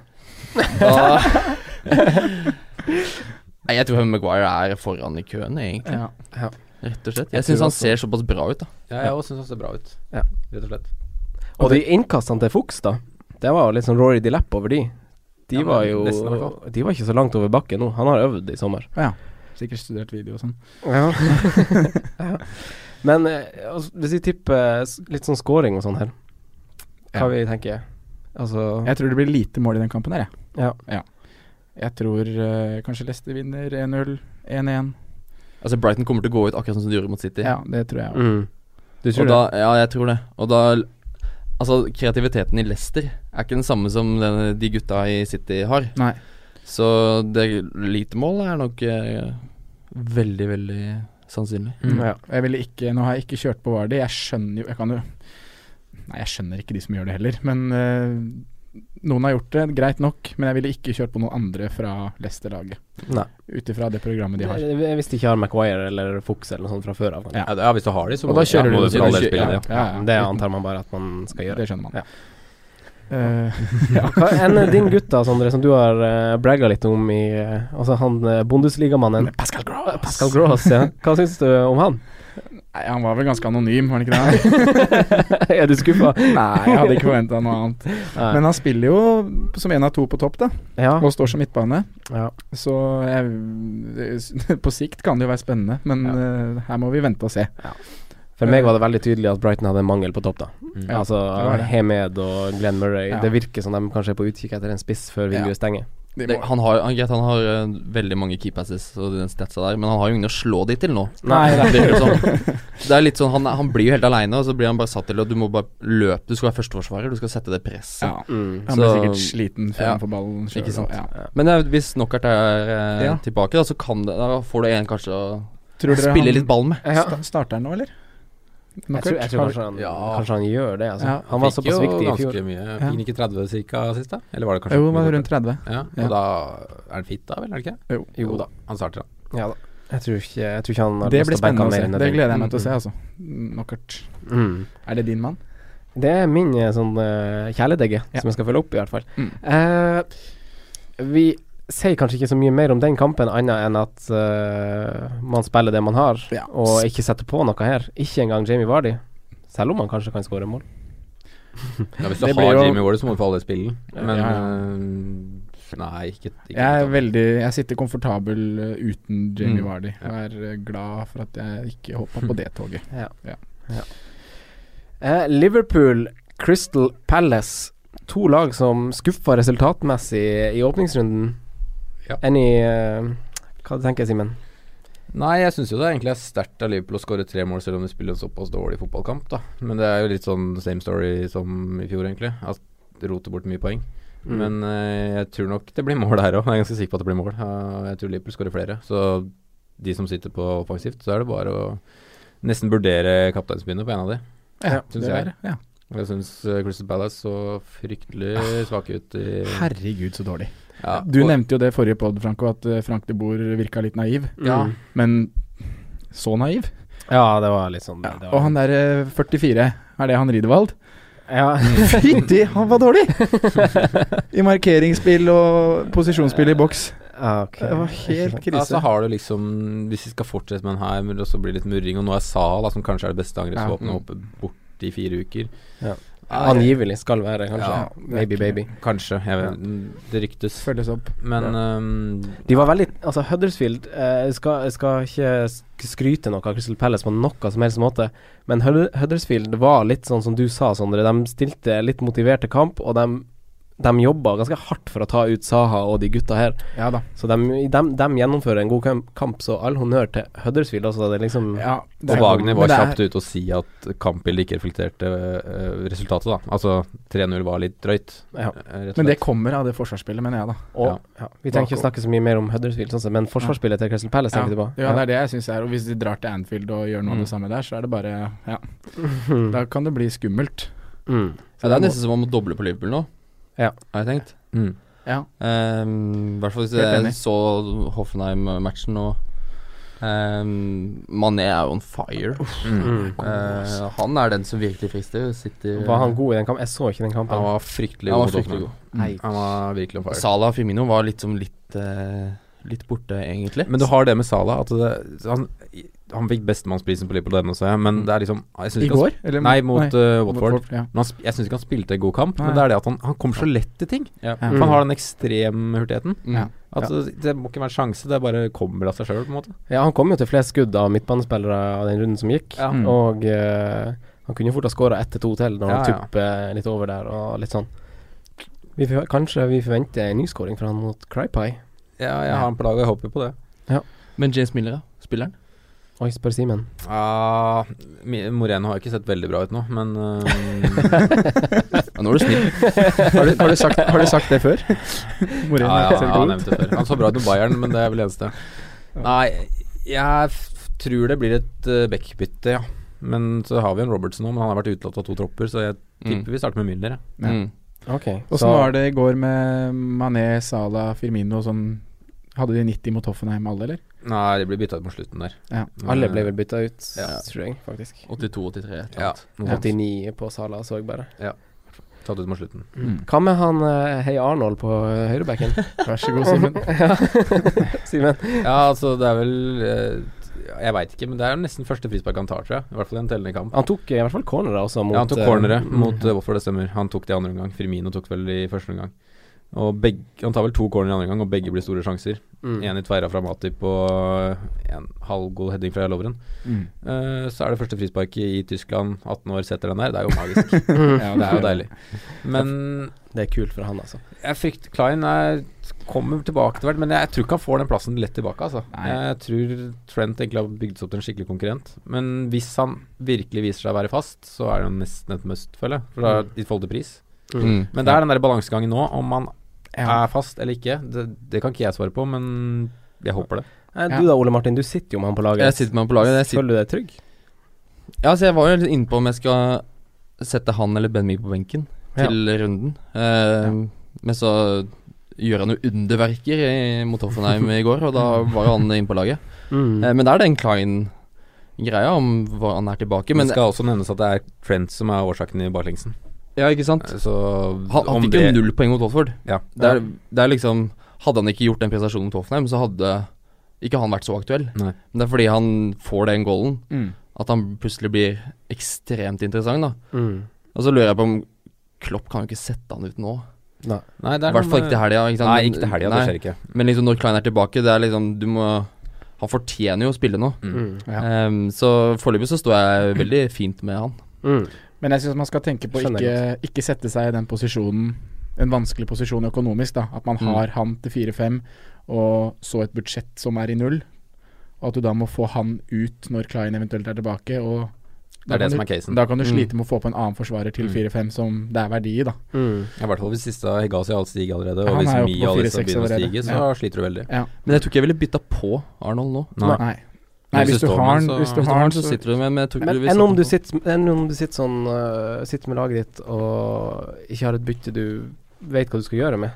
Speaker 4: Da- Nei, jeg tror Harry Maguire er foran i køen, egentlig.
Speaker 2: Ja.
Speaker 4: Rett og slett.
Speaker 3: Jeg
Speaker 4: Jeg syns
Speaker 3: tror
Speaker 4: han
Speaker 3: også-
Speaker 4: ser såpass bra ut, da.
Speaker 1: Ja, jeg òg syns han ser bra ut,
Speaker 3: Ja.
Speaker 1: rett og slett.
Speaker 3: Og de innkastene til Fuchs, da. Det var jo litt sånn Rory Dilepp over de. De
Speaker 1: Ja, men
Speaker 3: var jo
Speaker 1: nesten i hvert
Speaker 3: De var ikke så langt over bakken nå. Han har øvd i sommer.
Speaker 2: Sikkert studert video og sånn.
Speaker 3: Ja. Men eh, altså, hvis vi tipper s- litt sånn scoring og sånn her, hva
Speaker 2: Ja.
Speaker 3: vi tenker Altså
Speaker 2: Jeg tror det blir lite mål i den kampen her, jeg.
Speaker 3: Ja.
Speaker 2: Jeg tror eh, kanskje Leicester vinner 1-0, 1-1.
Speaker 4: Altså Brighton kommer til å gå ut akkurat sånn som de gjorde mot City.
Speaker 2: Ja, det tror jeg òg.
Speaker 3: mm. Du
Speaker 4: og
Speaker 3: tror
Speaker 4: da,
Speaker 3: det?
Speaker 4: ja, jeg tror det. Og da Altså, kreativiteten i Leicester er ikke den samme som den, de gutta i City har.
Speaker 3: Mm.
Speaker 2: Nei.
Speaker 4: Så det lite mål er nok eh, veldig, veldig sannsynlig.
Speaker 2: Mm.
Speaker 3: Ja.
Speaker 2: Og Jeg ville ikke, nå har jeg ikke kjørt på Vardy. Jeg skjønner jo Jeg kan jo Nei, jeg skjønner ikke de som gjør det heller, men eh, noen har gjort det, greit nok. Men jeg ville ikke kjørt på noen andre fra Leicester-laget.
Speaker 3: Nei.
Speaker 2: Ut ifra det programmet de har.
Speaker 3: Jeg- jeg- Hvis de ikke har Maguire eller Fuchs eller noe sånt fra før av.
Speaker 2: Ja.
Speaker 1: Ja, det- ja hvis du har de, så
Speaker 2: Og da kjører
Speaker 1: ja, må
Speaker 2: du
Speaker 1: du for all del
Speaker 4: kjører-
Speaker 1: spille
Speaker 4: ja.
Speaker 1: det.
Speaker 2: Ja,
Speaker 3: Det antar man bare at man skal gjøre.
Speaker 2: Det skjønner man.
Speaker 3: Ja.
Speaker 2: Eh,
Speaker 3: Hva enn er din gutt da, Sondre, som du har uh, bragga litt om i eh, Altså han uh, Bundesligamannen
Speaker 2: Pascal Gross!
Speaker 3: Pascal Gross, ja. Hva syns du om han?
Speaker 2: Nei, han var vel ganske anonym, var han ikke det?
Speaker 3: er du skuffa?
Speaker 2: Nei, jeg hadde ikke forventa noe annet. Men han spiller jo som en av to på topp, da.
Speaker 3: Ja.
Speaker 2: Og står som midtbane.
Speaker 3: ja.
Speaker 2: Så jeg, på sikt kan det jo være spennende, men eh, her må vi vente og se.
Speaker 3: For meg var det veldig tydelig at Brighton hadde en mangel på topp, da.
Speaker 1: Mm.
Speaker 2: Ja,
Speaker 3: altså
Speaker 2: det var det.
Speaker 3: Hemed og Glenn Murray.
Speaker 2: Ja.
Speaker 3: Det virker som de kanskje er på utkikk etter en spiss før vinduet stenger.
Speaker 2: De
Speaker 4: Det,
Speaker 2: må-
Speaker 4: han har, han, greit, han har eh, veldig mange key passes og den statsa der, men han har jo ingen å slå de til nå.
Speaker 2: Nei,
Speaker 4: det, er sånn, det er litt sånn han, er- han blir jo helt aleine, og så blir han bare satt til at du må bare løpe. Du skal være førsteforsvarer, du skal sette det presset.
Speaker 2: Ja.
Speaker 3: Mm.
Speaker 2: Han ble
Speaker 4: Så-
Speaker 2: sikkert sliten før
Speaker 4: Ja.
Speaker 2: han får ballen selv,
Speaker 4: Ikke sant.
Speaker 2: og- Ja.
Speaker 4: Men eh, hvis Knockert er eh,
Speaker 2: Ja.
Speaker 4: tilbake, da, så kan det, da får du en kanskje å
Speaker 2: Tror dere
Speaker 4: spille
Speaker 2: han
Speaker 4: litt ball med.
Speaker 3: Ja.
Speaker 2: sta starter han nå, eller?
Speaker 3: Jeg tror, jeg tror kanskje, han,
Speaker 1: Ja.
Speaker 3: kanskje han gjør det. Altså.
Speaker 2: Ja.
Speaker 3: Han var såpass viktig
Speaker 1: Fikk
Speaker 3: i
Speaker 1: jo
Speaker 3: fjor.
Speaker 1: ganske mye. Fikk han ikke 30 cirka sist, da? Eller var det kanskje
Speaker 2: Jo, han var rundt 30.
Speaker 1: Ja,
Speaker 2: Ja.
Speaker 1: og da er han fit, da vel? Er det ikke?
Speaker 2: Jo.
Speaker 3: Jo da.
Speaker 1: Han starter, da.
Speaker 3: Ja da. Jeg tror ikke, jeg tror ikke han har
Speaker 2: Det
Speaker 3: lyst til
Speaker 2: blir
Speaker 3: å banke
Speaker 2: spennende å
Speaker 3: han mer
Speaker 2: se.
Speaker 3: enn
Speaker 2: Det
Speaker 3: nødvendig.
Speaker 2: gleder jeg meg til å
Speaker 4: Mm,
Speaker 2: se, altså. Knockert.
Speaker 3: Mm.
Speaker 2: Er det din mann?
Speaker 3: Det er min eh, sånn eh, kjæledegge
Speaker 2: Ja.
Speaker 3: som jeg skal følge opp, i hvert fall.
Speaker 2: Mm.
Speaker 3: Eh, vi sier kanskje ikke så mye mer om den kampen, annet enn at eh, man spiller det man har,
Speaker 2: Ja.
Speaker 3: og ikke setter på noe her. Ikke engang Jamie Vardy, selv om han kanskje kan skåre mål.
Speaker 1: Ja, hvis
Speaker 2: Det
Speaker 1: du
Speaker 2: blir
Speaker 1: har
Speaker 2: jo-
Speaker 1: Jamie Warder, så må du få alle spillene. Men
Speaker 2: Ja,
Speaker 1: øh, Nei, ikke, ikke
Speaker 2: Jeg er veldig Jeg sitter komfortabel eh, uten Jamie
Speaker 1: Mm,
Speaker 2: Vardy.
Speaker 1: ja.
Speaker 2: Jeg er eh, glad for at jeg ikke hoppa på det toget.
Speaker 3: Ja.
Speaker 2: Ja.
Speaker 3: Ja. Eh, Liverpool, Crystal Palace. To lag som skuffa resultatmessig i åpningsrunden.
Speaker 1: Ja.
Speaker 3: Enig eh, Hva tenker jeg, Simen?
Speaker 1: Nei, jeg syns jo det egentlig er sterkt av Liverpool å skåre tre mål, selv om de spiller en såpass dårlig fotballkamp, da. Men det er jo litt sånn same story som i fjor, egentlig. At de roter bort mye poeng.
Speaker 3: Mm.
Speaker 1: Men eh, jeg tror nok det blir mål her òg. Jeg er ganske sikker på at det blir mål. Eh, jeg tror Liverpool skårer flere. Så de som sitter på offensivt, så er det bare å nesten vurdere kapteinsbindet på en av de.
Speaker 2: Ja,
Speaker 1: synes
Speaker 2: det
Speaker 1: jeg.
Speaker 2: der, ja.
Speaker 1: Og Jeg syns Crystal Palace så fryktelig svake ut i
Speaker 2: Herregud, så dårlig.
Speaker 1: ja,
Speaker 2: Du
Speaker 1: og-
Speaker 2: nevnte jo det i forrige pod, Franco, at eh, Frank de Boer virka litt naiv.
Speaker 3: Ja.
Speaker 2: Men så naiv?
Speaker 3: Mm. ja, det var litt sånn det var-
Speaker 2: Og han derre 44, er det han Ridevald?
Speaker 3: ja.
Speaker 2: Fytti, han var dårlig! I markeringsspill og posisjonsspill i boks.
Speaker 3: Ja, Ah, ok.
Speaker 2: Det var helt
Speaker 1: Ja, så
Speaker 2: krise.
Speaker 1: har du liksom Hvis vi skal fortsette med den her, men det også blir litt murring, og nå er Sala, som kanskje er det beste angrepsvåpenet,
Speaker 2: Ja.
Speaker 1: oppe borte i fire uker.
Speaker 3: Ja.
Speaker 1: Nei,
Speaker 3: Angivelig skal være, kanskje.
Speaker 1: Ja,
Speaker 3: Maybe, baby.
Speaker 1: Kanskje. Jeg vet, Det ryktes.
Speaker 2: Følges opp.
Speaker 1: Men ehm,
Speaker 3: Ja.
Speaker 1: øhm,
Speaker 3: De var veldig Altså, Huddersfield eh, jeg skal, jeg skal ikke sk- skryte noe av Crystal Palace på noe som helst måte, men Hud- Huddersfield var litt sånn som du sa, Sondre. De stilte litt motiverte kamp, og de, de jobba ganske hardt for å ta ut Saha og de gutta her.
Speaker 2: Ja da.
Speaker 3: Så de, de, de gjennomfører en god kam- kamp, så all honnør til Huddersfield. Altså, det er liksom
Speaker 2: Ja,
Speaker 1: Og Wagner var kjapt ute og si at kampbildet ikke reflekterte øh, resultatet, da. Altså 3-0 var litt drøyt,
Speaker 3: Ja.
Speaker 1: øh, rett og
Speaker 2: Men det
Speaker 1: slett.
Speaker 2: kommer av det forsvarsspillet, mener jeg, da.
Speaker 3: Og,
Speaker 1: Ja.
Speaker 3: ja. Vi trenger ikke å snakke så mye mer om Huddersfield, sånn sett, men forsvarsspillet til Crystal Palace tenker du på?
Speaker 2: Ja, det er det jeg syns er Og hvis de drar til Anfield og gjør noe av
Speaker 1: Mm.
Speaker 2: det samme der, så er det bare Ja,
Speaker 3: Mhm.
Speaker 2: da kan det bli skummelt.
Speaker 3: Mm.
Speaker 4: Ja, det er nesten som om å doble på Liverpool nå,
Speaker 3: Ja.
Speaker 4: har jeg tenkt.
Speaker 1: Mm.
Speaker 2: Ja.
Speaker 4: Ehm, I hvert fall hvis jeg
Speaker 2: Helt enig.
Speaker 4: så Hoffenheim-matchen nå. Ehm, Mané er jo on fire.
Speaker 1: Mm.
Speaker 3: Mm.
Speaker 4: Eh, han er den som virkelig frister. Sitter
Speaker 3: Var han god i den kampen? Jeg så ikke den kampen.
Speaker 1: Han var fryktelig
Speaker 4: Han var
Speaker 1: god. mot
Speaker 4: fryktelig
Speaker 1: Dortmund.
Speaker 3: Nei.
Speaker 1: Han var virkelig on fire.
Speaker 4: Salah og Firmino var litt som litt eh, Litt borte, egentlig.
Speaker 1: Men du har det med Salah at det, han, han fikk bestemannsprisen på Liverpool denne, så jeg, men det er liksom jeg synes
Speaker 2: I
Speaker 1: ikke han
Speaker 2: går? Eller,
Speaker 1: Nei, mot øh, Watford.
Speaker 2: Ja.
Speaker 1: Men han, sp- jeg syns ikke han spilte en god kamp,
Speaker 2: Nei.
Speaker 1: men det er det at han, han kommer så lett til ting.
Speaker 4: Ja.
Speaker 2: Ja.
Speaker 1: For Han har den ekstremhurtigheten.
Speaker 4: Mm.
Speaker 2: Mm. Ja.
Speaker 1: At det, det må ikke være en sjanse, det bare kommer av seg sjøl, på en måte.
Speaker 3: Ja, han kom jo til flest skudd av midtbanespillere av den runden som gikk,
Speaker 1: Ja.
Speaker 2: Mm.
Speaker 3: og eh, han kunne jo fort ha skåra ett til to til når
Speaker 1: Ja,
Speaker 3: han
Speaker 1: ja.
Speaker 3: tupper litt over der og litt sånn. Vi forve- kanskje vi forventer en nyskåring fra han mot Crypie.
Speaker 1: Ja, jeg har en plage, jeg håper på det.
Speaker 4: Men James Miller, da? Spilleren?
Speaker 3: Oi, spør Simen.
Speaker 1: Ah, Mi- Moreno har jo ikke sett veldig bra ut nå, men øh,
Speaker 4: Ja, nå er du snill.
Speaker 2: Har, du, har, du sagt, har du sagt det før?
Speaker 1: ja,
Speaker 2: Moreno
Speaker 1: ja, ja,
Speaker 2: ser god
Speaker 1: han
Speaker 2: ut.
Speaker 1: nevnte det før. Han så bra ut med Bayern, men det er vel det eneste. Nei, jeg f- tror det blir et uh, backbytte, ja. Men så har vi en Robertson nå, men han har vært utelatt av to tropper, så jeg
Speaker 4: Mm.
Speaker 1: tipper vi starter med Müller. jeg.
Speaker 2: Ja.
Speaker 4: Mm.
Speaker 3: Ok.
Speaker 2: Åssen var det i går med Mané, Salah, Firmino og sånn Hadde de 90 mot Hoffenheim alle, eller?
Speaker 1: Nei, det blir bytta ut på slutten der.
Speaker 2: Ja.
Speaker 1: Men,
Speaker 3: alle
Speaker 1: øh,
Speaker 3: ble vel bytta ut,
Speaker 1: Ja.
Speaker 3: tror jeg, faktisk.
Speaker 4: 82-83, et eller
Speaker 1: ja,
Speaker 4: annet.
Speaker 1: noe sånt.
Speaker 3: 89 på Sala, så jeg bare.
Speaker 1: Tatt ut mot slutten.
Speaker 2: Mm.
Speaker 3: Hva med han eh, Hei Arnold på eh, høyrebacken?
Speaker 2: Vær så god, Simen.
Speaker 3: Ja. Simen.
Speaker 1: Ja, altså, det er vel eh, Jeg veit ikke, men det er jo nesten første frispark han tar, tror jeg. I hvert fall i en tellende kamp.
Speaker 3: Han tok eh, i hvert fall cornere også mot
Speaker 1: ja, han tok
Speaker 3: eh,
Speaker 1: corneret
Speaker 3: mm.
Speaker 1: mot uh, Watford, det stemmer. Han tok det i andre omgang. Firmino tok vel i første omgang. Og begge, han tar vel to corner i andre omgang, og begge blir store sjanser.
Speaker 3: Mm.
Speaker 1: Én i tverra fra Matip og en halvgod heading fra Lovren.
Speaker 2: Mm.
Speaker 1: Eh, så er det første frisparket i Tyskland. 18 år setter den der. Det er jo magisk.
Speaker 2: Ja,
Speaker 1: det er jo deilig. Men
Speaker 3: Det er kult for han, altså.
Speaker 1: jeg frykter Klein er, kommer tilbake til hvert, men jeg tror ikke han får den plassen lett tilbake. Altså.
Speaker 2: Nei.
Speaker 1: Jeg tror Trent egentlig har bygd seg opp til en skikkelig konkurrent. Men hvis han virkelig viser seg å være fast, så er det jo nesten et must, føler jeg. For da, I forhold til pris.
Speaker 4: Mm.
Speaker 1: Men det er den der balansegangen nå, om han
Speaker 2: Ja.
Speaker 1: er fast eller ikke. Det, det kan ikke jeg svare på, men jeg håper det.
Speaker 3: Nei,
Speaker 2: Ja.
Speaker 3: Du da, Ole Martin, du sitter jo med han på laget.
Speaker 4: Jeg sitter med han på laget. Jeg, sitter,
Speaker 3: Føler du deg trygg?
Speaker 4: ja, så jeg var jo litt inne på om jeg skal sette han eller Ben Mee på benken til runden. Ehm, Men så gjør han jo underverker i- mot Hoffenheim i går, og da var jo han inne på laget.
Speaker 3: Mm,
Speaker 1: Mm.
Speaker 4: Eh, Men det er den Klein-greia om hva han er tilbake.
Speaker 1: Men
Speaker 4: Men
Speaker 1: det skal også nevnes at det er Trent som er årsaken i baklengsen.
Speaker 4: ja, ikke sant?
Speaker 1: Så
Speaker 4: Han, han
Speaker 1: Mm. om
Speaker 4: fikk jo null poeng mot Watford.
Speaker 1: Ja.
Speaker 4: Det er, det er liksom Hadde han ikke gjort den prestasjonen mot Hoffenheim, så hadde ikke han vært så aktuell.
Speaker 1: Nei.
Speaker 4: Men det er fordi han får den goalen
Speaker 2: Mm.
Speaker 4: at han plutselig blir
Speaker 3: mm,
Speaker 4: mm. ekstremt interessant, da. Og så lurer jeg på om Klopp kan jo ikke sette han ut nå.
Speaker 1: Nei, det
Speaker 4: I
Speaker 1: er
Speaker 4: hvert fall
Speaker 1: noe
Speaker 4: ikke
Speaker 1: med-
Speaker 4: til helga. Ikke sant?
Speaker 1: Nei, ikke til helga. Det
Speaker 4: Nei.
Speaker 1: skjer ikke.
Speaker 4: Men liksom når Klein er tilbake, det er liksom Du må Han fortjener jo å spille nå.
Speaker 1: Mm.
Speaker 3: Mm.
Speaker 2: Ja.
Speaker 4: Ehm, så foreløpig så står jeg veldig fint med han.
Speaker 3: Mm.
Speaker 2: Men jeg syns man skal tenke på å
Speaker 3: Skjønner
Speaker 2: ikke, ikke sette seg i den posisjonen, en vanskelig posisjon økonomisk, da. At man
Speaker 4: Mm.
Speaker 2: har han til 4-5, og så et budsjett som er i null. Og at du da må få han ut når Klein eventuelt er tilbake. Og
Speaker 1: Det er
Speaker 2: kan
Speaker 1: det
Speaker 2: du,
Speaker 1: som er casen.
Speaker 2: da kan du
Speaker 4: Mm.
Speaker 2: slite med å få på en annen forsvarer til
Speaker 1: Mm.
Speaker 2: 4-5 som det er verdi i, da.
Speaker 3: Mm.
Speaker 1: Ja, I hvert fall hvis siste av Hegazi alt stiger allerede,
Speaker 2: Ja,
Speaker 1: og
Speaker 2: han
Speaker 1: hvis
Speaker 2: er jo
Speaker 1: Mia
Speaker 2: på
Speaker 1: og alle disse
Speaker 2: 4-6
Speaker 1: begynner å
Speaker 2: allerede.
Speaker 1: stige, så sliter du veldig.
Speaker 4: Men jeg tror ikke jeg ville bytta på Arnold nå.
Speaker 1: Nei.
Speaker 2: Nei. Nei, hvis du
Speaker 1: står
Speaker 2: har
Speaker 1: med
Speaker 2: den-
Speaker 1: så-
Speaker 2: hvis
Speaker 4: Hvis du har han, så sitter du med Men, jeg tror ikke
Speaker 3: Men
Speaker 4: du vil
Speaker 3: enn
Speaker 4: satse
Speaker 3: om du
Speaker 4: på-
Speaker 3: sitter, enn om du sitter sånn øh, Sitter med laget ditt og ikke har et bytte du vet hva du skal gjøre med.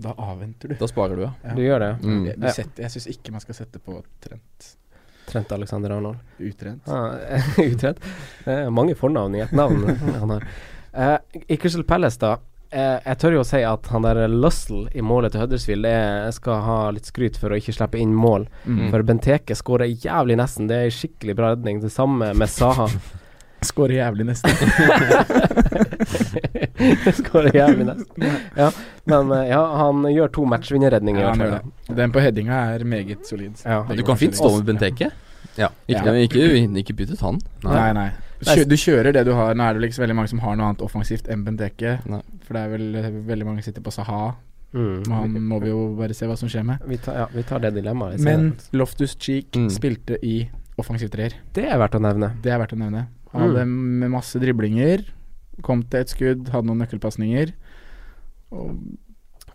Speaker 2: Da avventer du.
Speaker 4: Da sparer du, ja.
Speaker 2: Ja.
Speaker 3: Du gjør det.
Speaker 4: Mm.
Speaker 2: Jeg- du
Speaker 3: Ja.
Speaker 2: setter- jeg syns ikke man skal sette på trent.
Speaker 3: Trent Alexander Arnold.
Speaker 2: Utrent.
Speaker 3: Ah, Utrent. Det er mange fornavn i ett navn han har. Eh, I Crystal Palace, da. eh, jeg tør jo å si at han der Lussell i målet til Huddersfield er, skal ha litt skryt for å ikke slippe inn mål.
Speaker 2: Mm.
Speaker 3: For Benteke skårer jævlig nesten. Det er en skikkelig bra redning. Det samme med Saha.
Speaker 2: Skårer jævlig nesten.
Speaker 3: skårer jævlig nesten. Ja, men eh, ja, han gjør to matchvinnerredninger i
Speaker 2: Ja,
Speaker 3: hvert
Speaker 2: han
Speaker 3: fall.
Speaker 2: gjør det. Den på headinga er meget solid.
Speaker 3: Ja.
Speaker 4: Du kan fint stå med Benteke.
Speaker 1: Ja.
Speaker 4: Ikke,
Speaker 2: Ja.
Speaker 4: ikke, ikke byttet han.
Speaker 2: Nei, nei.
Speaker 3: Nei,
Speaker 2: Kjø, du kjører det du har. Nå er det liksom veldig mange som har noe annet offensivt enn Benteke.
Speaker 4: Nei.
Speaker 2: For det er vel eh, veldig mange som sitter på Saha.
Speaker 3: Mm.
Speaker 2: Men Han må vi jo bare se hva som skjer med.
Speaker 3: Vi tar, ja, vi tar det dilemmaet. jeg ser
Speaker 2: Men
Speaker 3: det.
Speaker 2: Loftus Cheek
Speaker 4: Mm.
Speaker 2: spilte i offensiv treer.
Speaker 3: det er verdt å nevne.
Speaker 2: Det er verdt å nevne. Han hadde med masse driblinger. Kom til et skudd, hadde noen nøkkelpasninger. Og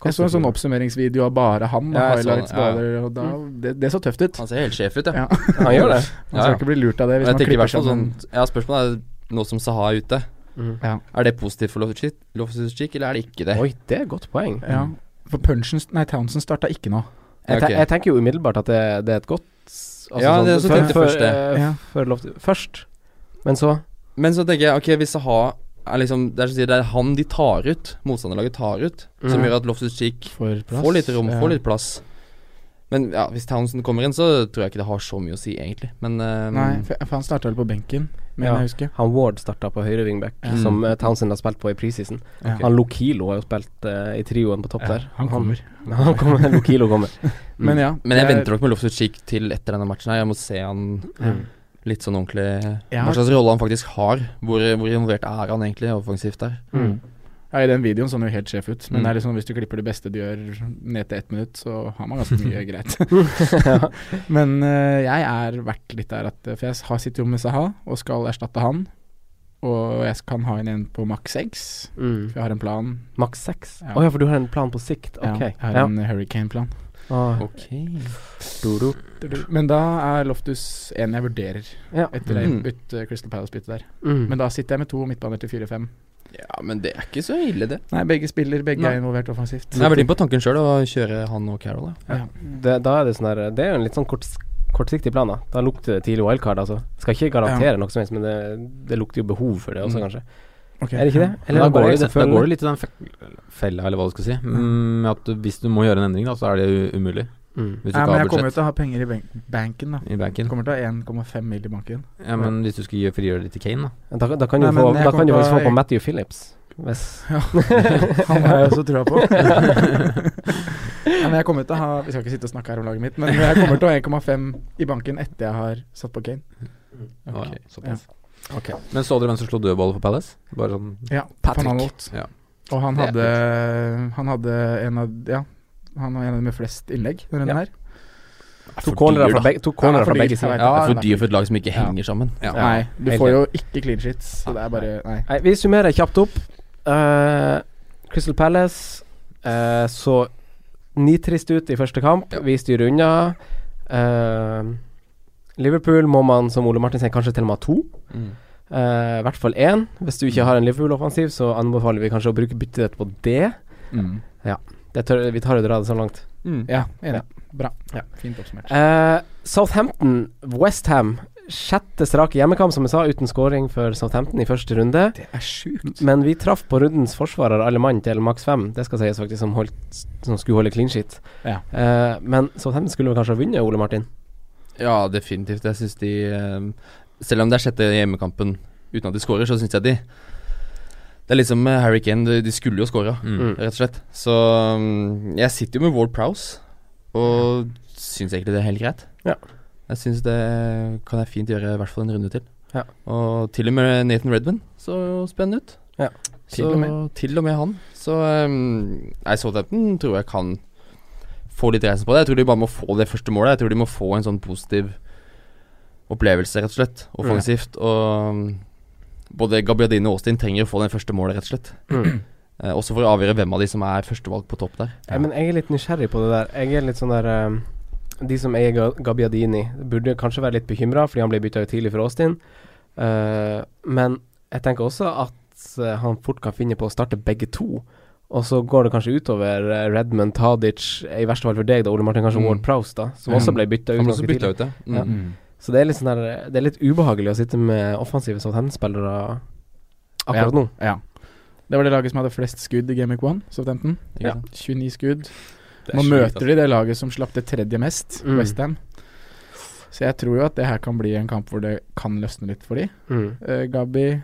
Speaker 2: jeg så en sånn oppsummeringsvideo av bare han.
Speaker 4: Ja, jeg så
Speaker 2: highlights,
Speaker 4: den, ja, ja.
Speaker 2: bare, og da, det, det så tøft ut.
Speaker 4: Han ser helt sjef ut, ja.
Speaker 2: Ja.
Speaker 3: Han gjør det.
Speaker 2: Man skal ikke bli lurt av det hvis
Speaker 4: Men jeg
Speaker 2: man
Speaker 4: tenker i
Speaker 2: klipper
Speaker 4: hvert fall sånn
Speaker 2: sammen.
Speaker 4: Ja, spørsmålet er nå som Saha er ute,
Speaker 3: Mm.
Speaker 4: er det positivt for Loftus-Cheek, eller er det ikke det?
Speaker 3: Oi, det er et godt poeng.
Speaker 4: sånn,
Speaker 2: Ja.
Speaker 4: mm.
Speaker 2: For Punchen Nei, Townsend starta ikke nå.
Speaker 3: Jeg, te
Speaker 4: Ok.
Speaker 3: jeg tenker jo umiddelbart at det, det er et godt altså
Speaker 4: Ja, det er så
Speaker 3: før-
Speaker 4: tenkte jeg
Speaker 3: før,
Speaker 4: først det.
Speaker 3: eh,
Speaker 2: Ja.
Speaker 3: før Loftus- Først, men så
Speaker 4: Men så tenker jeg, ok, hvis Saha er liksom Det er, som sier, det er han de tar ut, motstanderlaget tar ut, som
Speaker 3: Mm.
Speaker 4: gjør at Loftus-Cheek
Speaker 2: For plass.
Speaker 4: får litt rom,
Speaker 2: Ja.
Speaker 4: får litt plass. Men ja, hvis Townsend kommer inn, så tror jeg ikke det har så mye å si, egentlig. Men eh,
Speaker 2: Nei, for for han starta vel på benken, mener
Speaker 3: Ja.
Speaker 2: jeg å huske.
Speaker 3: Han Ward starta på høyre wingback,
Speaker 4: Mm.
Speaker 3: som eh, Townsend har spilt på i preseason.
Speaker 2: Ja.
Speaker 3: Han Lokilo har jo spilt eh, i trioen på topp
Speaker 2: Ja,
Speaker 3: der.
Speaker 2: han kommer.
Speaker 3: Han kommer, Lokilo kommer. Mm.
Speaker 2: Men ja.
Speaker 4: Mm. men jeg
Speaker 2: det er-
Speaker 4: venter nok med Loftus-Cheek til etter denne matchen her. Jeg må se han
Speaker 3: Mm.
Speaker 4: litt sånn ordentlig
Speaker 2: Ja.
Speaker 4: Hva slags rolle han faktisk har. Hvor, hvor involvert er han egentlig offensivt der?
Speaker 3: Mm.
Speaker 2: ja, I den videoen så han jo helt sjef ut, men
Speaker 4: Mm.
Speaker 2: det er liksom, hvis du klipper det beste du gjør ned til ett minutt, så har man ganske mye greit.
Speaker 3: ja.
Speaker 2: Men eh, jeg er vært litt der at eh, For jeg har sitter jo med Saha og skal erstatte han. Og jeg kan ha inn en på maks seks,
Speaker 3: mm.
Speaker 2: for jeg har en plan.
Speaker 3: Maks seks? Å
Speaker 2: Ja.
Speaker 3: ja. for du har en plan på sikt?
Speaker 2: Ja,
Speaker 3: Ok.
Speaker 2: jeg har en hurricane-plan.
Speaker 3: Ah.
Speaker 4: Ok
Speaker 3: Doro.
Speaker 2: Men da er Loftus en jeg vurderer,
Speaker 3: Ja.
Speaker 2: etter det
Speaker 4: Mm.
Speaker 2: ut, eh, Crystal Palace-byttet der.
Speaker 3: Mm.
Speaker 2: Men da sitter jeg med to midtbaner til 4-5.
Speaker 4: Ja, men det er ikke så ille, det.
Speaker 2: Nei, begge spiller, begge
Speaker 4: Nei.
Speaker 2: er involvert offensivt.
Speaker 4: Jeg har vært inne på tanken sjøl å kjøre han og Carol. Ja.
Speaker 2: Ja.
Speaker 3: det, da er det sånn der Det er jo en litt sånn korts, kortsiktig plan, da. Da lukter det tidlig wildcard, altså. Skal ikke garantere noe som helst, men det, det lukter jo behov for det også,
Speaker 4: Mm.
Speaker 3: kanskje.
Speaker 2: Ok.
Speaker 3: Er det ikke det?
Speaker 1: Eller da,
Speaker 3: er det
Speaker 1: går
Speaker 3: bare
Speaker 1: det,
Speaker 3: jeg som
Speaker 1: da
Speaker 3: føler
Speaker 1: går det litt i den fe- fella, eller hva du skal si. Mm, at du- hvis du må gjøre en endring, da, så er det u- umulig. Hvis du
Speaker 3: Mm.
Speaker 2: Nei,
Speaker 1: ikke
Speaker 2: men
Speaker 1: har
Speaker 2: jeg kommer jo
Speaker 1: budsjett
Speaker 2: til å ha penger i bank banken, da.
Speaker 1: i
Speaker 2: Jeg
Speaker 1: banken.
Speaker 2: kommer til å ha 1,5 mill. i banken.
Speaker 1: Ja, men hvis du skulle gjøre- frigjøre det til Kane, da.
Speaker 3: Da, da kan du
Speaker 2: Nei, men
Speaker 3: få,
Speaker 2: jeg
Speaker 3: da kan
Speaker 2: kommer
Speaker 3: du
Speaker 2: til
Speaker 3: faktisk
Speaker 2: å-
Speaker 3: få på Matthew Phillips. Hvis
Speaker 2: Han har jeg også trua på. Ja, men jeg kommer til å ha Vi skal ikke sitte og snakke her om laget mitt, men jeg kommer til å ha 1,5 i banken etter jeg har satt på Kane.
Speaker 1: Å, ja, såpass. Men så dere hvem som slo dødballet for Palace? Bare sånn
Speaker 2: Ja,
Speaker 4: Patrick.
Speaker 2: Van Aanholt.
Speaker 1: Ja.
Speaker 2: Og han
Speaker 4: Det er
Speaker 2: hadde Han hadde en av Ja, han var en av de med flest innlegg. Denne
Speaker 3: Ja.
Speaker 2: her.
Speaker 3: To cornerer fra,
Speaker 4: da.
Speaker 3: begge- to cornerer
Speaker 2: Ja, for
Speaker 3: fra begge
Speaker 2: dyrt, jeg
Speaker 3: sider.
Speaker 2: vet
Speaker 4: Det er
Speaker 2: det.
Speaker 4: for dyr for et lag som ikke henger sammen.
Speaker 1: ja.
Speaker 2: Nei, du
Speaker 4: helt
Speaker 2: får jo ikke clean sheets, så det er bare Nei.
Speaker 3: Nei, vi summerer kjapt opp. Eh, Crystal Palace eh, så nitrist ut i første kamp.
Speaker 1: Ja.
Speaker 3: Vi styrer unna. Eh, Liverpool må man, som Ole Martin sier, kanskje til og med ha to. Eh, I hvert fall én. Hvis du ikke har en Liverpool-offensiv, så anbefaler vi kanskje å bruke byttet ditt på det. det tør, vi tar jo dra det så langt.
Speaker 2: Ja, enig.
Speaker 3: Ja.
Speaker 2: Bra.
Speaker 3: Ja.
Speaker 2: Fint oppsummert.
Speaker 3: Eh, Southampton, Westham. Sjette strake hjemmekamp, som jeg sa, uten scoring for Southampton i første runde.
Speaker 2: Det er sjukt.
Speaker 3: Men vi traff på rundens forsvarer, alle mann, til maks fem. Det skal sies faktisk, som, holdt, som skulle holde clean sheet.
Speaker 2: Ja.
Speaker 3: Eh, men Southampton skulle vel kanskje ha vunnet, Ole Martin?
Speaker 4: Ja, definitivt. Jeg ehm, syns de eh, Selv om det er sjette hjemmekampen uten at de scorer, så syns jeg de Det er litt som med Harry Kane, de, de skulle jo scora,
Speaker 1: Mm.
Speaker 4: rett og slett. Så mm, jeg sitter jo med Ward Prowse, og syns egentlig det er helt greit.
Speaker 3: Ja.
Speaker 4: Jeg syns det kan jeg fint gjøre i hvert fall en runde til.
Speaker 3: Ja.
Speaker 4: Og til og med Nathan Redman så jo spennende ut.
Speaker 3: Ja.
Speaker 4: Til, så, og med. til og med han. Så um, nei, Southampton tror jeg kan få litt reisen på det. Jeg tror de bare må få det første målet. Jeg tror de må få en sånn positiv opplevelse, rett og slett. Offensivt. Og um, både Gabriadine og Austin trenger å få den første målet, rett og slett.
Speaker 3: Mm.
Speaker 4: Eh, også for å avgjøre hvem av de som er førstevalg på topp der.
Speaker 3: Ja. Men jeg er litt nysgjerrig på det der. Jeg er litt sånn der um, De som eier Ga- Gabbiadini, burde kanskje være litt bekymra fordi han blir bytta ut tidlig for Austin. Eh, men jeg tenker også at eh, han fort kan finne på å starte begge to. Og så går det kanskje utover eh, Redmond, Tadic, i verste fall for deg, da, Ole Martin, kanskje
Speaker 4: Mm.
Speaker 3: Ward Prowse, da, som
Speaker 2: Ja.
Speaker 3: også ble bytta ut.
Speaker 1: Han ble
Speaker 3: ganske
Speaker 1: også
Speaker 3: tidlig.
Speaker 1: bytta ut, ja.
Speaker 4: Mm.
Speaker 3: Ja. Så det er litt, sånn der, det er litt ubehagelig å sitte med offensive Southampton-spillere akkurat nå.
Speaker 2: Ja. Det var det laget som hadde flest skudd i Gamic 1, Southampton.
Speaker 4: Ikke
Speaker 3: Ja.
Speaker 4: sant?
Speaker 2: 29 skudd. Nå
Speaker 1: altså.
Speaker 2: møter de det laget som slapp det tredje mest,
Speaker 3: Mm.
Speaker 2: Westham. Så jeg tror jo at det her kan bli en kamp hvor det kan løsne litt for de.
Speaker 3: Mm.
Speaker 2: Eh, Gabi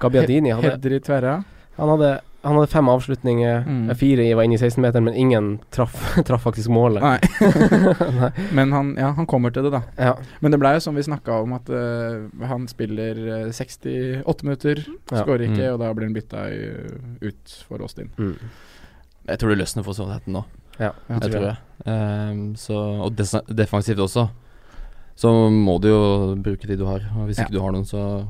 Speaker 3: Gabbiadini hadde
Speaker 2: Hedri Tverra.
Speaker 3: Han hadde, han hadde fem avslutninger, eh,
Speaker 2: Mm.
Speaker 3: fire i- var inne i 16-meteren, men ingen traff, traff faktisk målet.
Speaker 2: Nei,
Speaker 3: Nei.
Speaker 2: men han, ja, han kommer til det, da.
Speaker 3: Ja.
Speaker 2: Men det blei jo som vi snakka om, at eh, han spiller eh, 68 minutter,
Speaker 3: Ja.
Speaker 2: skårer ikke,
Speaker 4: Mm.
Speaker 2: og da blir han bytta i- ut for Austin.
Speaker 3: Mm.
Speaker 4: Jeg tror det løsner for Southampton nå.
Speaker 3: ja.
Speaker 2: Ja,
Speaker 4: Jeg tror det. Ehm, så, og des defensivt også. Så må du jo bruke de du har. Og hvis
Speaker 2: Ja.
Speaker 4: ikke du har noen, så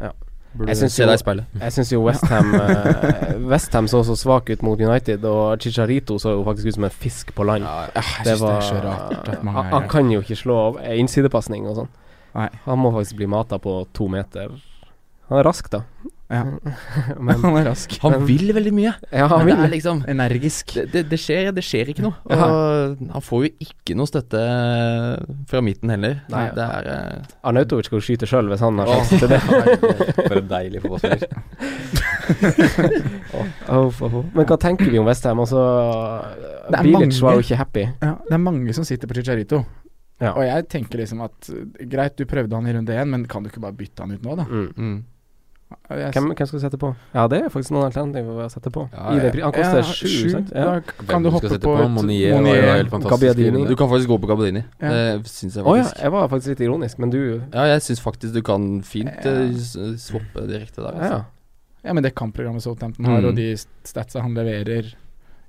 Speaker 3: Ja.
Speaker 4: burde
Speaker 3: Jeg
Speaker 4: du
Speaker 3: synes
Speaker 4: se
Speaker 3: jo-
Speaker 4: deg i speilet.
Speaker 3: Jeg syns jo Westham Westham så så svak ut mot United, og Chicharito så jo faktisk ut som en fisk på land.
Speaker 2: Ja, Ah, jeg syns det,
Speaker 3: var-
Speaker 2: er så rart at mange
Speaker 3: han, han
Speaker 2: er
Speaker 3: kan jo ikke slå av eh, innsidepasning og sånn.
Speaker 2: Nei.
Speaker 3: Han må faktisk bli mata på to meter. Han er rask, da.
Speaker 2: Ja.
Speaker 3: Men
Speaker 2: Han er rask.
Speaker 4: Han
Speaker 3: Men-
Speaker 4: vil veldig mye.
Speaker 3: ja, han
Speaker 4: men det
Speaker 3: vil
Speaker 4: er liksom
Speaker 2: Energisk.
Speaker 4: det, det, det skjer, det skjer ikke noe. Og han får jo ikke noe støtte eh, fra midten heller.
Speaker 3: Nei.
Speaker 4: det er eh,
Speaker 3: Arnautovic skal jo skyte sjøl hvis han har
Speaker 4: Åh.
Speaker 3: sjansen til det.
Speaker 1: eh, For en deilig fotballspiller.
Speaker 3: Uff, uff, uff. Men hva tenker vi om Westham? Altså,
Speaker 2: Det er
Speaker 3: Bilic var
Speaker 2: mange.
Speaker 3: jo ikke happy.
Speaker 2: Ja, det er mange som sitter på Chicharito.
Speaker 3: Ja.
Speaker 2: Og jeg tenker liksom at eh, greit, du prøvde han i runde én, men kan du ikke bare bytte han ut nå, da?
Speaker 3: Mm.
Speaker 4: mm.
Speaker 2: Jeg,
Speaker 3: Hvem, hvem skal vi sette på? Ja, det er faktisk noen alternativer å sette på.
Speaker 1: Ja,
Speaker 3: I den,
Speaker 1: ja.
Speaker 3: pri- han koster
Speaker 2: Ja,
Speaker 3: sju,
Speaker 2: sju,
Speaker 3: sant?
Speaker 2: Da
Speaker 3: Ja.
Speaker 2: k-
Speaker 1: Hvem
Speaker 2: kan du
Speaker 1: skal
Speaker 2: hoppe
Speaker 1: sette
Speaker 2: på, et
Speaker 1: Monier, var jo
Speaker 2: Monier.
Speaker 1: helt fantastisk.
Speaker 3: Gabbiadini.
Speaker 4: Du kan faktisk gå på Gabadini.
Speaker 2: Ja.
Speaker 4: Det syns jeg
Speaker 3: Å ja,
Speaker 4: faktisk.
Speaker 3: jeg var faktisk litt ironisk, men du
Speaker 4: ja. jeg syns faktisk du kan fint
Speaker 2: Ja.
Speaker 4: eh, s- swappe direkte der. Altså.
Speaker 3: Ja.
Speaker 2: Ja, men det kampprogrammet Southampton har,
Speaker 4: Mm.
Speaker 2: og de st- statsa han leverer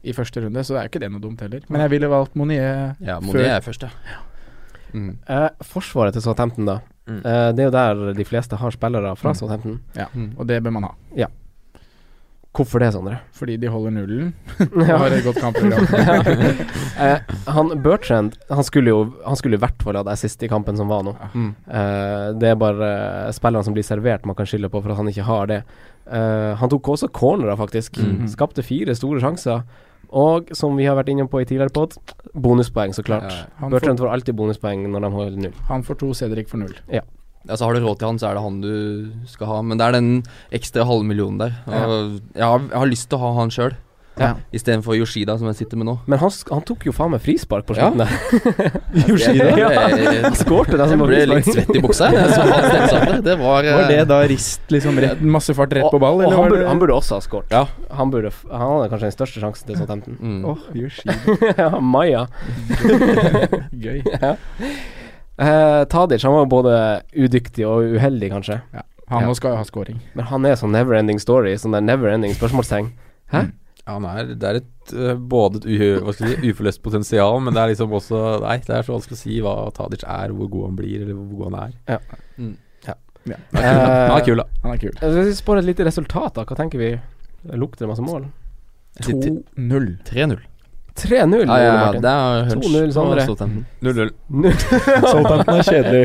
Speaker 2: i første runde, så det er jo ikke det noe dumt heller. Men jeg ville valgt Monier.
Speaker 4: Ja,
Speaker 2: Før-
Speaker 4: Monet er først, ja. Mm.
Speaker 3: Eh, forsvaret til Southampton, da.
Speaker 1: Mm.
Speaker 3: Eh, det er jo der de fleste har spillere fra
Speaker 2: Mm.
Speaker 3: Southampton.
Speaker 4: Mm.
Speaker 2: Og det bør man ha,
Speaker 3: Hvorfor det, Sondre?
Speaker 2: fordi de holder nullen og
Speaker 3: Ja.
Speaker 2: har et godt kampprogram.
Speaker 3: Eh, han Bertrand han skulle jo Han skulle i hvert fall hatt assist i kampen som var nå.
Speaker 4: Mm.
Speaker 3: Eh, det er bare eh, spillerne som blir servert man kan skylde på for at han ikke har det. Eh, han tok også cornerer, faktisk.
Speaker 4: Mm.
Speaker 1: Mhm.
Speaker 3: Mm-hmm. Skapte fire store sjanser. Og som vi har vært inne på i tidligere pod, bonuspoeng, så klart.
Speaker 1: Ja, ja.
Speaker 2: Han
Speaker 3: Bertrand får alltid bonuspoeng når de holder null.
Speaker 2: Han får to, Cedric får null.
Speaker 4: Altså Har du råd til han, så er det han du skal ha. Men det er den ekstra halve millionen der. Og jeg, har, jeg har lyst til å ha han sjøl,
Speaker 2: Ja.
Speaker 4: istedenfor Yoshida, som jeg sitter med nå.
Speaker 3: Men han, sk- han tok jo faen meg frispark på
Speaker 4: Ja.
Speaker 3: slutten der.
Speaker 4: Ja,
Speaker 3: Ja, han skårte der
Speaker 4: Jeg
Speaker 3: som var
Speaker 4: ble litt
Speaker 3: frispark.
Speaker 4: svett i buksa. Jeg, så han steppsatte. det var, eh,
Speaker 2: Var det da rist liksom rett, masse fart rett på
Speaker 3: Og,
Speaker 2: ball,
Speaker 3: og
Speaker 2: eller
Speaker 3: han,
Speaker 2: var
Speaker 3: burde,
Speaker 2: det
Speaker 3: han burde også ha skåret.
Speaker 4: Ja.
Speaker 3: Han, burde f- han hadde kanskje den største sjansen til Southampton.
Speaker 4: mm.
Speaker 2: Åh, Yoshida.
Speaker 3: ja, Maya.
Speaker 2: Gøy.
Speaker 3: Eh, Tadic han var jo både udyktig og uheldig, kanskje.
Speaker 2: Han
Speaker 4: Ja.
Speaker 2: nå skal jo ha scoring.
Speaker 3: Men han er sånn never ending story. Sånn der never ending spørsmålstegn.
Speaker 1: Ja, han er, det er et, eh, både et u- hva skal jeg si, uforløst potensial, men det er liksom også Nei, det er så vanskelig å si hva Tadic er, hvor god han blir, eller hvor god han er.
Speaker 3: Eh,
Speaker 1: Han er kul, da.
Speaker 2: Han er kul.
Speaker 3: Eh, Hvis vi spår et lite resultat, da, hva tenker vi? Lukter det masse mål?
Speaker 4: Jeg sitter-
Speaker 2: 2-0.
Speaker 4: 3-0.
Speaker 3: 3-0,
Speaker 4: Ja, ja,
Speaker 3: Ole
Speaker 4: ja,
Speaker 3: Martin.
Speaker 4: det er hunch.
Speaker 3: 2-0 Sondre.
Speaker 4: på Southampton.
Speaker 1: 0-0.
Speaker 2: Southampton er kjedelig.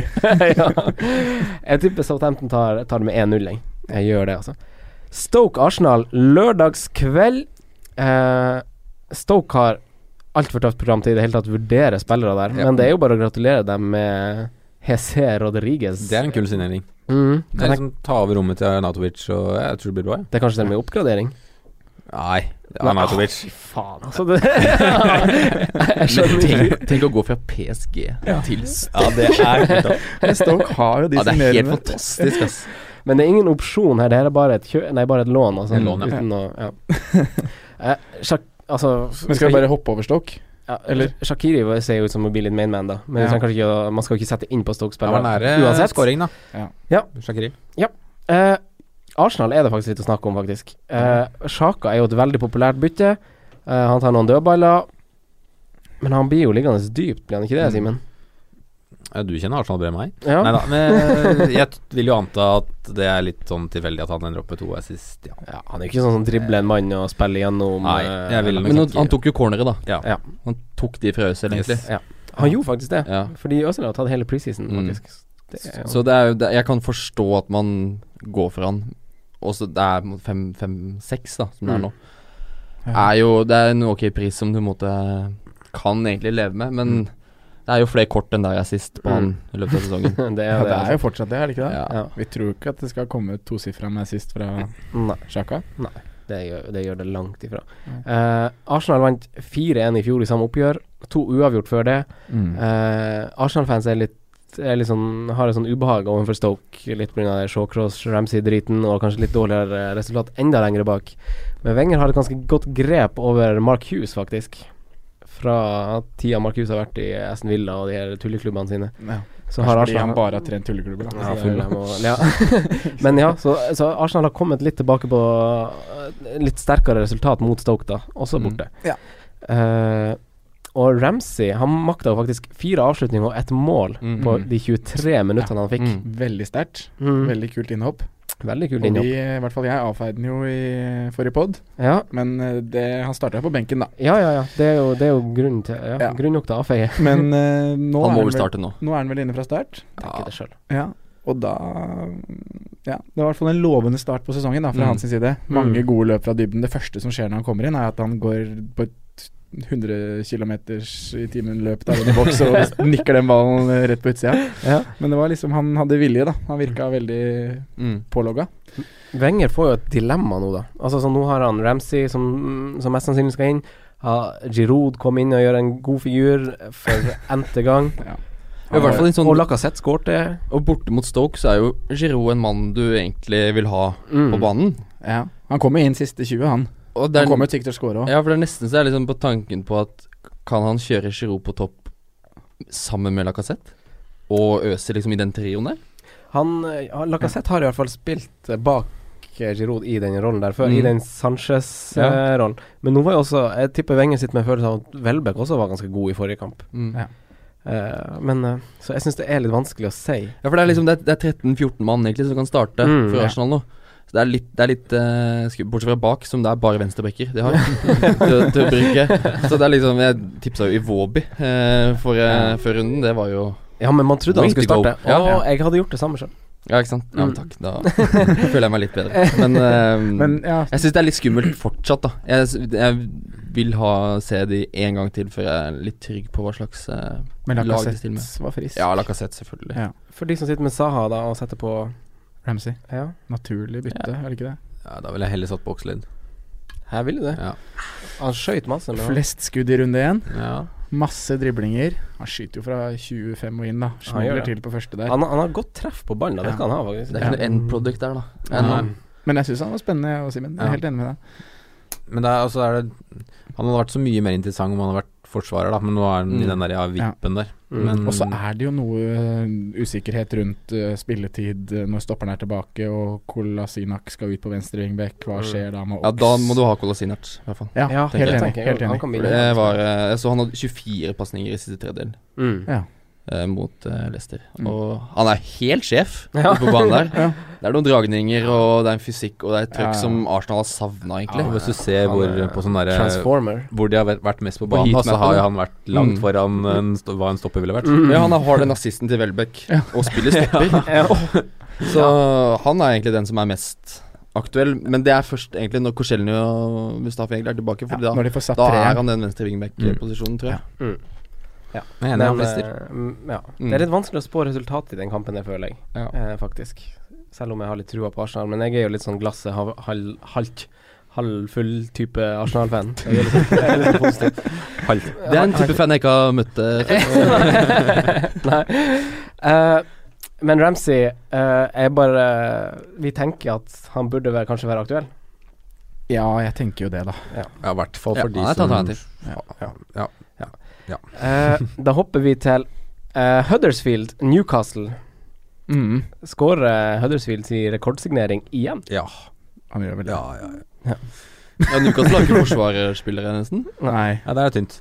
Speaker 3: ja. Jeg tipper Southampton tar, tar det med 1-0. Jeg. jeg gjør det, altså. Stoke-Arsenal lørdagskveld. Eh, Stoke har altfor tøft program til i det hele tatt å vurdere spillere der,
Speaker 1: Ja.
Speaker 3: men det er jo bare å gratulere dem med Jesse Rodriguez.
Speaker 1: Det er en kul signering.
Speaker 3: Mm.
Speaker 1: Det er
Speaker 3: Kan jeg-
Speaker 1: liksom Ta over rommet til Arnatovic, og jeg tror det blir bra. jeg.
Speaker 3: det er kanskje til og med oppgradering?
Speaker 1: Nei, Arnatovic.
Speaker 3: Fy faen, altså. Det, jeg skjønner ikke.
Speaker 4: Tenk, tenk å gå fra PSG til Stoke.
Speaker 1: Ja, det er kult, da.
Speaker 2: Men Stoke har jo de
Speaker 4: Ja, det er helt
Speaker 2: signeringene.
Speaker 4: fantastisk, altså. ass.
Speaker 3: Men det er ingen opsjon her, det her er bare et, kjø nei, bare et lån. Altså,
Speaker 1: En lån, ja.
Speaker 3: uten å, ja. Eh, Shak altså,
Speaker 2: Men skal vi bare hoppe over stokk?
Speaker 3: ja,
Speaker 2: eller?
Speaker 3: Shakiri ser jo ut som å bli litt mainman, da. Men vi
Speaker 2: Ja.
Speaker 3: trenger kanskje ikke, å- man skal ikke sette inn på
Speaker 1: Det var
Speaker 3: Stoke-spillere.
Speaker 1: nære
Speaker 3: uansett.
Speaker 1: eh, scoring, da.
Speaker 2: Ja.
Speaker 3: Ja.
Speaker 1: Shaqiri.
Speaker 3: Eh, Arsenal er det faktisk litt å snakke om, faktisk. Eh, Sjaka er jo et veldig populært bytte. Eh, han tar noen dødballer. Men han blir jo liggende dypt, blir han ikke det, Simen?
Speaker 1: Ja, du kjenner Arsenal bedre enn meg.
Speaker 3: Ja.
Speaker 1: Mm. Nei da, men eh, jeg t- vil jo anta at det er litt sånn tilfeldig at han ender opp med to assist. Ja.
Speaker 3: ja, han er jo ikke sånn som dribler en mann og spiller gjennom
Speaker 1: Nei,
Speaker 3: eh,
Speaker 1: jeg vil
Speaker 3: eller-
Speaker 1: nok
Speaker 4: Men han,
Speaker 1: ikke-
Speaker 4: han tok jo corneret, da.
Speaker 1: Ja.
Speaker 3: Ja.
Speaker 4: Han tok de fra Øzil,
Speaker 1: Yes.
Speaker 4: egentlig.
Speaker 3: Han gjorde faktisk det,
Speaker 4: Ja.
Speaker 3: fordi Øzil har tatt hele preseason,
Speaker 4: Mm.
Speaker 3: faktisk. Det er jo-
Speaker 4: Så det er jo det, Jeg kan forstå at man går for han. Også, det er fem-seks, da, som det er
Speaker 3: Mm.
Speaker 4: nå. Er jo, det er en ok pris som du på en måte kan egentlig leve med, men det er jo flere kort enn der jeg sist på han i løpet av sesongen.
Speaker 3: det altså. er jo
Speaker 2: Ja, det er
Speaker 3: det.
Speaker 2: jo fortsatt det, er det ikke det?
Speaker 4: ja.
Speaker 3: Ja.
Speaker 2: Vi tror ikke at det skal komme et tosifra med sist fra
Speaker 3: Nei,
Speaker 2: Sjaka.
Speaker 3: det gjør, det gjør det langt ifra.
Speaker 2: Mm.
Speaker 3: Eh, Arsenal vant 4-1 i fjor i samme oppgjør. To uavgjort før det.
Speaker 2: Mm.
Speaker 3: Eh, Arsenal-fans er litt er litt sånn, har et sånn ubehag overfor Stoke, litt pga. Shawcross, Ramsey-driten og kanskje litt dårligere eh, resultat enda lenger bak. Men Wenger har et ganske godt grep over Mark Hughes, faktisk. Fra tida Mark Hughes har vært i Aston Villa og de her tulleklubbene sine.
Speaker 2: Ja.
Speaker 3: Så har
Speaker 2: Kanskje fordi han
Speaker 3: Arsenal
Speaker 2: bare har trent tulleklubber, da.
Speaker 3: ja,
Speaker 2: Så det er-
Speaker 3: Fulham og, ja. Men ja, så, så Arsenal har kommet litt tilbake på eh, litt sterkere resultat mot Stoke, da. Også
Speaker 4: Mm.
Speaker 3: borte.
Speaker 2: Ja.
Speaker 3: Eh, og Ramsey han makta jo faktisk fire avslutninger og ett mål
Speaker 4: Mm.
Speaker 3: på de 23 minuttene han fikk.
Speaker 4: Mm.
Speaker 2: Veldig sterkt.
Speaker 3: Mm.
Speaker 2: Veldig kult innhopp.
Speaker 3: Veldig kul
Speaker 2: Og vi,
Speaker 3: linje. opp.
Speaker 2: i hvert fall jeg, avfeide den jo i forrige pod,
Speaker 3: Ja.
Speaker 2: men eh, det, han starta på benken, da.
Speaker 3: ja, ja, ja. Det er jo, det er jo grunn, til, ja,
Speaker 2: Ja.
Speaker 3: grunn nok til å avfeie.
Speaker 2: Men eh, nå,
Speaker 4: Han må
Speaker 2: er han
Speaker 4: vel
Speaker 2: vel,
Speaker 4: starte nå.
Speaker 2: nå er han vel inne fra start.
Speaker 3: Tenker det selv.
Speaker 2: Ja, og da Ja, det var i hvert fall en lovende start på sesongen da, fra
Speaker 4: Mm.
Speaker 2: hans side. Mange
Speaker 3: Mm.
Speaker 2: gode løp fra dybden. Det første som skjer når han kommer inn, er at han går på et 100 km i timen-løp der under boks og nikker den ballen eh, rett på utsida.
Speaker 3: Ja.
Speaker 2: Men det var liksom Han hadde vilje, da. Han virka veldig
Speaker 4: Mm.
Speaker 2: pålogga.
Speaker 3: Wenger får jo et dilemma nå, da. Altså så Nå har han Ramsey, som, som mest sannsynlig skal inn. Ha Giroud kom inn og gjør en god figur for n-te gang.
Speaker 4: I hvert fall en sånn
Speaker 3: Og Lacassette skårte.
Speaker 4: Og borte mot Stoke så er jo Giroud en mann du egentlig vil ha
Speaker 3: Mm.
Speaker 4: på banen.
Speaker 2: Ja. Han kommer inn siste 20, han.
Speaker 4: Og det
Speaker 2: Han
Speaker 4: er,
Speaker 2: kommer jo sikkert til å score òg.
Speaker 4: ja, for det er nesten så jeg er liksom på tanken på at kan han kjøre Giroud på topp sammen med Lacassette? Og Øse liksom i den trioen der?
Speaker 3: Han eh, Lacassette har i hvert fall spilt eh, bak eh, Giroud i den rollen der før,
Speaker 4: Mm.
Speaker 3: i den Sanchez-rollen. Men nå var jo også Jeg tipper Wenger sitter med følelsen av at Welbeck også var ganske god i forrige kamp.
Speaker 4: Mm.
Speaker 2: Ja.
Speaker 4: Ja.
Speaker 3: Eh, men eh, Så jeg syns det er litt vanskelig å si.
Speaker 4: for det er liksom det er, det er 13-14 mann egentlig som kan starte
Speaker 3: Mm,
Speaker 4: for
Speaker 3: ja.
Speaker 4: Arsenal nå. Så det er litt, det er litt eh, sku- Bortsett fra bak, som det er bare venstrebacker de har til, til å bruke. Så det er liksom Jeg tipsa jo Iwobi eh, for, eh, før runden. Det var jo
Speaker 3: Ja, men man trodde
Speaker 4: Way
Speaker 3: han skulle
Speaker 4: to go.
Speaker 3: starte.
Speaker 4: Ja.
Speaker 3: Og jeg hadde gjort det samme sjøl.
Speaker 4: Ja, ikke sant? Ja, men
Speaker 3: Mm.
Speaker 4: takk. Da føler jeg meg litt bedre. Men, eh,
Speaker 2: Men ja,
Speaker 4: jeg syns det er litt skummelt fortsatt, da. Jeg, s- jeg vil ha se de en gang til før jeg er litt trygg på hva slags eh,
Speaker 2: men
Speaker 4: lag det
Speaker 2: Lacassette
Speaker 4: til med.
Speaker 2: var frisk.
Speaker 4: Ja, Lacassette, selvfølgelig.
Speaker 2: Ja.
Speaker 3: For de som sitter med Saha da og setter på
Speaker 2: Ramsey.
Speaker 3: Ja,
Speaker 2: Naturlig bytte, er det ikke det?
Speaker 1: Ja, da ville jeg heller satt Boxlid.
Speaker 3: jeg ville det.
Speaker 1: Ja.
Speaker 3: Han skøyt masse. Men han,
Speaker 2: Flest skudd i runde én.
Speaker 1: Ja.
Speaker 2: Masse driblinger. Han skyter jo fra 25 og inn, da.
Speaker 3: gjør
Speaker 2: Smeller
Speaker 3: det.
Speaker 2: til på første der.
Speaker 3: han, han har godt treff på ballen, da. Det
Speaker 2: Ja.
Speaker 3: skal han ha, faktisk.
Speaker 4: Det er ikke noe end product der, da.
Speaker 1: Nei.
Speaker 4: Ennå.
Speaker 2: Men jeg syns han var spennende, jeg og Simen. Jeg er
Speaker 1: Ja.
Speaker 2: helt enig med deg.
Speaker 1: Men det er, altså, er det, han hadde vært så mye mer interessant om han hadde vært forsvarer, da. Men nå er han
Speaker 4: Mm.
Speaker 1: i den der ja, vippen der.
Speaker 3: Mm.
Speaker 1: Men
Speaker 2: Og så er det jo noe eh, usikkerhet rundt eh, spilletid eh, når stopperen er tilbake, og Kolasinak skal ut på venstre wingback. Hva
Speaker 3: Mm.
Speaker 2: skjer da med
Speaker 4: Ja,
Speaker 2: Ox?
Speaker 4: da må du ha Kolasinac, i hvert fall.
Speaker 2: Ja,
Speaker 3: Ja,
Speaker 2: helt,
Speaker 4: tenker jeg.
Speaker 2: enig,
Speaker 3: tenker jeg.
Speaker 2: helt
Speaker 3: Han kan
Speaker 2: enig.
Speaker 4: For
Speaker 3: begynne.
Speaker 4: det var, eh, jeg så han hadde 24 pasninger i siste tredel
Speaker 3: Mm.
Speaker 2: Ja.
Speaker 4: eh, mot eh, Leicester.
Speaker 2: Mm.
Speaker 4: Og han er helt sjef
Speaker 3: Ja.
Speaker 4: ute på banen der.
Speaker 2: Ja.
Speaker 4: Det er noen dragninger, og det er en fysikk, og det er et trøkk
Speaker 2: Ja.
Speaker 4: som Arsenal har savna, egentlig.
Speaker 1: Ja, hvis du ser
Speaker 3: Han
Speaker 1: hvor
Speaker 3: er
Speaker 1: på sånn derre
Speaker 3: Transformer.
Speaker 1: Hvor de har vært- vært mest på
Speaker 4: På
Speaker 1: banen, da, så
Speaker 4: heatmappen,
Speaker 1: har
Speaker 4: da.
Speaker 1: jo han vært langt
Speaker 4: Mm.
Speaker 1: foran en sto hva en stopper ville vært.
Speaker 3: Mm.
Speaker 4: Ja, han har den assisten til Welbeck og spiller stopper. Så han er egentlig den som er mest aktuell. Men det er først egentlig når Korselny og Mustafi egentlig er tilbake. For
Speaker 2: Ja,
Speaker 4: da,
Speaker 2: når de får satt
Speaker 4: da er Mm.
Speaker 2: treeren.
Speaker 4: han den venstre wingback-posisjonen, tror jeg.
Speaker 1: Jeg er enig,
Speaker 3: Men,
Speaker 1: han frister.
Speaker 3: eh, mm, ja.
Speaker 4: Mm.
Speaker 3: Det er litt vanskelig å spå resultatet i den kampen, det føler jeg,
Speaker 4: Ja.
Speaker 3: eh, faktisk. Selv om jeg har litt trua på Arsenal. Men jeg er jo litt sånn glasset halv, halv, halvt, halvfull type Arsenal-fan. Jeg er litt- jeg er litt positiv.
Speaker 1: Halvt.
Speaker 4: Det er en type fan jeg ikke har møtt eh, før.
Speaker 3: Nei. Eh, Men Ramsey eh, er bare Vi tenker at han burde være, kanskje være aktuell.
Speaker 2: Ja, jeg tenker jo det, da.
Speaker 1: Ja, i hvert fall
Speaker 4: Ja,
Speaker 1: for
Speaker 4: han er
Speaker 1: de
Speaker 4: et
Speaker 1: som
Speaker 4: alternativ.
Speaker 1: Ja, ja.
Speaker 3: Eh, da hopper vi til eh, Huddersfield, Newcastle.
Speaker 2: Mm.
Speaker 3: Skårer eh, Huddersfield sin rekordsignering igjen?
Speaker 1: Ja,
Speaker 2: Han gjør vel det.
Speaker 1: ja, ja. ja.
Speaker 4: Ja, Newcastle har ikke forsvarsspillere, nesten.
Speaker 2: Nei.
Speaker 1: ja det er tynt.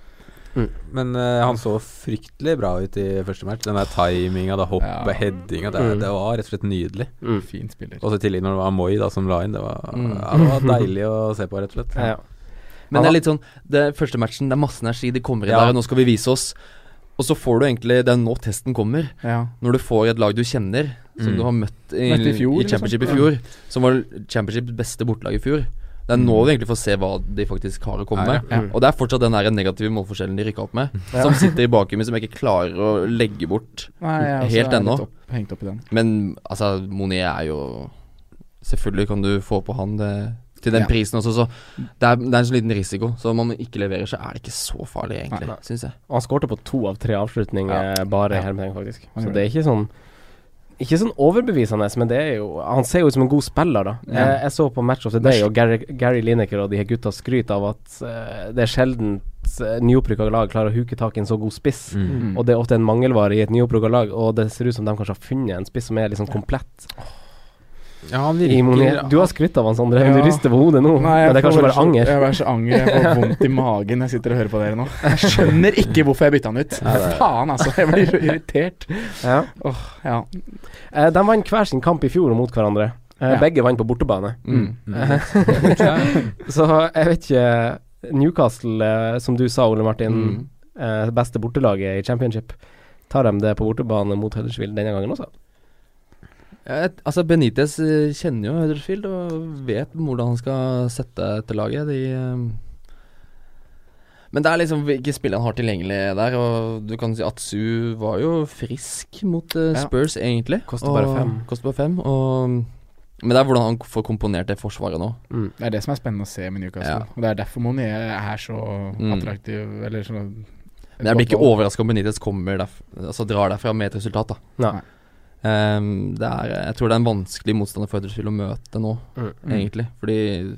Speaker 3: Mm.
Speaker 1: Men eh, han så fryktelig bra ut i første match. Den der timinga, da hoppet,
Speaker 2: Ja.
Speaker 1: headinga det,
Speaker 3: Mm.
Speaker 1: det var rett og slett nydelig.
Speaker 3: Mm.
Speaker 2: Fin spiller.
Speaker 1: Og så i tillegg når det var Moi da som la inn, det var,
Speaker 4: Mm.
Speaker 1: ja, det var deilig å se på, rett og slett.
Speaker 3: Ja.
Speaker 4: Men det er litt sånn Det er første matchen, det er masse energi, de kommer inn
Speaker 1: Ja.
Speaker 4: der, og nå skal vi vise oss. Og så får du egentlig Det er nå testen kommer.
Speaker 2: Ja.
Speaker 4: Når du får et lag du kjenner, som
Speaker 1: Mm.
Speaker 4: du har møtt i,
Speaker 2: Møtt i fjor,
Speaker 4: i championship i
Speaker 2: liksom.
Speaker 4: fjor, som var championships beste bortelag i fjor. Det er nå
Speaker 1: Mm.
Speaker 4: vi egentlig får se hva de faktisk har å komme
Speaker 1: Ja, ja.
Speaker 4: med.
Speaker 2: Ja.
Speaker 4: Og det er fortsatt den der negative målforskjellen de rykka opp med, som sitter i bakhjulet, som jeg ikke klarer å legge bort.
Speaker 2: Nei, jeg er også
Speaker 4: Helt
Speaker 2: litt
Speaker 4: ennå.
Speaker 2: opp- Hengt opp i den.
Speaker 4: Men altså, Moni er jo Selvfølgelig kan du få på han det, til den
Speaker 2: Ja.
Speaker 4: prisen også, så det er, det er en sånn liten risiko. Så om han ikke leverer, så er det ikke så farlig, egentlig,
Speaker 3: Nei.
Speaker 4: syns jeg.
Speaker 3: Og han skårte på to av tre avslutninger
Speaker 4: Ja.
Speaker 3: bare i
Speaker 4: Ja.
Speaker 3: hermetegn, faktisk.
Speaker 2: Han
Speaker 3: Så
Speaker 2: gjorde
Speaker 3: det er ikke sånn ikke sånn overbevisende, men det er jo Han ser jo ut som en god spiller, da. Eh,
Speaker 2: Ja.
Speaker 3: Jeg, jeg så på Match of the Day, og Gary, Gary Lineker og de her gutta skryter av at eh, det er sjelden eh, nyopprykka lag klarer å huke tak i en så god spiss.
Speaker 1: Mm.
Speaker 3: Og det er ofte en mangelvare i et nyopprykka lag, og det ser ut som de kanskje har funnet en spiss som er liksom komplett.
Speaker 1: Ja, han
Speaker 3: I Monier. Du har skrytt av han, Sondre, men
Speaker 2: Ja.
Speaker 3: du rister på hodet nå. men det er kanskje bare anger.
Speaker 2: Jeg får så anger, jeg får vondt i magen når jeg sitter og hører på dere nå. Jeg skjønner ikke hvorfor jeg bytta han ut.
Speaker 1: Nei, det er-
Speaker 2: Faen, altså. Jeg blir så irritert.
Speaker 3: Ja.
Speaker 2: Ja.
Speaker 3: Eh, de vant hver sin kamp i fjor mot hverandre. Eh,
Speaker 2: Ja.
Speaker 3: Begge vant på bortebane.
Speaker 2: Mm.
Speaker 3: Så jeg vet ikke Newcastle, eh, som du sa, Ole Martin,
Speaker 4: Mm.
Speaker 3: eh, beste bortelaget i championship. Tar de det på bortebane mot Huddersfield denne gangen også?
Speaker 4: Ja, et- altså Benitez eh, kjenner jo Huddersfield og vet hvordan han skal sette etter laget. De, eh, men det er liksom hvilke spillere han har tilgjengelig der. Og du kan si Atsu var jo frisk mot eh,
Speaker 2: Ja.
Speaker 4: Spurs, egentlig.
Speaker 3: Koster
Speaker 4: og-
Speaker 3: bare fem.
Speaker 4: Koster bare fem og, men det er hvordan han får komponert det forsvaret nå.
Speaker 2: Det er det som er spennende å se med
Speaker 4: Ja.
Speaker 2: Newcastle. Og det er derfor Monier er så
Speaker 4: Mm.
Speaker 2: attraktiv, eller sånn
Speaker 4: Men jeg blir ikke overraska om Benitez kommer derf altså drar derfra med et resultat, da.
Speaker 3: Nei.
Speaker 4: Ehm, det er, jeg tror det er en vanskelig motstander for Huddersfield å møte nå,
Speaker 3: Mm.
Speaker 4: egentlig. Fordi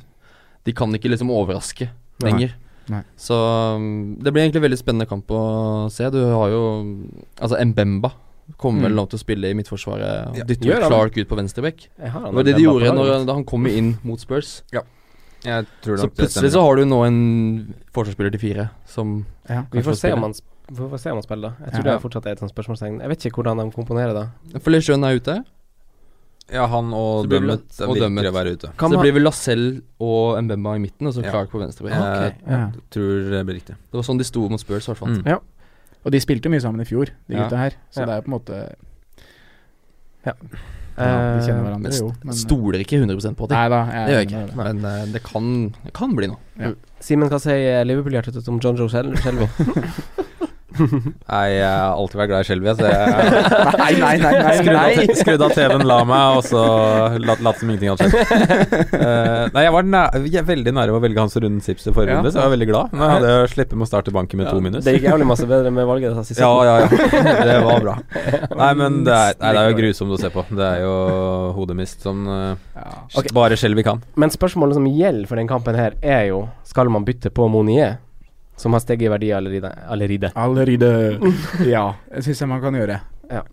Speaker 4: de kan ikke liksom overraske
Speaker 3: Nei.
Speaker 4: lenger.
Speaker 2: Nei.
Speaker 4: Så um, det blir egentlig veldig spennende kamp å se. Du har jo Altså, Mbemba kommer vel
Speaker 2: Mm.
Speaker 4: nå til å spille i midtforsvaret.
Speaker 1: Ja.
Speaker 4: og Dytter
Speaker 3: Gjør
Speaker 4: jo
Speaker 3: han.
Speaker 4: Clark ut på venstreback.
Speaker 3: Jeg har
Speaker 4: Det
Speaker 3: han
Speaker 4: var det de
Speaker 3: Mbemba
Speaker 4: gjorde
Speaker 3: på
Speaker 4: når,
Speaker 3: laget.
Speaker 4: da han kom inn mot Spurs.
Speaker 1: Jeg tror
Speaker 4: Så
Speaker 1: nok det
Speaker 4: plutselig så
Speaker 1: stemmer.
Speaker 4: har du nå en forsvarsspiller til fire som
Speaker 2: ja.
Speaker 3: Vi får
Speaker 4: kanskje
Speaker 3: se
Speaker 4: spiller.
Speaker 3: om han, sp- vi får se om han spiller, da. Jeg tror
Speaker 2: Ja.
Speaker 3: det fortsatt er et sånt spørsmålstegn. Jeg vet ikke hvordan de komponerer da.
Speaker 4: Felichøen er ute.
Speaker 1: Ja, han og
Speaker 4: Så blir det-
Speaker 1: Dømmet det
Speaker 4: og
Speaker 1: virker
Speaker 4: Dømmet.
Speaker 1: å være ute.
Speaker 4: Så
Speaker 3: Kan
Speaker 4: det
Speaker 3: man-
Speaker 4: blir vel Lacelle og Mbemba i midten, og så
Speaker 1: Ja.
Speaker 4: Clark på venstre.
Speaker 1: Jeg
Speaker 2: Ja.
Speaker 1: tror det blir riktig.
Speaker 4: Det var sånn de sto mot Spurs, i hvert fall.
Speaker 1: Mm.
Speaker 2: Og de spilte jo mye sammen i fjor, de
Speaker 4: Ja.
Speaker 2: gutta her. Så
Speaker 3: Ja.
Speaker 2: det er jo på en måte ja, De kjenner
Speaker 3: Eh,
Speaker 2: hverandre,
Speaker 4: men
Speaker 2: jo. Men
Speaker 4: Stoler ikke 100 på det.
Speaker 2: Nei da,
Speaker 4: Det
Speaker 2: jeg
Speaker 4: gjør
Speaker 2: er
Speaker 4: jeg
Speaker 2: enig med
Speaker 4: ikke.
Speaker 2: dere.
Speaker 4: Men eh, det kan, det kan bli noe.
Speaker 3: Simen, hva sier Liverpool-hjertet ditt om John Joe Sel- Shelby?
Speaker 1: Nei, jeg har alltid vært glad i Skjelvi, så jeg
Speaker 2: Nei, nei, nei. nei,
Speaker 1: Skrudd
Speaker 2: nei.
Speaker 1: av, te- skrudd av TV-en, la meg, og så latt, latt som ingenting hadde skjedd. Eh, nei, jeg var næ- jeg er veldig nære å velge Hans Runden Zips i forrige
Speaker 2: Ja.
Speaker 1: runde, så jeg var veldig glad. Men jeg hadde jeg slippet med å starte banken med to minus.
Speaker 3: Det gikk jævlig masse bedre med valget deres i
Speaker 1: Ja,
Speaker 3: sesongen.
Speaker 1: ja, ja. Det var bra. Nei, men det er, nei, det er jo grusomt å se på. Det er jo hodemist som eh,
Speaker 2: Ja.
Speaker 3: Ok.
Speaker 1: bare Skjelvi kan.
Speaker 3: Men spørsmålet som gjelder for den kampen her, er jo Skal man bytte på Monier, som har steget i verdi allerede? allerede?
Speaker 2: Allerede Ja, det syns jeg man kan gjøre.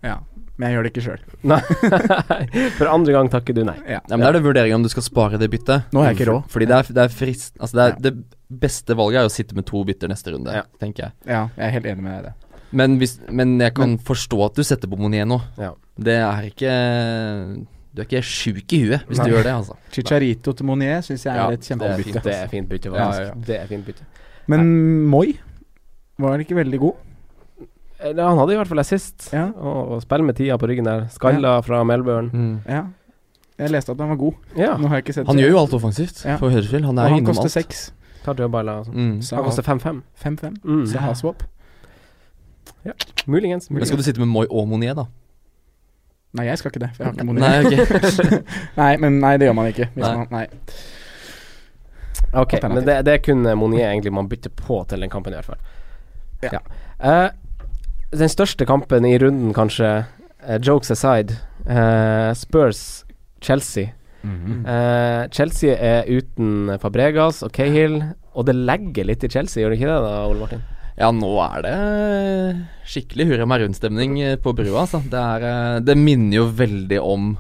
Speaker 3: Ja.
Speaker 2: Men jeg gjør det ikke sjøl.
Speaker 3: Nei, for andre gang takker du nei.
Speaker 2: Ja.
Speaker 4: Ja, men Da er det vurdering om du skal spare det byttet.
Speaker 2: Nå har jeg ikke råd.
Speaker 4: Fordi det er, det er frist Altså det, er, det beste valget er jo å sitte med to bytter neste runde,
Speaker 3: Ja.
Speaker 4: tenker jeg.
Speaker 2: ja, jeg er helt enig med deg i det.
Speaker 4: Men, hvis, men jeg kan forstå at du setter på Monier nå.
Speaker 3: Ja.
Speaker 4: Det er ikke Du er ikke sjuk i huet hvis
Speaker 3: Nei.
Speaker 4: du gjør det, altså.
Speaker 2: Chicharito til Monier syns jeg er
Speaker 4: Ja,
Speaker 2: et
Speaker 3: Det er fint,
Speaker 2: kjempebytte.
Speaker 3: det er fint bytte.
Speaker 4: Ja,
Speaker 3: faktisk.
Speaker 4: ja, ja.
Speaker 3: Det er fint bytte.
Speaker 2: Men Moi var ikke veldig god.
Speaker 3: Eh, Han hadde i hvert fall assist.
Speaker 2: Ja.
Speaker 3: Og og spill med tida på ryggen der. Skalla fra Melbourne.
Speaker 4: Mm.
Speaker 2: Ja. Jeg leste at han var god.
Speaker 3: Ja.
Speaker 2: Nå har jeg ikke sett
Speaker 4: Han gjør jo alt offensivt
Speaker 2: Ja.
Speaker 4: for Huddersfield. Han er
Speaker 2: Og
Speaker 4: jo
Speaker 2: han
Speaker 4: innom
Speaker 2: koster
Speaker 4: alt.
Speaker 2: seks.
Speaker 3: Tar dødballer og sånn.
Speaker 4: Mm.
Speaker 2: Så
Speaker 3: Han koster 5-5.
Speaker 2: 5-5.
Speaker 3: Mm.
Speaker 2: Så ha swap.
Speaker 3: Muligens.
Speaker 4: Men
Speaker 3: muligens.
Speaker 4: skal du sitte med Moi og Monier, da?
Speaker 2: Nei, jeg skal ikke det. For jeg har
Speaker 4: Nei,
Speaker 2: ikke Monier.
Speaker 4: ok.
Speaker 2: Nei, men nei, det gjør man ikke. Hvis
Speaker 4: Nei.
Speaker 2: Man, nei.
Speaker 3: Ok,
Speaker 2: Alternativ.
Speaker 3: men det, det er kun eh, Monier egentlig man bytter på til den kampen i hvert fall.
Speaker 2: Ja.
Speaker 3: Eh, den største kampen i runden, kanskje, eh, eh, jokes aside, eh, Spurs, Chelsea.
Speaker 2: Mhm.
Speaker 3: Eh, Chelsea er uten Fabregas og Cahill, og det legger litt i Chelsea, gjør det ikke det da, Ole Martin?
Speaker 4: Ja, nå er det skikkelig hurra meg rundt-stemning på brua. Altså. Det, er, eh, det minner jo veldig om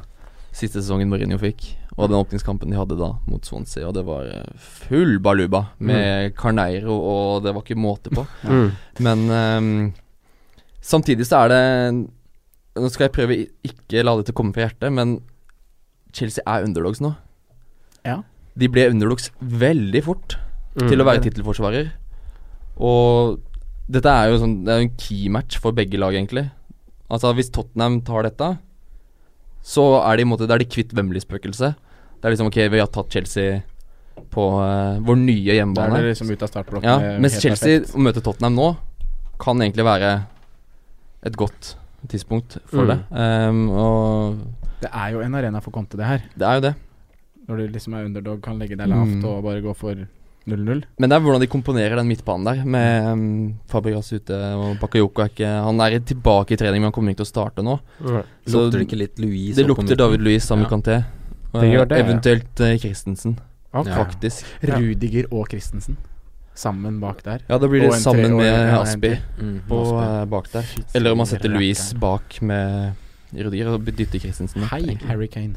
Speaker 4: siste sesongen Mourinho fikk, og den åpningskampen de hadde da mot Swansea. Og det var eh, full baluba med Carneiro, og det var ikke måte på.
Speaker 3: Mm.
Speaker 4: Men ehm, samtidig så er det Nå skal jeg prøve i- ikke la dette komme fra hjertet, men Chelsea er underdogs nå.
Speaker 2: Ja.
Speaker 4: De ble underdogs veldig fort
Speaker 3: Mm.
Speaker 4: til å være tittelforsvarer. Og dette er jo sånn, det er jo en key-match for begge lag, egentlig. Altså Hvis Tottenham tar dette, så er de, i en måte, da er de kvitt Wembley-spøkelset. Det er liksom ok, vi har tatt Chelsea på eh, vår nye
Speaker 2: Da er
Speaker 4: hjemmebane.
Speaker 2: det liksom ut av startblokken.
Speaker 4: Ja,
Speaker 2: helt
Speaker 4: mens Chelsea
Speaker 2: perfekt.
Speaker 4: å møte Tottenham nå kan egentlig være et godt tidspunkt for
Speaker 3: Mm.
Speaker 4: det. Ehm, og
Speaker 2: Det er jo en arena for Conte, det her.
Speaker 4: det er jo det.
Speaker 2: Når du liksom er underdog, kan legge deg lavt
Speaker 4: Mm.
Speaker 2: og bare gå for 0-0.
Speaker 4: Men det er hvordan de komponerer den midtbanen der, med um, Fabregas ute og Bakayoko er ikke Han er tilbake i trening, men han kommer ikke til å starte nå.
Speaker 3: Mm.
Speaker 4: Så
Speaker 1: lukter det ikke litt Louise
Speaker 4: Det lukter David Louis sammen med
Speaker 1: Ja.
Speaker 4: Kanté. Og
Speaker 3: Det gjør det, ja.
Speaker 4: Eventuelt eh, Christensen,
Speaker 1: Ja.
Speaker 4: faktisk.
Speaker 2: Ja. Rudiger og Christensen sammen bak der.
Speaker 4: Ja, da blir
Speaker 2: Og
Speaker 4: det
Speaker 2: en
Speaker 4: sammen
Speaker 2: tre- og
Speaker 4: med
Speaker 2: en- ja, en
Speaker 4: Aspi
Speaker 2: til.
Speaker 1: Mm.
Speaker 4: på,
Speaker 2: Aspi.
Speaker 4: eh, bak der. Eller om man setter
Speaker 2: rakkeren.
Speaker 4: Louis bak med Rudiger og dytter Christensen. opp,
Speaker 2: Hei,
Speaker 4: egentlig.
Speaker 2: Harry Kane.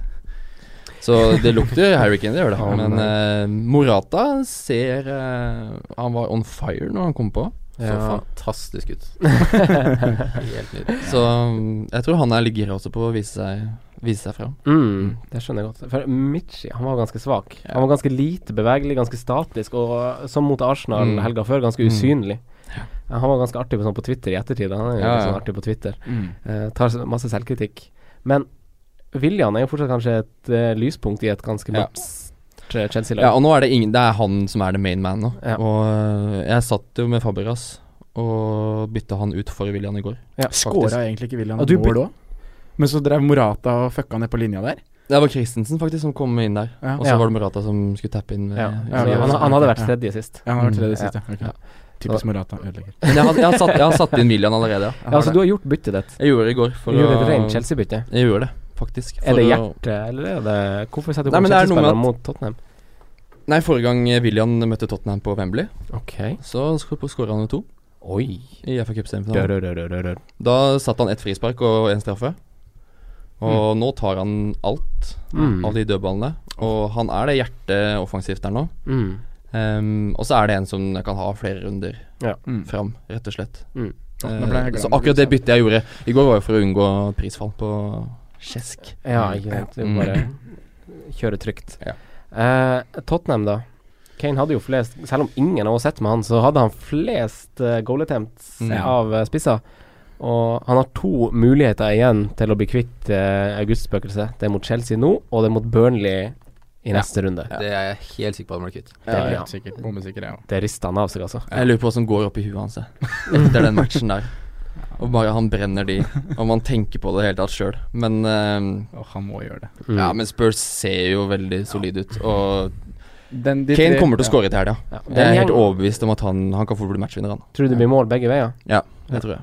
Speaker 4: Så det lukter Hurricane, det gjør det.
Speaker 3: Ja,
Speaker 4: Men
Speaker 3: nei.
Speaker 4: eh, Morata ser eh, Han var on fire når han kom på.
Speaker 1: Så
Speaker 3: Ja.
Speaker 1: fantastisk ut. Helt nydelig.
Speaker 4: Så mm, jeg tror han er litt gira også på å vise seg, vise seg fram.
Speaker 3: Mm, det skjønner jeg godt. For Michi han var ganske svak.
Speaker 4: Ja.
Speaker 3: Han var ganske lite bevegelig, ganske statisk, og eh, som mot Arsenal
Speaker 4: Mm.
Speaker 3: helga før, ganske
Speaker 4: Mm.
Speaker 3: usynlig. Ja, Han var ganske artig på, sånn på Twitter i ettertid. Han er jo litt
Speaker 4: Ja, ja. Mm.
Speaker 3: sånn artig på Twitter. Eh, tar s- masse selvkritikk. Men William er jo fortsatt kanskje et eh, lyspunkt i et ganske
Speaker 4: Ja.
Speaker 3: maps eh, Chelsea-lag.
Speaker 4: Ja, og nå er det ingen Det er han som er the main man nå.
Speaker 3: Ja.
Speaker 4: Og eh, jeg satt jo med Faberas og bytta han ut for William i går.
Speaker 3: Ja.
Speaker 4: faktisk.
Speaker 2: Skåra egentlig ikke William
Speaker 3: Og du
Speaker 2: mål òg? Men så drev Morata og fucka ned på linja der.
Speaker 4: Det var Christensen faktisk som kom inn der.
Speaker 2: Ja.
Speaker 4: Og så
Speaker 3: Ja.
Speaker 4: var det Morata som skulle tappe inn. eh,
Speaker 3: Ja.
Speaker 4: i
Speaker 2: Ja,
Speaker 3: Så
Speaker 4: siden.
Speaker 3: han, han hadde vært tredje sist.
Speaker 2: Ja, han har vært tredje
Speaker 3: Mm.
Speaker 2: siste. Ok.
Speaker 4: Ja.
Speaker 2: Typisk Morata. Ødelegger.
Speaker 4: Men jeg har, jeg, har satt, jeg har satt inn William allerede, ja.
Speaker 3: Ja, altså, du har gjort byttet ditt.
Speaker 4: Jeg gjorde det i går.
Speaker 3: Du
Speaker 4: For
Speaker 3: gjorde et
Speaker 4: å-
Speaker 3: rent Chelsea-bytte.
Speaker 4: Jeg gjorde det, faktisk.
Speaker 3: Er
Speaker 4: for
Speaker 3: det
Speaker 4: å-
Speaker 3: hjertet, eller er det Hvorfor setter du
Speaker 4: Nei,
Speaker 3: på
Speaker 4: men det er noe med
Speaker 3: Chelsea-spillere
Speaker 4: at-
Speaker 3: mot Tottenham?
Speaker 4: Nei, forrige gang eh, William møtte Tottenham på Wembley,
Speaker 3: Ok.
Speaker 4: så skåra han jo to
Speaker 3: Oi.
Speaker 4: i FA Cup-semifinalen.
Speaker 2: Rørørørørør.
Speaker 4: Da satte han ett frispark og én straffe. Og nå tar han alt,
Speaker 3: Mm.
Speaker 4: alle de dødballene. Og han er det hjertet offensivt der nå.
Speaker 3: Mm.
Speaker 4: Ehm, og så er det en som kan ha flere runder
Speaker 2: Mm.
Speaker 4: fram, rett og slett.
Speaker 3: Mm.
Speaker 2: Nå ble jeg
Speaker 4: Eh,
Speaker 2: glad. liksom.
Speaker 4: så akkurat det byttet jeg gjorde i går, var jo for å unngå prisfall på Kjesk.
Speaker 3: Ja, ikke sant. Det er
Speaker 4: Mm.
Speaker 3: Bare kjøre trygt.
Speaker 4: Ja.
Speaker 3: Eh, Tottenham, da. Kane hadde jo flest Selv om ingen av oss sett med han, så hadde han flest eh, goal attempts
Speaker 4: Mm. Ja.
Speaker 3: av eh, spisser. Og han har to muligheter igjen til å bli kvitt eh, augustspøkelset. Det er mot Chelsea nå, og det er mot Burnley i
Speaker 4: Ja.
Speaker 3: neste runde.
Speaker 1: Det er jeg helt sikker på at de ble kvitt.
Speaker 2: Ja,
Speaker 3: Ja, ja.
Speaker 2: helt sikkert. Bommesikker, jeg òg.
Speaker 3: Det rister han av seg, altså.
Speaker 4: Jeg lurer på hva som går opp i huet hans jeg, etter den matchen der. Og bare han brenner de, om han tenker på det i det hele tatt sjøl. Men ehm,
Speaker 2: Og han må gjøre det.
Speaker 3: Mm.
Speaker 4: Ja, men Spurs ser jo veldig solid ut. Og
Speaker 2: Den, de
Speaker 4: Kane
Speaker 2: tre-
Speaker 4: kommer til å skåre til helga.
Speaker 3: Ja.
Speaker 4: Jeg er
Speaker 3: Den
Speaker 4: helt
Speaker 3: gjengen-
Speaker 4: overbevist om at han, han kan fort bli matchvinner, han.
Speaker 3: Tror du det blir mål begge veier?
Speaker 4: Det tror jeg.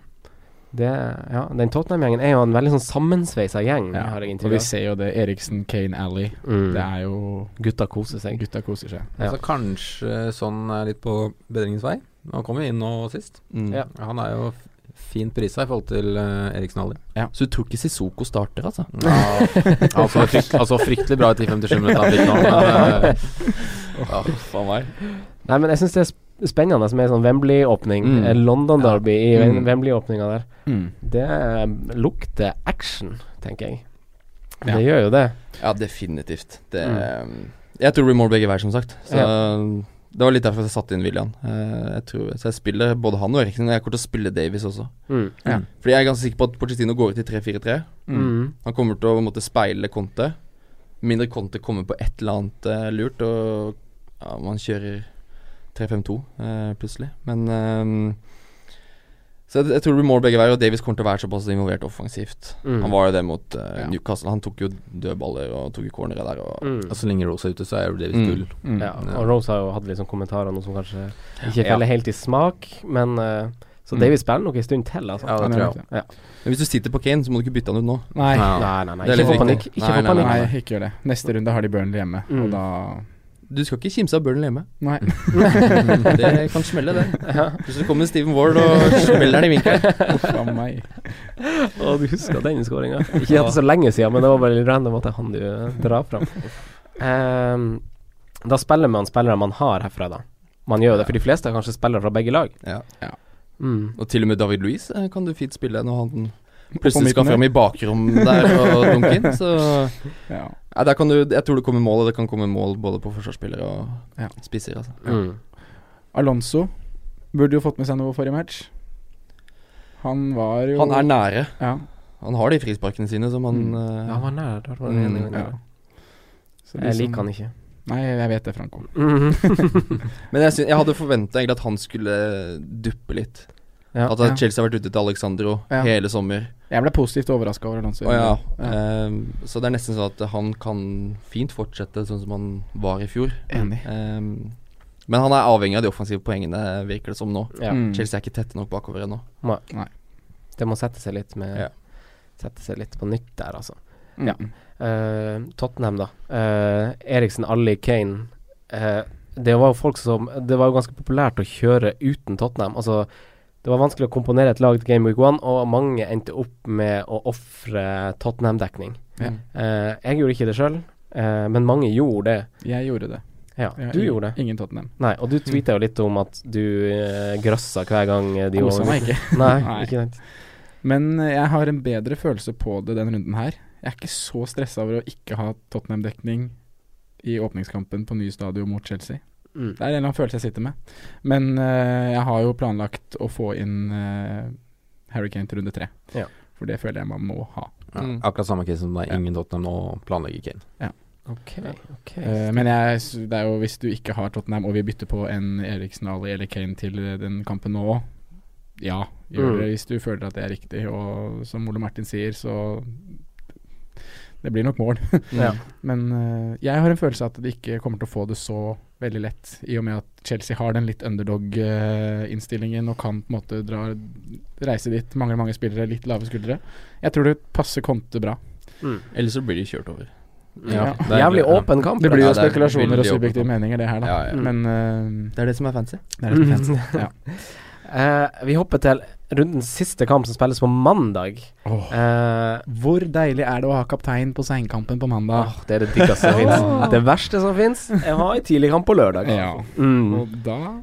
Speaker 3: Det, ja, den Tottenham-gjengen er jo en veldig sånn sammensveisa gjeng,
Speaker 2: Ja.
Speaker 3: har jeg
Speaker 2: Og
Speaker 3: inntrykk
Speaker 2: vi
Speaker 3: av.
Speaker 2: ser jo det. Eriksen, Kane, Alley. Det
Speaker 3: Mm.
Speaker 2: er jo
Speaker 3: Gutta koser seg.
Speaker 2: Gutta koser seg.
Speaker 3: Ja.
Speaker 1: Altså Kanskje sånn er litt på bedringens vei. Han kom jo inn nå sist.
Speaker 4: Mm.
Speaker 3: Ja.
Speaker 1: Han er jo f- fint prisa i forhold til eh, Eriksen Halli.
Speaker 4: Så du tror ikke Sissoko starter, altså?
Speaker 1: Ja, han så frykt, altså fryktelig bra ut i 57 minutter han fikk nå, men eh,
Speaker 4: Ja, faen meg.
Speaker 3: Nei, men jeg syns det er sp- spennende med sånn Wembley-åpning.
Speaker 4: Mm.
Speaker 3: Eh, London
Speaker 4: Ja.
Speaker 3: Derby i
Speaker 4: Mm.
Speaker 3: Wembley-åpninga der.
Speaker 2: Mm.
Speaker 3: Det eh, lukter action, tenker jeg.
Speaker 2: Ja.
Speaker 3: Det gjør jo det.
Speaker 4: Ja, definitivt. Det eh, Jeg tror det blir mål begge veier, som sagt. Så Det var litt derfor jeg satte inn William. Eh, jeg tror, så jeg spiller både han og Eriksen. Og jeg kommer til å spille Davies også.
Speaker 3: Mm.
Speaker 4: Fordi jeg er ganske sikker på at Pochettino går ut i 3-4-3.
Speaker 3: Mm.
Speaker 4: Han kommer til å på en måte, speile Conte. Mindre Conte kommer på et eller annet eh, lurt, og ja, man kjører 3-5-2 eh, plutselig. Men eh, Så jeg, jeg tror det blir mål begge veier, og Davies kommer til å være såpass involvert offensivt.
Speaker 3: Mm.
Speaker 4: Han var jo det mot eh,
Speaker 2: Ja.
Speaker 4: Newcastle. Han tok jo dødballer og tok jo cornere der. Og,
Speaker 3: Mm.
Speaker 1: og Så lenge Rose er ute, så er jo Davis
Speaker 4: Mm.
Speaker 1: gull.
Speaker 2: Mm.
Speaker 3: ja,
Speaker 1: ja.
Speaker 3: og Rose har jo hatt litt sånn kommentarer nå som kanskje ikke
Speaker 4: Ja.
Speaker 3: feller helt i smak, men eh, Så
Speaker 4: Mm.
Speaker 3: Davies spiller nok en stund til, altså.
Speaker 4: Ja, det tror
Speaker 2: Han gjør
Speaker 4: jeg
Speaker 2: nok
Speaker 4: også.
Speaker 2: Sånn det.
Speaker 4: Men hvis du sitter på Kane, så må du ikke bytte han ut nå.
Speaker 2: Nei,
Speaker 1: Ja.
Speaker 3: Nei, nei, nei.
Speaker 4: Det er
Speaker 3: Ikke
Speaker 4: litt
Speaker 3: få
Speaker 4: viktig.
Speaker 3: panikk. Ikke
Speaker 4: Nei,
Speaker 3: få
Speaker 4: nei,
Speaker 3: panikk.
Speaker 2: nei, ikke gjør det. Neste runde har de Burnley hjemme,
Speaker 3: Mm.
Speaker 2: og da
Speaker 4: Du skal ikke kimse av Burnley hjemme.
Speaker 2: Nei.
Speaker 4: Det kan smelle, det. Plutselig kommer Steven Ward og smeller den i vinkelen.
Speaker 2: Faen meg.
Speaker 3: Å, du husker den skåringa? Ikke at det er så lenge siden, men det var bare litt random at jeg han du eh, drar fram. Ehm, da spiller man spillere man har herfra, da. Man gjør jo det, for de fleste er kanskje spillere fra begge lag.
Speaker 4: Ja.
Speaker 3: Mm.
Speaker 4: Og til og med David Louis eh, kan du fint spille når han
Speaker 2: På midten
Speaker 4: plutselig skal
Speaker 2: der.
Speaker 4: fram i bakrom der og dunke inn. Så
Speaker 2: Ja.
Speaker 4: Nei, der kan du, jeg tror det kommer mål, og det kan komme mål både på forsvarsspillere og
Speaker 2: Ja.
Speaker 4: spisser. Altså.
Speaker 3: Mm.
Speaker 2: Alonso burde jo fått med seg noe forrige match. Han var jo
Speaker 4: Han er nære.
Speaker 2: ja,
Speaker 4: Han har de frisparkene sine som han
Speaker 2: Mm.
Speaker 4: eh,
Speaker 1: Ja, han var nær der. Var det
Speaker 4: Mm,
Speaker 1: en gang
Speaker 2: ja.
Speaker 1: der.
Speaker 2: Så de
Speaker 3: Jeg
Speaker 2: som-
Speaker 3: liker han ikke.
Speaker 2: Nei, jeg vet det, Franco.
Speaker 3: Mhm.
Speaker 4: Men jeg, syn- jeg hadde forventa egentlig at han skulle duppe litt.
Speaker 3: Ja.
Speaker 4: at
Speaker 2: Ja.
Speaker 4: Chelsea har vært ute til Alexandro
Speaker 2: Ja.
Speaker 4: hele sommer.
Speaker 2: Jeg ble positivt overraska over Alonso.
Speaker 4: Å ja.
Speaker 2: Ja,
Speaker 4: Ehm, så det er nesten sånn at han kan fint fortsette sånn som han var i fjor.
Speaker 3: Eh,
Speaker 2: Enig.
Speaker 4: Ehm, men han er avhengig av de offensive poengene, virker det som nå.
Speaker 3: Ja.
Speaker 2: Mm.
Speaker 4: Chelsea er ikke tette nok bakover ennå.
Speaker 3: Det må sette seg litt med
Speaker 4: Ja.
Speaker 3: Sette seg litt på nytt der, altså.
Speaker 2: Mm.
Speaker 3: Ja. Eh, Tottenham, da. Eh, Eriksen, Alli, Kane. Eh, det var jo folk som Det var jo ganske populært å kjøre uten Tottenham. Altså, det var vanskelig å komponere et lag til Game Week 1, og mange endte opp med å ofre Tottenham-dekning.
Speaker 2: Ja.
Speaker 3: Eh, jeg gjorde ikke det sjøl, men mange gjorde det.
Speaker 2: Jeg gjorde det.
Speaker 3: Ja,
Speaker 2: Jeg-
Speaker 3: du gjorde det.
Speaker 2: Ingen Tottenham.
Speaker 3: Nei, og du tweeta jo litt om at du uh, grøssa hver gang eh, de
Speaker 2: Kosa
Speaker 3: var-
Speaker 2: meg ikke.
Speaker 3: Nei,
Speaker 2: Nei.
Speaker 3: ikke sant.
Speaker 2: Men eh, jeg har en bedre følelse på det denne runden her. Jeg er ikke så stressa over å ikke ha Tottenham-dekning i åpningskampen på nye stadion mot Chelsea.
Speaker 3: Mm.
Speaker 2: Det er en eller annen følelse jeg sitter med. Men eh, jeg har jo planlagt å få inn eh, Harry Kane til runde tre.
Speaker 3: Ja.
Speaker 2: For det føler jeg man må ha.
Speaker 1: Ja.
Speaker 4: Mm.
Speaker 1: Akkurat samme case som det
Speaker 2: Ja.
Speaker 1: er ingen Tottenham og planlegger Kane.
Speaker 3: Ok, ok.
Speaker 2: Eh, men jeg, s- det er jo hvis du ikke har Tottenham og vil bytte på en Eriksen Ali eller Kane til eh, den kampen nå òg, ja, gjør
Speaker 3: Mm.
Speaker 2: det hvis du føler at det er riktig. Og som Ole Martin sier, så Det blir nok mål.
Speaker 3: Ja.
Speaker 2: Men eh, jeg har en følelse av at de ikke kommer til å få det så veldig lett, i og med at Chelsea har den litt underdog-innstillingen og kan på en måte dra, reise dit. Mangler mange spillere, litt lave skuldre. Jeg tror det passer Conte bra.
Speaker 3: Mm.
Speaker 4: Ellers så blir de kjørt over.
Speaker 2: Ja.
Speaker 1: det er-
Speaker 3: Jævlig
Speaker 1: ja.
Speaker 3: åpen kamp.
Speaker 2: Det blir jo
Speaker 4: Ja, det er
Speaker 2: spekulasjoner og
Speaker 4: veldig åpent.
Speaker 2: subjektive meninger, det her, da.
Speaker 4: Ja, ja.
Speaker 3: Mm.
Speaker 2: Men
Speaker 4: Det er det som er fancy.
Speaker 2: eh, det er litt fint. Ja.
Speaker 3: Eh, vi hopper til rundens siste kamp, som spilles på mandag.
Speaker 2: Åh,
Speaker 3: Eh,
Speaker 2: Hvor deilig er det å ha kaptein på seinkampen på mandag?
Speaker 3: åh, det er det diggeste som fins. Det verste som fins, er å ha en tidlig kamp på lørdag.
Speaker 2: Ja.
Speaker 3: Mm.
Speaker 2: Og da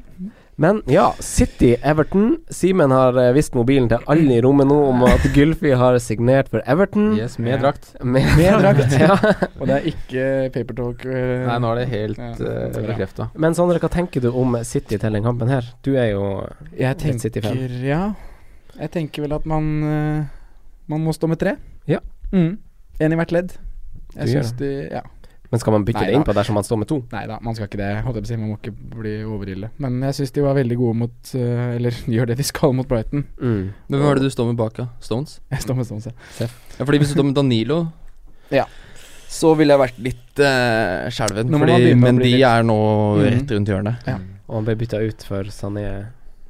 Speaker 3: Men ja, City, Everton. Simen har eh, vist mobilen til alle i rommet nå om at Gylfi har signert for Everton.
Speaker 1: Yes, med
Speaker 2: Ja.
Speaker 1: drakt.
Speaker 3: Med
Speaker 2: Med drakt.
Speaker 3: ja.
Speaker 2: Og det er ikke papertalk. eh,
Speaker 1: Nei, nå er det helt
Speaker 2: Ja.
Speaker 1: eh,
Speaker 2: Bra.
Speaker 1: bekrefta.
Speaker 3: Men Sondre, hva tenker du om City til den kampen her? Du er jo
Speaker 2: Jeg
Speaker 3: Litt City-fan.
Speaker 2: tenker Ja. Jeg tenker vel at man eh, Man må stå med tre.
Speaker 3: Ja.
Speaker 2: Mm. En i hvert ledd. Jeg
Speaker 3: Du gjør
Speaker 2: syns de Ja.
Speaker 3: Men skal man bytte
Speaker 2: Nei
Speaker 3: det inn
Speaker 2: da.
Speaker 3: på dersom man står med to?
Speaker 2: Nei da, man skal ikke det. Holdt jeg på å si, man må ikke bli overille. Men jeg syns de var veldig gode mot eh, Eller gjør det de skal mot Brighton.
Speaker 3: Mm.
Speaker 4: Men hvem er det du står med bak, da? Stones?
Speaker 2: Jeg står med sånn, se.
Speaker 4: Ja, fordi hvis du står med Danilo
Speaker 2: Ja.
Speaker 4: Så ville jeg vært litt eh, skjelven,
Speaker 2: Nå må man
Speaker 4: fordi
Speaker 2: begynne å
Speaker 4: Mendy
Speaker 2: bli litt-
Speaker 4: er nå
Speaker 2: Mhm.
Speaker 4: rett rundt hjørnet.
Speaker 3: Og han ble bytta ut for Sané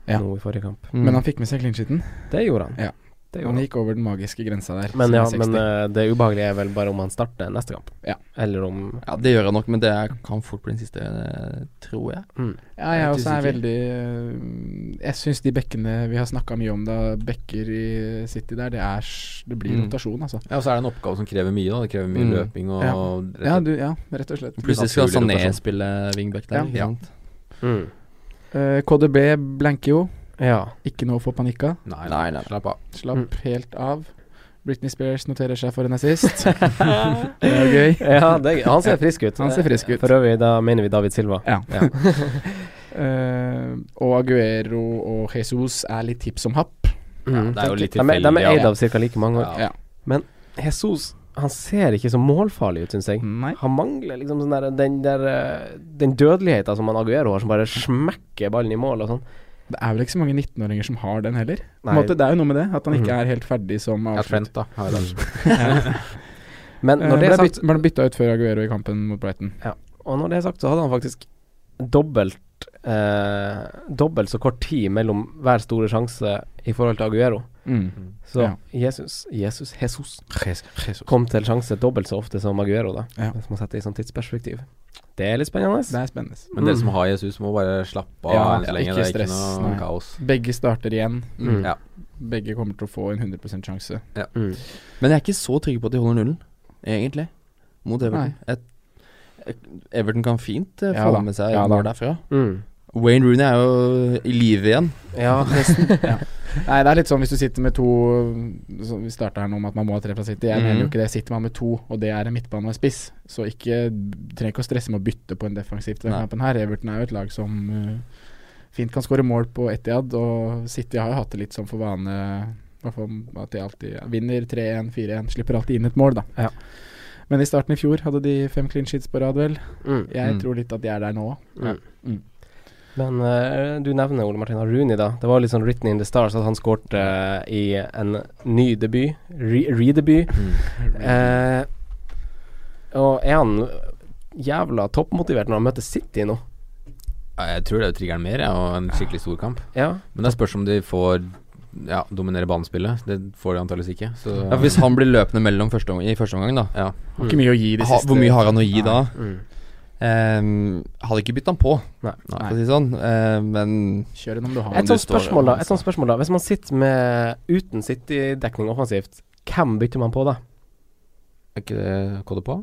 Speaker 2: Ja.
Speaker 3: nå i forrige kamp.
Speaker 4: Mm.
Speaker 2: Men han fikk med seg clean-sheeten.
Speaker 3: Det gjorde han.
Speaker 2: Ja.
Speaker 3: Det gjorde
Speaker 2: Han
Speaker 3: han.
Speaker 2: gikk over den magiske grensa der.
Speaker 3: Men,
Speaker 2: som
Speaker 3: ja,
Speaker 2: er 60.
Speaker 3: men eh, det ubehagelige er vel bare om han starter neste kamp.
Speaker 2: Ja.
Speaker 3: Eller om
Speaker 4: Ja, det gjør han nok, men det er, kan fort bli den siste, eh, tror jeg.
Speaker 3: mm.
Speaker 2: Ja, jeg
Speaker 4: Jeg er
Speaker 2: også er
Speaker 4: usikker.
Speaker 2: veldig øh, Jeg syns de bekkene vi har snakka mye om, da, bekker i City der, det, er, s- det blir
Speaker 4: Mm.
Speaker 2: rotasjon, altså.
Speaker 1: Ja, og så er det en oppgave som krever mye. da Det krever mye
Speaker 4: Mm.
Speaker 1: løping og
Speaker 2: Ja.
Speaker 1: rett og
Speaker 2: Ja,
Speaker 1: slett-
Speaker 2: du, ja, rett og slett.
Speaker 4: Plutselig skal
Speaker 1: Naturlig
Speaker 4: Sané
Speaker 1: rotasjon.
Speaker 4: spille wingback der.
Speaker 2: Ja.
Speaker 4: ikke sant?
Speaker 3: Mm.
Speaker 2: Eh, KDB blanker jo.
Speaker 3: ja.
Speaker 2: Ikke noe å få panikk av.
Speaker 1: Nei,
Speaker 4: Nei, nei.
Speaker 1: Slapp av.
Speaker 2: Slapp
Speaker 3: Mm.
Speaker 2: helt av. Britney Spears noterer seg for en assist. det er jo gøy.
Speaker 3: ja det, er gøy. han ser frisk ut.
Speaker 2: Han ser frisk ut.
Speaker 3: For øvrig, da mener vi David Silva.
Speaker 2: Ja. Eh, og Aguero og Jesus er litt hipp som happ.
Speaker 1: Ja, det er jo litt
Speaker 3: Mm. De er- de
Speaker 1: tilfeldig,
Speaker 3: er eid
Speaker 1: ja.
Speaker 3: av ca. like mange år.
Speaker 1: Ja.
Speaker 2: Ja.
Speaker 3: Jesus han ser ikke så målfarlig ut, syns jeg.
Speaker 2: Nei.
Speaker 3: Han mangler liksom sånn der, den der eh, Den dødeligheta som han Aguero har, som bare smekker ballen i mål og sånn.
Speaker 2: Det er vel ikke så mange 19-åringer som har den heller. På en
Speaker 3: Nei.
Speaker 2: måte, det er jo noe med det, at han
Speaker 3: Mm.
Speaker 2: ikke er helt ferdig som
Speaker 1: Ja,
Speaker 2: avslutter.
Speaker 1: Trent, da. har jeg det.
Speaker 3: Men
Speaker 2: Eh,
Speaker 3: når det
Speaker 2: ble
Speaker 3: er sagt
Speaker 2: byt- Ble bytta ut før Aguero i kampen mot Brighton.
Speaker 3: Og når det er sagt, så hadde han faktisk dobbelt eh, dobbelt så kort tid mellom hver store sjanse i forhold til Aguero.
Speaker 2: Mm.
Speaker 3: Så
Speaker 2: Ja.
Speaker 3: Jesus, Jesus, Jesus
Speaker 4: Jesus.
Speaker 3: kom til sjanse dobbelt så ofte som Aguero, da.
Speaker 2: Ja.
Speaker 3: Hvis man setter det i sånn tidsperspektiv. Det er litt spennende.
Speaker 2: Det er spennende.
Speaker 1: Men dere som har Jesus, må bare slappe av
Speaker 2: Mm. Ja,
Speaker 1: enn så
Speaker 2: ja,
Speaker 1: lenge.
Speaker 2: ikke
Speaker 1: det er
Speaker 2: stress,
Speaker 1: ikke noe
Speaker 2: nei.
Speaker 1: kaos.
Speaker 2: Begge starter igjen.
Speaker 3: Mm.
Speaker 1: Ja.
Speaker 2: Begge kommer til å få en 100 sjanse.
Speaker 3: Mm.
Speaker 4: Men jeg er ikke så trygg på at de holder nullen, egentlig, mot Everton. Jeg- Everton kan fint eh,
Speaker 2: Ja
Speaker 4: få
Speaker 2: da,
Speaker 4: med seg
Speaker 2: ja
Speaker 4: mål
Speaker 2: da.
Speaker 4: derfra.
Speaker 3: Mm.
Speaker 4: Wayne Rooney er jo i live igjen.
Speaker 3: Ja.
Speaker 2: Nei, det er litt sånn hvis du sitter med to så Vi starta her nå med at man må ha tre fra City. Jeg
Speaker 4: Mhm.
Speaker 2: mener jo ikke det. Sitter man med to, og det er en midtbane og en spiss, så ikke trenger ikke å stresse med å bytte på en defensiv til denne
Speaker 4: Nei.
Speaker 2: kampen her. Everton er jo et lag som eh, fint kan skåre mål på Etiad, og City har jo hatt det litt sånn for vane i hvert fall at de alltid vinner 3-1, 4-1, slipper alltid inn et mål, da.
Speaker 3: Ja.
Speaker 2: Men i starten i fjor hadde de fem clean sheets på rad, vel.
Speaker 3: Mm.
Speaker 2: Jeg
Speaker 4: Mm.
Speaker 2: tror litt at de er der nå.
Speaker 3: Mm.
Speaker 2: Mm.
Speaker 3: Men eh, du nevner Ole Martin Rooney, da. Det var litt sånn written in the stars at han skårte eh, i en ny debut. Re- Redebut. Eh, og er han jævla toppmotivert når han møter City nå?
Speaker 1: Ja, Jeg tror det er triggeren mer, ja, og en skikkelig stor kamp.
Speaker 3: Ja.
Speaker 1: Men det spørs om de får ja, dominere banespillet. Det får de antakeligvis ikke. Så,
Speaker 4: Ja, for Hvis han blir løpende mellom første, om- i første omgang, da
Speaker 1: ja.
Speaker 2: Har ikke mye å gi i det
Speaker 4: Mm. ha,
Speaker 2: siste.
Speaker 4: Hvor mye har han å gi da?
Speaker 3: Mm.
Speaker 4: Um, hadde ikke bytta han på, for å si det sånn. Eh, men
Speaker 2: Kjør den om du har
Speaker 3: Et
Speaker 4: du
Speaker 3: sånt
Speaker 4: står-
Speaker 3: spørsmål,
Speaker 2: altså.
Speaker 3: da. Et sånt spørsmål da Hvis man sitter med uten City-dekning offensivt, hvem bytter man på da?
Speaker 1: Er ikke det kode på?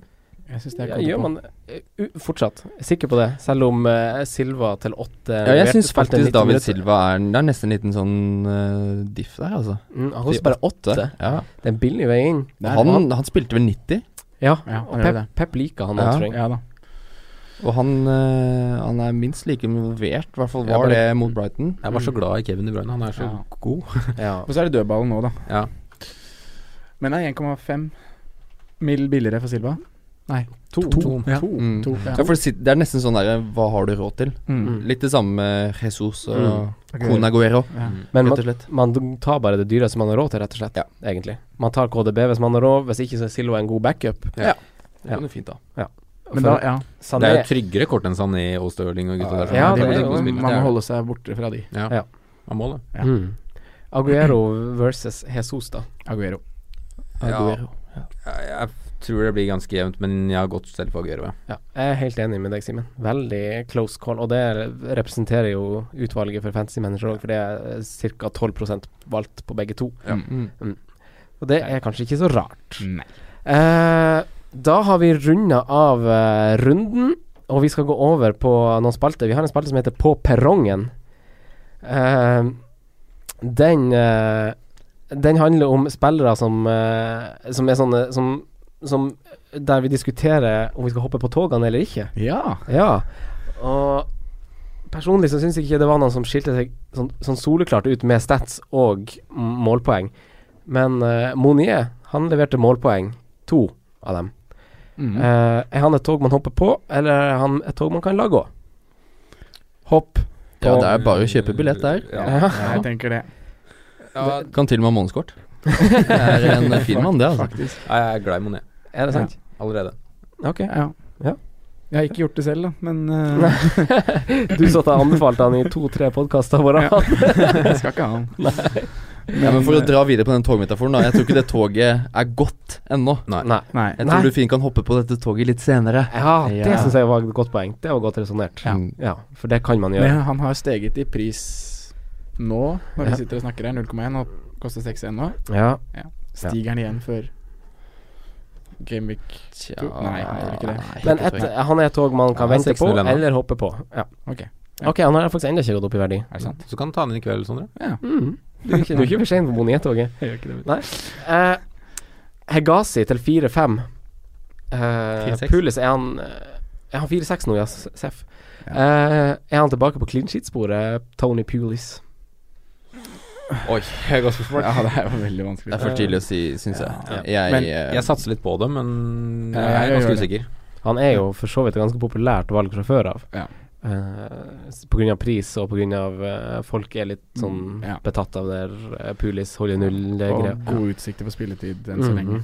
Speaker 2: Jeg synes det er
Speaker 3: Ja,
Speaker 2: kode
Speaker 3: gjør
Speaker 2: på.
Speaker 3: man eh, u fortsatt? Sikker på det? Selv om eh, Silva til åtte
Speaker 4: ja, jeg
Speaker 3: leverte-
Speaker 4: syns
Speaker 3: spilte
Speaker 4: faktisk
Speaker 3: 90
Speaker 4: David
Speaker 3: minutter.
Speaker 4: Silva er Det er nesten en liten sånn eh, diff der, altså.
Speaker 3: Mm, han koster bare åtte.
Speaker 4: Ja.
Speaker 3: Det er en billig vei inn.
Speaker 2: Der,
Speaker 4: Han, han spilte vel 90?
Speaker 3: Ja,
Speaker 2: Ja,
Speaker 3: og
Speaker 2: han gjør
Speaker 3: Pep,
Speaker 2: det.
Speaker 3: Pep liker han,
Speaker 4: Ja.
Speaker 3: jeg tror jeg.
Speaker 2: Ja da.
Speaker 4: Og han, eh, han er minst like involvert, i hvert fall
Speaker 1: Jeg
Speaker 4: var
Speaker 1: bare-
Speaker 4: det mot Brighton.
Speaker 1: Jeg var så glad i Kevin De Bruyne. Han er så
Speaker 2: Ja.
Speaker 1: god.
Speaker 3: Ja.
Speaker 2: Og så er det dødballen nå, da.
Speaker 1: Ja.
Speaker 2: Men det er 1,5 mill. billigere for Silva. Nei, to.
Speaker 1: To.
Speaker 2: Ja.
Speaker 4: Mm.
Speaker 2: To, ja.
Speaker 4: Ja, for City- det er nesten sånn derre Hva har du råd til?
Speaker 2: Mm.
Speaker 4: Litt det samme med Jesus og
Speaker 3: Mm.
Speaker 4: Kona Guero,
Speaker 2: Ja.
Speaker 3: Men
Speaker 4: rett
Speaker 3: man,
Speaker 4: og slett.
Speaker 3: man tar bare det dyreste man har råd til, rett og slett. Egentlig. Man tar KDB hvis man har råd, hvis ikke så er Silva en god backup.
Speaker 4: Det kan du fint da.
Speaker 2: Men da, ja.
Speaker 3: Sané-
Speaker 1: Det er jo tryggere kort enn Sané og Stirling og gutta der. som
Speaker 3: Ja,
Speaker 1: er
Speaker 3: det
Speaker 1: gode
Speaker 3: er jo-
Speaker 1: gode spillere.
Speaker 2: man må holde seg borte fra de.
Speaker 1: Ja.
Speaker 3: Ja.
Speaker 1: Man må det.
Speaker 2: ja.
Speaker 3: mm. Aguero versus Jesus, da.
Speaker 2: Aguero.
Speaker 4: Aguero.
Speaker 1: Jeg, jeg tror det blir ganske jevnt, men jeg har gått selv for Aguero. jeg.
Speaker 3: Ja, jeg er helt enig med deg, Simen. Veldig close call. Og det representerer jo utvalget for fancy manager òg, for det er ca. 12 valgt på begge to.
Speaker 4: Mm.
Speaker 3: Og det er kanskje ikke så rart.
Speaker 2: Nei.
Speaker 3: Eh, da har vi runda av eh, runden, og vi skal gå over på noen spalter. Vi har en spalte som heter På perrongen. Eh, den eh, Den handler om spillere som eh, Som er sånne som, som Der vi diskuterer om vi skal hoppe på togene eller ikke.
Speaker 2: Ja.
Speaker 3: Ja, og personlig så syns jeg ikke det var noen som skilte seg sånn, sånn soleklart ut med stats og m- målpoeng. Men eh, Monier, han leverte målpoeng. To av dem.
Speaker 2: Mm.
Speaker 3: Eh, er han et tog man hopper på, eller er han et tog man kan la gå? Hopp.
Speaker 4: Ja, det er bare å kjøpe billett der.
Speaker 1: Ja.
Speaker 2: Jeg tenker det.
Speaker 1: Ja,
Speaker 4: Kan til og med ha månedskort. Det er en fin mann, det, altså.
Speaker 2: Faktisk.
Speaker 1: jeg er glad i Monet
Speaker 3: Er det
Speaker 2: Ja.
Speaker 3: sant?
Speaker 1: allerede.
Speaker 3: Ok.
Speaker 2: Ja.
Speaker 3: Ja.
Speaker 2: Jeg har ikke gjort det selv, da, men
Speaker 3: Nei.
Speaker 2: uh,
Speaker 3: Du satt og anbefalte han i to-tre podkaster på rad.
Speaker 2: jeg skal ikke ha han.
Speaker 4: Ja, men for å dra videre på den togmetaforen, da. Jeg tror ikke det toget er gått ennå.
Speaker 3: Nei.
Speaker 2: Nei.
Speaker 4: Jeg
Speaker 3: Nei.
Speaker 4: tror du fint kan hoppe på dette toget litt senere.
Speaker 3: Ja, det
Speaker 4: Ja.
Speaker 3: syns jeg var et godt poeng. Det var godt resonnert.
Speaker 4: Ja.
Speaker 3: Ja, for det kan man gjøre.
Speaker 2: Men han har steget i pris nå,
Speaker 3: Ja.
Speaker 2: når vi sitter og snakker her. 0,1 og koster 6,1 nå.
Speaker 3: Ja.
Speaker 2: Stiger den igjen før Gameweek
Speaker 4: Tja,
Speaker 2: Nei, jeg tror ikke det.
Speaker 4: nei,
Speaker 3: Men
Speaker 4: ikke
Speaker 3: et,
Speaker 4: tror jeg.
Speaker 3: han er et tog man kan
Speaker 1: Ja,
Speaker 3: vente på
Speaker 1: 6-0 ennå.
Speaker 3: eller hoppe på. Ja.
Speaker 2: Ok. Ja.
Speaker 3: Ok, han har faktisk ennå ikke gått opp i verdi.
Speaker 2: Er det sant?
Speaker 1: Så kan du ta den inn i kveld, Sondre.
Speaker 3: Mm. Du er ikke, du er ikke for sein på Bonietoget.
Speaker 2: Jeg gjør ikke det.
Speaker 3: Eh, Hegazi til 4-5. Eh,
Speaker 1: 4-6.
Speaker 3: Pulis, er han eh, Er han 4-6 nå, ja, s- Seff? Eh, er han tilbake på clean sheet-sporet, Tony Pulis?
Speaker 4: Oi, jeg er ganske smart.
Speaker 2: Ja, det er jo veldig vanskelig.
Speaker 4: Det er for tidlig å si, syns jeg. Jeg,
Speaker 2: Men
Speaker 4: eh,
Speaker 1: Jeg satser litt på det, men
Speaker 2: Ja,
Speaker 1: jeg er
Speaker 2: jeg
Speaker 1: ganske
Speaker 2: gjør
Speaker 1: usikker.
Speaker 3: Han er jo for så vidt et ganske populært valg fra før av.
Speaker 2: Ja.
Speaker 3: Eh, s- på grunn av pris og på grunn av eh, folk er litt sånn
Speaker 2: Mm, Ja.
Speaker 3: betatt av der eh, Pulis holder null-greia.
Speaker 2: Og gode utsikter for spilletid enn så
Speaker 3: Mhm.
Speaker 2: lenge.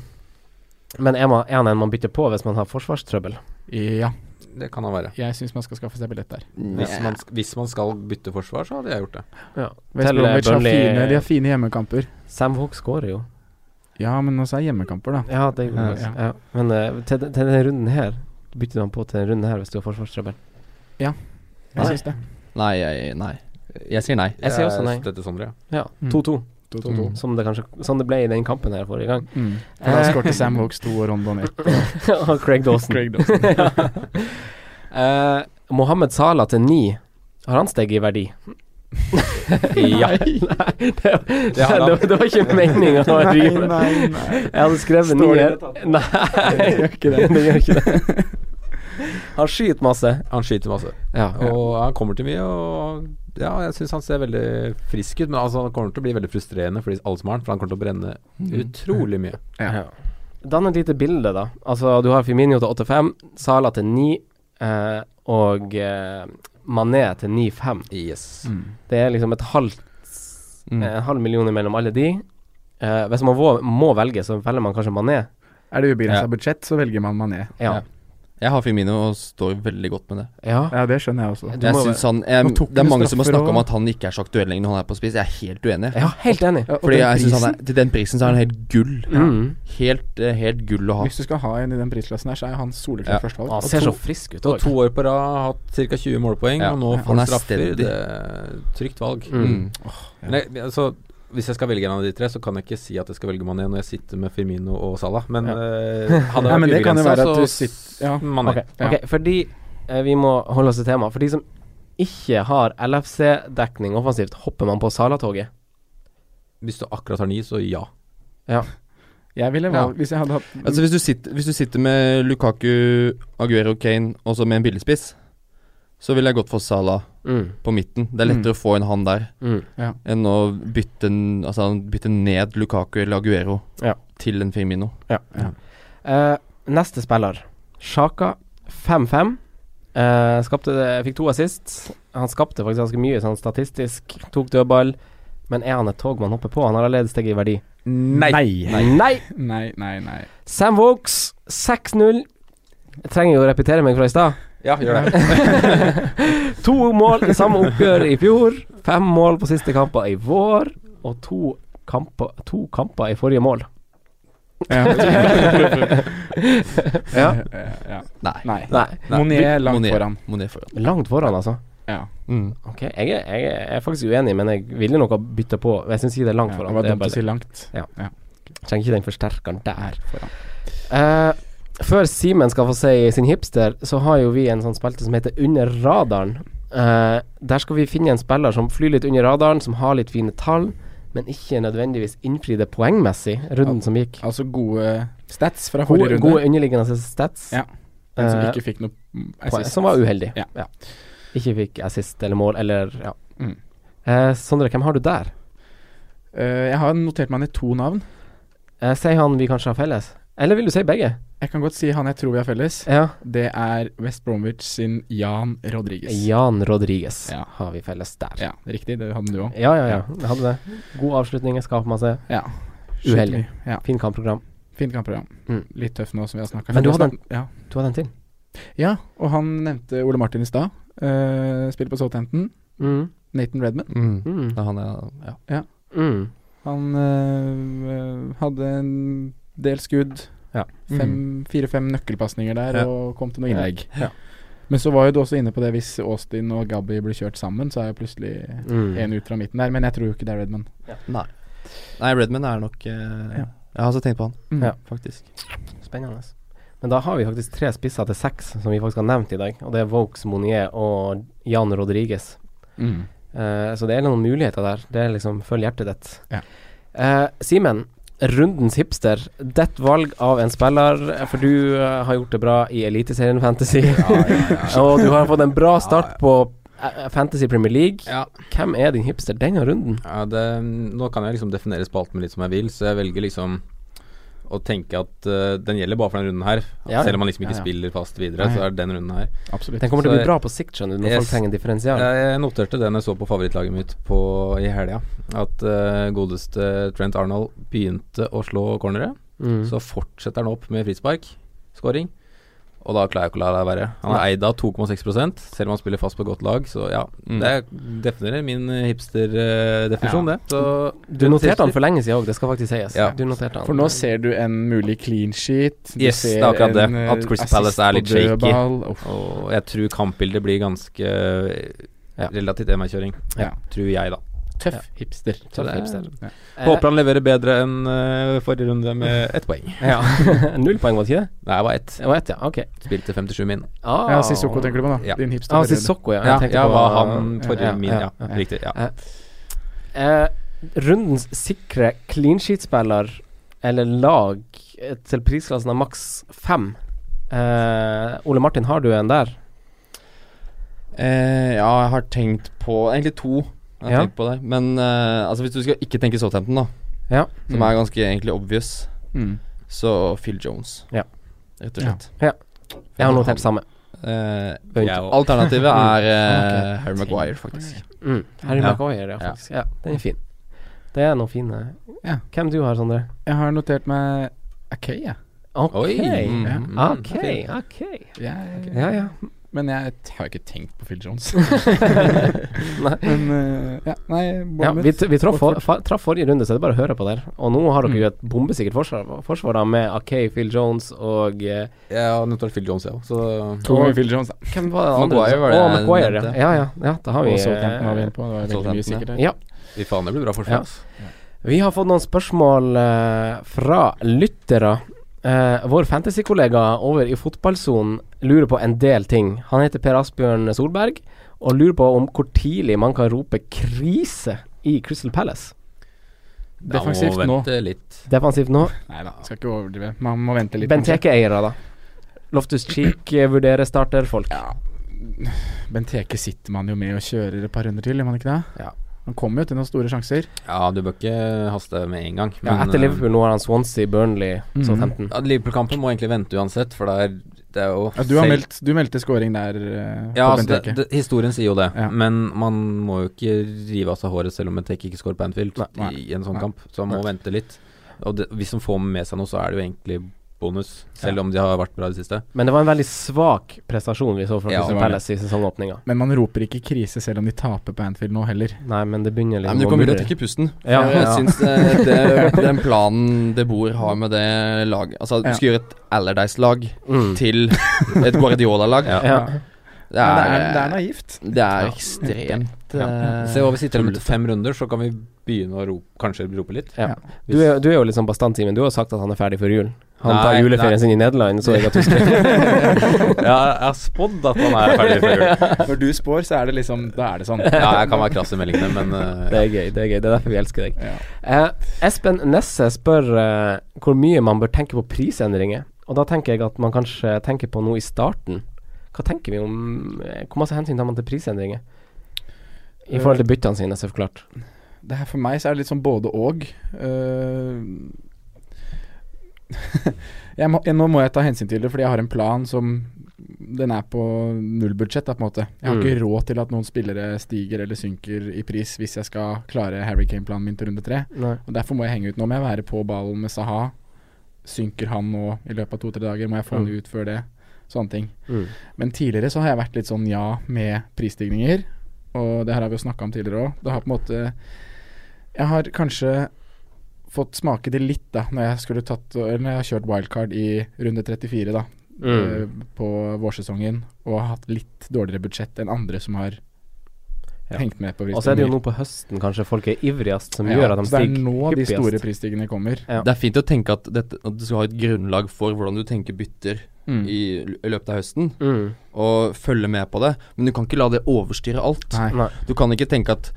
Speaker 3: Men er, man, er han en man bytter på hvis man har forsvarstrøbbel?
Speaker 2: Ja,
Speaker 1: Det kan han være.
Speaker 2: Jeg syns man skal skaffe seg billett der.
Speaker 4: Mm.
Speaker 1: Hvis man, sk- hvis man skal bytte forsvar, så hadde jeg gjort det.
Speaker 3: Ja.
Speaker 2: West
Speaker 3: Til eh,
Speaker 2: Bromwich har fine, de
Speaker 3: Burnley
Speaker 2: har fine hjemmekamper.
Speaker 3: Sam Hook skårer jo.
Speaker 2: Ja, men også er hjemmekamper, da.
Speaker 3: Ja, det gjorde
Speaker 2: Ja,
Speaker 3: han også. Ja. Men eh, til, den- til denne runden her Bytter du han på til denne runden her hvis du har forsvarstrøbbel? Nei.
Speaker 2: Jeg syns det.
Speaker 4: Nei, jeg, nei. Jeg sier nei.
Speaker 3: Jeg sier også nei.
Speaker 1: støtter Sondre, ja.
Speaker 3: Eh, Ja,
Speaker 2: Mm.
Speaker 3: 2-2,
Speaker 2: Mm.
Speaker 3: som det kanskje Sånn det ble i den kampen her forrige gang.
Speaker 2: Mm. For da
Speaker 3: Eh.
Speaker 2: skårte Sam Vokes to og Rondon ett.
Speaker 3: Og Craig Dawson.
Speaker 2: Craig
Speaker 3: ja. Eh, Mohammed Salah til ni. Har han steget i verdi?
Speaker 1: Ja.
Speaker 3: Nei, det,
Speaker 1: Det har han.
Speaker 3: det, det var ikke meninga å rive.
Speaker 2: nei.
Speaker 3: Jeg hadde skrevet ni
Speaker 2: Står det i
Speaker 3: her. Nei, det gjør ikke det. gjør ikke det. Han skyter masse.
Speaker 1: Han skyter masse.
Speaker 3: Ja.
Speaker 1: Og han kommer til mye, og ja, jeg syns han ser veldig frisk ut. Men altså, han kommer til å bli veldig frustrerende for de- alle som har han, for han kommer til å brenne utrolig mye.
Speaker 3: Ja. Dann et lite bilde, da. Altså, du har Firmino til 8-5, Sala til 9 eh, og eh, Mané til 9-5.
Speaker 1: Yes.
Speaker 2: Mm.
Speaker 3: Det er liksom et halvt
Speaker 4: Mm.
Speaker 3: eh, halv million mellom alle de. Eh, hvis man må, må velge, så velger man kanskje Mané.
Speaker 2: Er det ubegrensa
Speaker 4: Ja.
Speaker 2: budsjett, så velger man Mané.
Speaker 3: Ja.
Speaker 4: Jeg har Firmino og står veldig godt med det.
Speaker 3: ja.
Speaker 2: Ja, det skjønner jeg også.
Speaker 3: Du
Speaker 4: Jeg
Speaker 3: må
Speaker 4: synes han, jeg,
Speaker 2: Nå tok
Speaker 4: det er
Speaker 2: han
Speaker 4: mange som har
Speaker 2: straffer
Speaker 4: snakka om
Speaker 2: og-
Speaker 4: at han ikke er så aktuell lenger når han er på spiss. Jeg er helt uenig.
Speaker 3: Ja, helt enig.
Speaker 2: Ja, og
Speaker 4: Fordi
Speaker 2: den
Speaker 4: jeg synes han
Speaker 2: prisen,
Speaker 4: er, Til den prisen så er han helt gull.
Speaker 3: Mm.
Speaker 4: Helt, eh, helt gull å ha.
Speaker 2: Hvis du skal ha en i den prisklassen her, så er han soleklart
Speaker 4: Ja.
Speaker 2: førstevalg.
Speaker 3: Han
Speaker 2: Og
Speaker 3: ser
Speaker 2: to-
Speaker 3: så frisk ut
Speaker 1: Og
Speaker 3: òg.
Speaker 1: to år på rad har hatt ca. 20 målpoeng,
Speaker 4: Ja.
Speaker 1: og nå
Speaker 2: Ja,
Speaker 1: får
Speaker 4: han
Speaker 1: han
Speaker 4: er
Speaker 1: straffer.
Speaker 4: steady.
Speaker 1: Det er trygt valg.
Speaker 3: Mm.
Speaker 4: Mm.
Speaker 2: Ja.
Speaker 1: Men jeg, altså, hvis jeg skal velge en av de tre, så kan jeg ikke si at jeg skal velge Mané når jeg sitter med Firmino og Salah. Men
Speaker 3: Ja.
Speaker 1: eh, hadde
Speaker 2: Nei,
Speaker 1: jeg
Speaker 2: men
Speaker 1: vært
Speaker 2: det kan jo
Speaker 1: ubegrenset,
Speaker 2: være at
Speaker 1: så
Speaker 2: du sitter Ja.
Speaker 1: Mané.
Speaker 3: Ok,
Speaker 2: Ja.
Speaker 3: ok, fordi eh, vi må holde oss til temaet. For de som ikke har LFC-dekning offensivt, hopper man på Salatoget.
Speaker 1: Hvis du akkurat har ni, så ja.
Speaker 2: Jeg ville valgt Hvis jeg hadde hatt
Speaker 4: Altså hvis du, sitter, hvis du sitter med Lukaku, Aguero, Kane og så med en billigspiss, så ville jeg gått for Salah
Speaker 3: Mm,
Speaker 4: på midten. Det er lettere å få en han der
Speaker 3: mm.
Speaker 4: enn å bytte, n- altså, bytte ned Lukaku eller Aguero
Speaker 3: Ja.
Speaker 4: til en Firmino.
Speaker 3: Eh, neste spiller, Sjaka. 5-5. Eh, skapte det, fikk to assist. Han skapte faktisk ganske mye sånn statistisk. Tok dødball. Men er han et tog man hopper på? Han har allerede steget i verdi.
Speaker 2: Nei. Nei,
Speaker 3: Nei!
Speaker 2: nei, nei. nei.
Speaker 3: Sam Vokes, 6-0. Jeg trenger jo å repetere meg fra i stad.
Speaker 1: Ja, gjør det.
Speaker 3: To mål i samme oppgjør i fjor. Fem mål på siste kamper i vår. Og to kamper, to kamper i forrige mål.
Speaker 2: Ja.
Speaker 3: Ja.
Speaker 2: ja.
Speaker 4: Nei.
Speaker 2: Nei.
Speaker 3: Nei.
Speaker 2: Monet er langt
Speaker 4: Monet-
Speaker 2: foran.
Speaker 4: Monet foran.
Speaker 3: Langt foran, altså.
Speaker 2: Ja.
Speaker 4: Mm.
Speaker 3: Ok, jeg er, jeg er- jeg er faktisk uenig, men jeg ville nok ha bytta på. Jeg syns ikke det er langt
Speaker 2: Ja,
Speaker 3: foran.
Speaker 2: det var
Speaker 3: Det er
Speaker 2: dumt
Speaker 3: bare,
Speaker 2: å si langt.
Speaker 3: trenger ikke den forsterkeren der.
Speaker 2: Foran.
Speaker 3: Eh, før Simen skal få si sin hipster, så har jo vi en sånn spalte som heter Under radaren. Eh, der skal vi finne en spiller som flyr litt under radaren, som har litt fine tall, men ikke nødvendigvis innfridde poengmessig runden som gikk.
Speaker 2: Altså gode stats fra
Speaker 3: Gode,
Speaker 2: forrige runde,
Speaker 3: gode underliggende stats,
Speaker 2: Ja, men som
Speaker 3: eh,
Speaker 2: ikke fikk noe mm,
Speaker 3: poeng,
Speaker 2: assist.
Speaker 3: som var uheldig.
Speaker 2: Ja.
Speaker 3: Ikke fikk assist eller mål, eller ja.
Speaker 2: Mm.
Speaker 3: Eh, Sondre, hvem har du der?
Speaker 2: Eh, jeg har notert meg ned to navn.
Speaker 3: Eh, si han vi kanskje har felles. Eller vil du si begge?
Speaker 2: Jeg kan godt si han jeg tror vi har felles.
Speaker 3: Ja.
Speaker 2: Det er West Bromwich sin Jan Rodriguez.
Speaker 3: Jan Rodriguez
Speaker 2: Ja.
Speaker 3: har vi felles der.
Speaker 2: Ja, riktig. Det hadde du òg.
Speaker 3: Ja, ja, ja. Jeg hadde det. God avslutning, jeg skaper masse.
Speaker 2: Ja.
Speaker 3: Uheldig.
Speaker 2: Skikkelig. Ja.
Speaker 3: Fin kampprogram.
Speaker 2: Fint kampprogram.
Speaker 3: Mm.
Speaker 2: Litt tøff nå som vi har snakka
Speaker 3: Men du hadde
Speaker 2: ja.
Speaker 3: Du hadde en til.
Speaker 2: ja, og han nevnte Ole Martin i stad. Uh, spiller på Southampton.
Speaker 3: Mm.
Speaker 2: Nathan Redman.
Speaker 4: Mm.
Speaker 3: Mm.
Speaker 4: Da han er, ja.
Speaker 3: Mm.
Speaker 2: Han eh, eh, hadde en del skudd.
Speaker 3: Ja. Mm.
Speaker 2: Fem- Fire-fem nøkkelpasninger der,
Speaker 4: Ja.
Speaker 2: og kom til noen
Speaker 3: Ja.
Speaker 2: innlegg.
Speaker 3: Ja.
Speaker 2: Men så var jo du også inne på det, hvis Austin og Gabby blir kjørt sammen, så er jo plutselig
Speaker 3: Mm.
Speaker 2: en ut fra midten der. Men jeg tror jo ikke det er Redman.
Speaker 4: Nei. Nei, Redman er nok eh,
Speaker 2: Ja.
Speaker 4: Jeg har også tenkt på han,
Speaker 2: Mm.
Speaker 3: Ja.
Speaker 4: faktisk.
Speaker 3: Spennende. Men da har vi faktisk tre spisser til seks som vi faktisk har nevnt i dag. Og det er Vokes, Monier og Jan Rodriguez.
Speaker 2: Mm.
Speaker 3: Eh, så det er noen muligheter der. Det er liksom følg hjertet ditt.
Speaker 2: Ja.
Speaker 3: Eh, Simen, rundens hipster. Ditt valg av en spiller, for du eh, har gjort det bra i Eliteserien Fantasy. og du har fått en bra start på eh, Fantasy Premier League.
Speaker 1: Ja.
Speaker 3: Hvem er din hipster denne runden?
Speaker 1: Ja, det, nå kan jeg liksom definere spalten min litt som jeg vil, så jeg velger liksom å tenke at eh, den gjelder bare for denne runden her. At
Speaker 3: Ja, ja.
Speaker 1: Selv om man liksom ikke
Speaker 2: Ja, ja.
Speaker 1: spiller fast videre,
Speaker 2: Nei.
Speaker 1: så er det den runden her.
Speaker 2: Absolutt.
Speaker 3: Den kommer til å
Speaker 1: Så
Speaker 3: bli
Speaker 1: jeg-
Speaker 3: bra på sikt, skjønner du, når
Speaker 1: Yes. Eh,
Speaker 3: folk trenger en differensial.
Speaker 1: Jeg noterte den jeg så på favorittlaget mitt på, i helga. At eh, godeste Trent Arnold begynte å slå cornere.
Speaker 3: Mm.
Speaker 1: Så fortsetter han opp med frispark, scoring. Og da klarer jeg ikke å la det være. Han er eid av 2,6 selv om han spiller fast på godt lag. Så ja,
Speaker 4: Mm.
Speaker 1: det definerer min eh, hipster-definisjon, det. Så
Speaker 3: Du noterte han for lenge siden òg, det skal faktisk sies.
Speaker 1: Ja.
Speaker 3: Du noterte han.
Speaker 2: For nå ser du en mulig clean sheet. Du
Speaker 1: Yes,
Speaker 2: ser
Speaker 1: det er akkurat det.
Speaker 2: en, eh,
Speaker 1: At Crystal
Speaker 2: assist
Speaker 1: Palace er
Speaker 2: på
Speaker 1: litt shaky.
Speaker 2: dødball. Uff.
Speaker 1: Og jeg tror kampbildet blir ganske eh, relativt MR-kjøring.
Speaker 2: Ja.
Speaker 1: Tror jeg, da.
Speaker 2: Tøff hipster.
Speaker 1: Så det er-
Speaker 2: Ja.
Speaker 3: Eh,
Speaker 1: Håper han leverer bedre enn eh, forrige runde med ett poeng.
Speaker 3: Ja. Null poeng, var det ikke det?
Speaker 1: Nei, det var ett.
Speaker 3: Det var ett, ja. Ok.
Speaker 1: Spilte 57 min.
Speaker 3: Ah.
Speaker 2: Ja, Sissoko tenker du på, da.
Speaker 1: Ja.
Speaker 2: Din hipster.
Speaker 3: Ah, Sissoko, ja. Jeg
Speaker 1: Ja,
Speaker 3: tenkte
Speaker 1: ja
Speaker 3: på-
Speaker 1: var han forrige
Speaker 3: ja,
Speaker 1: min,
Speaker 3: ja,
Speaker 1: ja.
Speaker 3: ja.
Speaker 1: Riktig. Ja.
Speaker 3: Eh, rundens sikre clean sheet-spiller, eller lag, eh, til prisklassen av maks fem. Eh, Ole Martin, har du en der?
Speaker 4: Eh, ja, jeg har tenkt på Egentlig to. Jeg har
Speaker 3: Ja.
Speaker 4: tenkt på der Men eh, altså hvis du skal ikke tenke Southampton, da,
Speaker 3: Ja.
Speaker 4: som er ganske egentlig obvious,
Speaker 2: Mm.
Speaker 4: så Phil Jones.
Speaker 3: Ja.
Speaker 4: Rett og slett.
Speaker 3: Jeg har notert samme.
Speaker 4: Eh,
Speaker 3: Punkt.
Speaker 1: Jeg òg.
Speaker 4: alternativet er eh,
Speaker 2: Ok.
Speaker 4: Harry Maguire, faktisk.
Speaker 3: Mm. Harry
Speaker 1: Ja.
Speaker 3: Maguire, ja,
Speaker 4: Ja.
Speaker 3: faktisk. Ja, den er fin. Det er noen fine
Speaker 2: Ja.
Speaker 3: Hvem du har, Sondre?
Speaker 2: Jeg har notert meg OK, jeg.
Speaker 3: Ok.
Speaker 1: Oi.
Speaker 3: Ok,
Speaker 4: Mm.
Speaker 2: Ja.
Speaker 3: ok.
Speaker 1: fint.
Speaker 2: Jeg-
Speaker 3: Ja, ja.
Speaker 2: Men jeg t- har ikke tenkt på Phil Jones.
Speaker 3: Nei.
Speaker 2: Men eh, ja, nei,
Speaker 3: Ja,
Speaker 2: Bournemouth.
Speaker 3: vi t- vi traff for,
Speaker 2: Watford.
Speaker 3: fa- traff forrige runde, så det er bare å høre på der. Og nå har dere
Speaker 2: Mm.
Speaker 3: jo et bombesikkert forsvar, forsvar da, med Akay, Phil Jones og eh,
Speaker 1: Jeg har notert Phil Jones, jeg òg, så
Speaker 2: To ganger Phil Jones, da.
Speaker 3: Hvem var det
Speaker 4: andre du sa?
Speaker 3: Maguire, var det
Speaker 4: Å,
Speaker 3: jeg
Speaker 4: Maguire,
Speaker 3: nevnte. ja.
Speaker 4: ja.
Speaker 3: Ja, ja, da har vi
Speaker 2: Og Southampton var vi
Speaker 3: eh,
Speaker 2: inne på. Det var veldig mye
Speaker 4: Southampton,
Speaker 2: sikkert
Speaker 4: ja.
Speaker 2: her.
Speaker 3: Ja.
Speaker 1: fy faen, det blir bra
Speaker 3: Ja.
Speaker 1: forsvar. altså. ass.
Speaker 3: eh, Vi har fått noen spørsmål eh, fra lyttere. Eh, vår fantasykollega over i fotballsonen lurer på en del ting. Han heter Per Asbjørn Solberg og lurer på om hvor tidlig man kan rope 'krise' i Crystal Palace.
Speaker 1: Da
Speaker 2: Defensivt
Speaker 1: må
Speaker 2: nå.
Speaker 1: vente litt.
Speaker 3: Defensivt nå.
Speaker 2: Nei da, skal ikke overdrive. Man må vente litt.
Speaker 3: Benteke-eiere, da. Loftus Cheek eh, vurderer starterfolk.
Speaker 2: Ja. Benteke sitter man jo med og kjører et par runder til, gjør man ikke det?
Speaker 3: Ja.
Speaker 2: Han kommer jo til noen store sjanser.
Speaker 1: Ja, du bør ikke haste med en gang.
Speaker 3: Ja,
Speaker 1: men,
Speaker 3: etter
Speaker 1: eh,
Speaker 3: Liverpool nå har han Swansea, Burnley,
Speaker 2: Mhm.
Speaker 3: Southampton.
Speaker 1: Ja, Liverpool-kampen må egentlig vente uansett, for det er, det er jo
Speaker 2: Ja, du, har
Speaker 1: selv-
Speaker 2: meldt, du meldte scoring der eh,
Speaker 1: ja,
Speaker 2: på
Speaker 1: altså,
Speaker 2: Benteke.
Speaker 1: det, det, historien sier jo det,
Speaker 2: Ja.
Speaker 1: men man må jo ikke rive av seg håret selv om Benteke ikke scorer på Anfield
Speaker 2: Nei.
Speaker 1: i en sånn
Speaker 2: Nei.
Speaker 1: kamp, så han må vente litt. Og det, hvis han får med seg noe, så er det jo egentlig bonus, selv
Speaker 2: Ja.
Speaker 1: om de har vært bra i det siste.
Speaker 3: Men det var en veldig svak prestasjon vi så fra
Speaker 1: Ja,
Speaker 3: Crystal
Speaker 2: det var det.
Speaker 3: Palace i sesongåpninga.
Speaker 2: Men man roper ikke krise selv om de taper på Anfield nå heller.
Speaker 3: Nei, men det begynner
Speaker 4: Nei,
Speaker 3: liksom
Speaker 4: men du
Speaker 3: å
Speaker 4: kommer til å
Speaker 3: murre.
Speaker 4: trekke pusten.
Speaker 3: Ja,
Speaker 4: jeg
Speaker 3: ja.
Speaker 4: syns eh, det, den planen De Boer har med det laget Altså, du
Speaker 2: Ja.
Speaker 4: skal gjøre et Allardyce-lag
Speaker 3: Mm.
Speaker 4: til et Guardiola-lag.
Speaker 1: Ja.
Speaker 3: Ja.
Speaker 4: Det,
Speaker 2: Men
Speaker 4: er,
Speaker 2: det er naivt.
Speaker 4: det er ekstremt eh,
Speaker 1: Se hva vi sitter med etter fem runder, så kan vi begynne å rope, kanskje rope litt.
Speaker 3: Ja.
Speaker 2: Ja.
Speaker 3: Du, er, du er jo litt sånn bastant, Simen. Du har sagt at han er ferdig før jul. Han
Speaker 1: Nei,
Speaker 3: tar
Speaker 1: nei.
Speaker 3: juleferien sin i Nederland, så jeg at du skrev
Speaker 1: ja, jeg har spådd at han er ferdig før jul.
Speaker 2: Når du spår, så er det liksom Da er det sånn.
Speaker 1: Ja, jeg kan være krass i meldingene, men eh,
Speaker 3: Det er gøy, det er gøy. Det er derfor vi elsker deg.
Speaker 2: Ja.
Speaker 3: Eh, Espen Nesse spør eh, hvor mye man bør tenke på prisendringer. Og da tenker jeg at man kanskje tenker på noe i starten. Hva tenker vi om eh, Hvor masse hensyn tar man til prisendringer? I forhold til byttene sine, så klart.
Speaker 2: Det her for meg så er det litt sånn både og. Eh, jeg må, jeg, nå må jeg ta hensyn til det, fordi jeg har en plan som Den er på nullbudsjett, da, på en måte. Jeg har
Speaker 3: Mm.
Speaker 2: ikke råd til at noen spillere stiger eller synker i pris hvis jeg skal klare Harry Kane-planen min til runde tre.
Speaker 3: Nei.
Speaker 2: Og Derfor må jeg henge ut. Nå må jeg være på ballen med Saha. Synker han nå i løpet av to-tre dager? Må jeg få
Speaker 3: Mm.
Speaker 2: han ut før det? Sånne ting.
Speaker 3: Mm.
Speaker 2: Men tidligere så har jeg vært litt sånn ja med prisstigninger, og det her har vi jo snakka om tidligere òg. Det har på en måte Jeg har kanskje fått smake det litt, da, når jeg skulle tatt Eller når jeg har kjørt wildcard i runde 34, da, eh,
Speaker 3: Mm.
Speaker 2: på vårsesongen, og har hatt litt dårligere budsjett enn andre som har
Speaker 3: Ja.
Speaker 2: hengt med på
Speaker 3: Og så er det jo nå
Speaker 2: prisstigninger.
Speaker 3: på høsten kanskje folk er ivrigst, som
Speaker 2: Ja,
Speaker 3: gjør at de
Speaker 2: så det er
Speaker 3: stiger
Speaker 2: nå de
Speaker 3: hyppigst.
Speaker 2: store prisstigningene kommer.
Speaker 3: Ja.
Speaker 4: Det er fint å tenke at, dette, at du skal ha et grunnlag for hvordan du tenker bytter
Speaker 2: Mm.
Speaker 4: i, lø- i løpet av høsten,
Speaker 3: Mm.
Speaker 4: og følge med på det. Men du kan ikke la det overstyre alt.
Speaker 2: Nei.
Speaker 3: Nei.
Speaker 4: Du kan ikke tenke at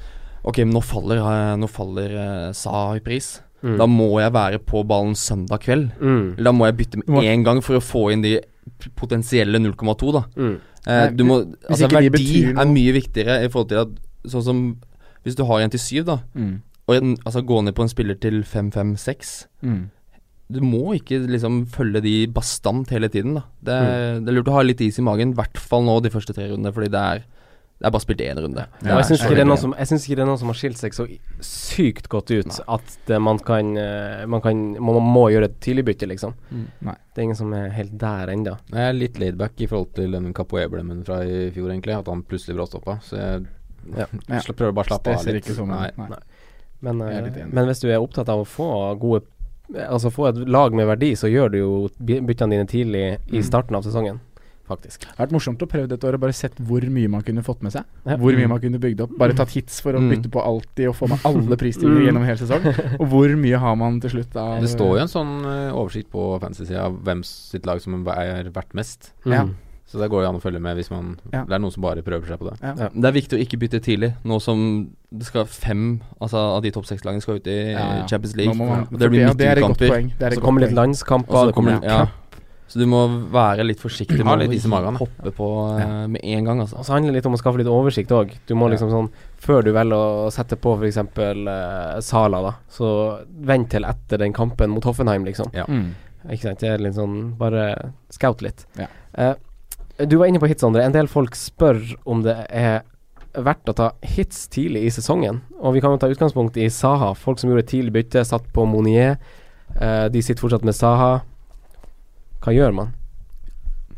Speaker 4: Ok, men nå faller, eh, nå faller eh, Sa i pris.
Speaker 3: Mm.
Speaker 4: Da må jeg være på ballen søndag kveld.
Speaker 3: mm.
Speaker 4: Eller da må jeg bytte
Speaker 2: Du må-
Speaker 4: med en gang for å få inn de p- potensielle 0,2, da.
Speaker 3: Mm.
Speaker 4: Eh,
Speaker 2: Nei,
Speaker 4: du må, altså,
Speaker 2: ikke de
Speaker 4: verdi
Speaker 2: betyr noe-
Speaker 4: er mye viktigere i forhold til at Sånn som hvis du har en til syv, da,
Speaker 2: Mm.
Speaker 4: og en, altså, gå ned på en spiller til fem, fem, seks
Speaker 2: Mm.
Speaker 4: Du må ikke liksom følge de
Speaker 2: Mm.
Speaker 4: bastant hele tiden, da. Det er, det er lurt å ha litt is i magen, i hvert fall nå de første tre rundene, fordi det er Det er bare spilt én runde.
Speaker 3: Og jeg syns
Speaker 2: jeg
Speaker 3: ikke, det er
Speaker 2: skjønner.
Speaker 3: noen som- jeg syns ikke det er noen som har skilt seg så sykt godt ut at det, man kan, eh, man, kan man, må gjøre et tidlig bytte, liksom.
Speaker 4: Mm.
Speaker 2: Nei.
Speaker 3: Det er ingen som er helt der ennå.
Speaker 1: Jeg er litt laidback i forhold til den Capoe-blemmen fra i fjor, egentlig. At han plutselig bråstoppa. Så jeg
Speaker 3: Ja.
Speaker 2: Ja.
Speaker 1: sl- prøver bare å slappe
Speaker 2: Det
Speaker 1: av
Speaker 2: ser
Speaker 1: litt.
Speaker 2: ikke sånn
Speaker 1: Nei.
Speaker 2: ut. Nei.
Speaker 3: Men, eh,
Speaker 2: Jeg er litt enig.
Speaker 3: men hvis du er opptatt av å få gode Altså få et lag med verdi, så gjør du jo by- byttene dine tidlig i
Speaker 2: Mm.
Speaker 3: starten av sesongen, faktisk.
Speaker 2: Det har vært morsomt å prøve dette året, bare sett hvor mye man kunne fått med seg.
Speaker 3: Ja. Mm.
Speaker 2: Hvor mye man kunne bygd opp. Bare tatt hits for å
Speaker 4: Mm.
Speaker 2: bytte på alltid og få med alle prisstigninger
Speaker 3: Mm.
Speaker 2: gjennom hele sesong. Og hvor mye har man til slutt av
Speaker 1: Det står jo en sånn eh, oversikt på fantasy-sida av hvem sitt lag som er verdt mest.
Speaker 3: Mm.
Speaker 2: Ja.
Speaker 1: Så det går jo an å følge med hvis man
Speaker 2: Ja.
Speaker 1: Det er noen som bare prøver seg på det.
Speaker 2: Ja.
Speaker 3: Ja.
Speaker 4: Det er viktig å ikke bytte tidlig, nå som det skal fem altså, av de topp seks lagene skal ut i
Speaker 2: Ja, ja.
Speaker 4: Champions
Speaker 2: Nå
Speaker 4: League.
Speaker 2: må man-
Speaker 4: Og det blir
Speaker 2: ja, det er et godt
Speaker 4: midtukekamper.
Speaker 2: poeng. Det er et
Speaker 3: Så
Speaker 2: godt
Speaker 3: kommer litt
Speaker 2: poeng.
Speaker 4: Og så
Speaker 3: landskamper, det
Speaker 4: kommer
Speaker 3: kommer
Speaker 4: det- ja. Så du må være litt forsiktig
Speaker 1: Ha
Speaker 4: med
Speaker 1: litt is i magen,
Speaker 4: å
Speaker 1: da.
Speaker 4: hoppe på eh, med en gang, altså.
Speaker 3: Og så handler det litt om å skaffe litt oversikt òg. Du må
Speaker 1: Ja.
Speaker 3: liksom sånn Før du velger å sette på f.eks. Uh, Sala, da, så vent til etter den kampen mot Hoffenheim, liksom.
Speaker 1: Ja.
Speaker 2: Mm.
Speaker 3: Ikke sant? Det er litt sånn Bare scout litt.
Speaker 2: Ja.
Speaker 3: Eh, du var inne på hits, André. En del folk spør om det er verdt å ta hits tidlig i sesongen. Og vi kan jo ta utgangspunkt i Saha. Folk som gjorde et tidlig bytte, satt på Monier. Eh, de sitter fortsatt med Saha. Hva gjør man?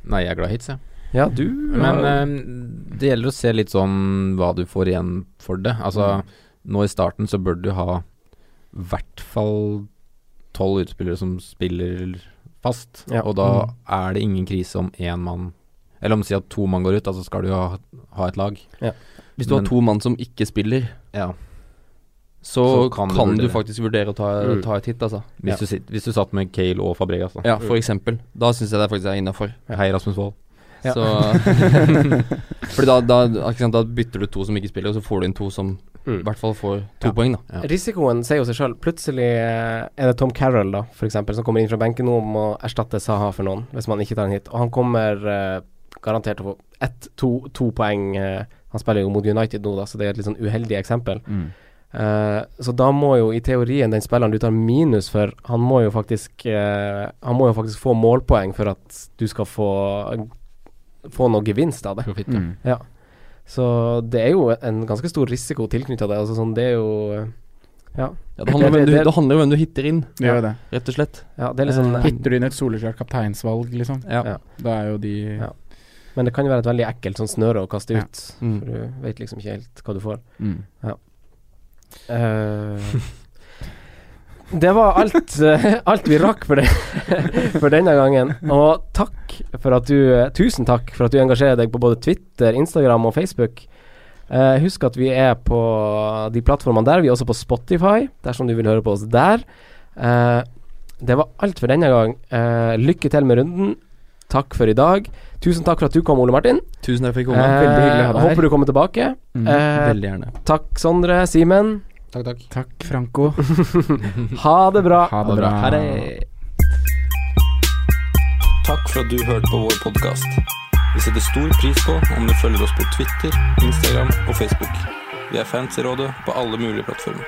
Speaker 1: Nei, jeg er glad i hits, jeg.
Speaker 3: Ja, du
Speaker 1: Men eh, det gjelder å se litt sånn hva du får igjen for det. Altså, nå i starten så bør du ha i hvert fall tolv utspillere som spiller fast,
Speaker 3: Ja.
Speaker 1: og da er det ingen krise om én mann Eller om si at to mann går ut, altså skal du jo ha, ha et lag.
Speaker 4: Hvis du
Speaker 1: Men-
Speaker 4: har to mann som ikke spiller,
Speaker 1: Ja.
Speaker 4: så,
Speaker 1: Så kan
Speaker 4: kan,
Speaker 1: du
Speaker 4: du
Speaker 1: vurdere.
Speaker 4: faktisk vurdere å ta,
Speaker 3: Mm.
Speaker 4: ta et hit, altså.
Speaker 1: Hvis,
Speaker 3: Ja.
Speaker 1: du, sit- hvis du satt med Kale og Fabregas, altså. da.
Speaker 4: Ja, for eksempel. Da syns jeg det faktisk er innafor.
Speaker 1: Hei, Rasmus Wold.
Speaker 3: Ja.
Speaker 4: Så Fordi da, da, ikke sant, da bytter du to som ikke spiller, og så får du inn to som i
Speaker 3: Mm.
Speaker 4: hvert fall får to
Speaker 1: Ja.
Speaker 4: poeng, da.
Speaker 1: Ja.
Speaker 3: Risikoen sier jo seg sjøl. Plutselig eh, er det Tom Carroll, da, for eksempel, som kommer inn fra benken nå om å erstatte Saha for noen, hvis man ikke tar en hit. Og han kommer eh, garantert til å få ett, to, to poeng. eh, han spiller jo mot United nå, da, så det er et litt sånn uheldig eksempel.
Speaker 2: Mm.
Speaker 3: Eh, så da må jo i teorien den spilleren du tar minus for, han må jo faktisk eh, Han må jo faktisk få målpoeng for at du skal få Få noe gevinst av det.
Speaker 1: Profitt, ja.
Speaker 2: Mm.
Speaker 3: Så det er jo en ganske stor risiko tilknytta det. Altså sånn, det er jo
Speaker 4: Ja, det, handler om
Speaker 3: Det-
Speaker 4: hvem du,
Speaker 3: det-
Speaker 4: det handler om hvem du hitter inn,
Speaker 2: Det gjør jo det.
Speaker 4: rett og slett.
Speaker 3: Ja, det er litt sånn
Speaker 4: Eh,
Speaker 2: Hitter du inn et soleklart kapteinsvalg, liksom,
Speaker 4: Ja.
Speaker 3: Ja.
Speaker 2: da er jo de
Speaker 3: Ja. Men det kan jo være et veldig ekkelt sånn snøre å kaste
Speaker 2: Ja.
Speaker 3: ut.
Speaker 4: Mm.
Speaker 3: For du vet liksom ikke helt hva du får.
Speaker 2: mm.
Speaker 3: Eh, det var alt, eh, alt vi rakk for, det, for denne gangen. Og takk for at du eh, Tusen takk for at du engasjerer deg på både Twitter, Instagram og Facebook. Eh, husk at vi er på de plattformene der. Vi er også på Spotify, dersom du vil høre på oss der. Eh, det var alt for denne gang. Eh, lykke til med runden. Takk for i dag. Tusen takk for at du kom, Ole Martin.
Speaker 4: Tusen takk for at jeg kom.
Speaker 2: Eh, veldig hyggelig å ha deg
Speaker 3: Eh,
Speaker 2: her.
Speaker 3: Håper du kommer tilbake.
Speaker 2: Mm.
Speaker 3: Eh,
Speaker 4: Veldig gjerne.
Speaker 3: takk, Sondre, Simen.
Speaker 1: Takk, takk.
Speaker 2: Takk, Franco.
Speaker 3: Ha det bra.
Speaker 2: Ha
Speaker 1: det bra.
Speaker 2: det bra.
Speaker 4: Ha det.
Speaker 5: Takk for at du hørte på vår podkast. Vi setter stor pris på om du følger oss på Twitter, Instagram og Facebook. Vi er fans i rådet på alle mulige plattformer.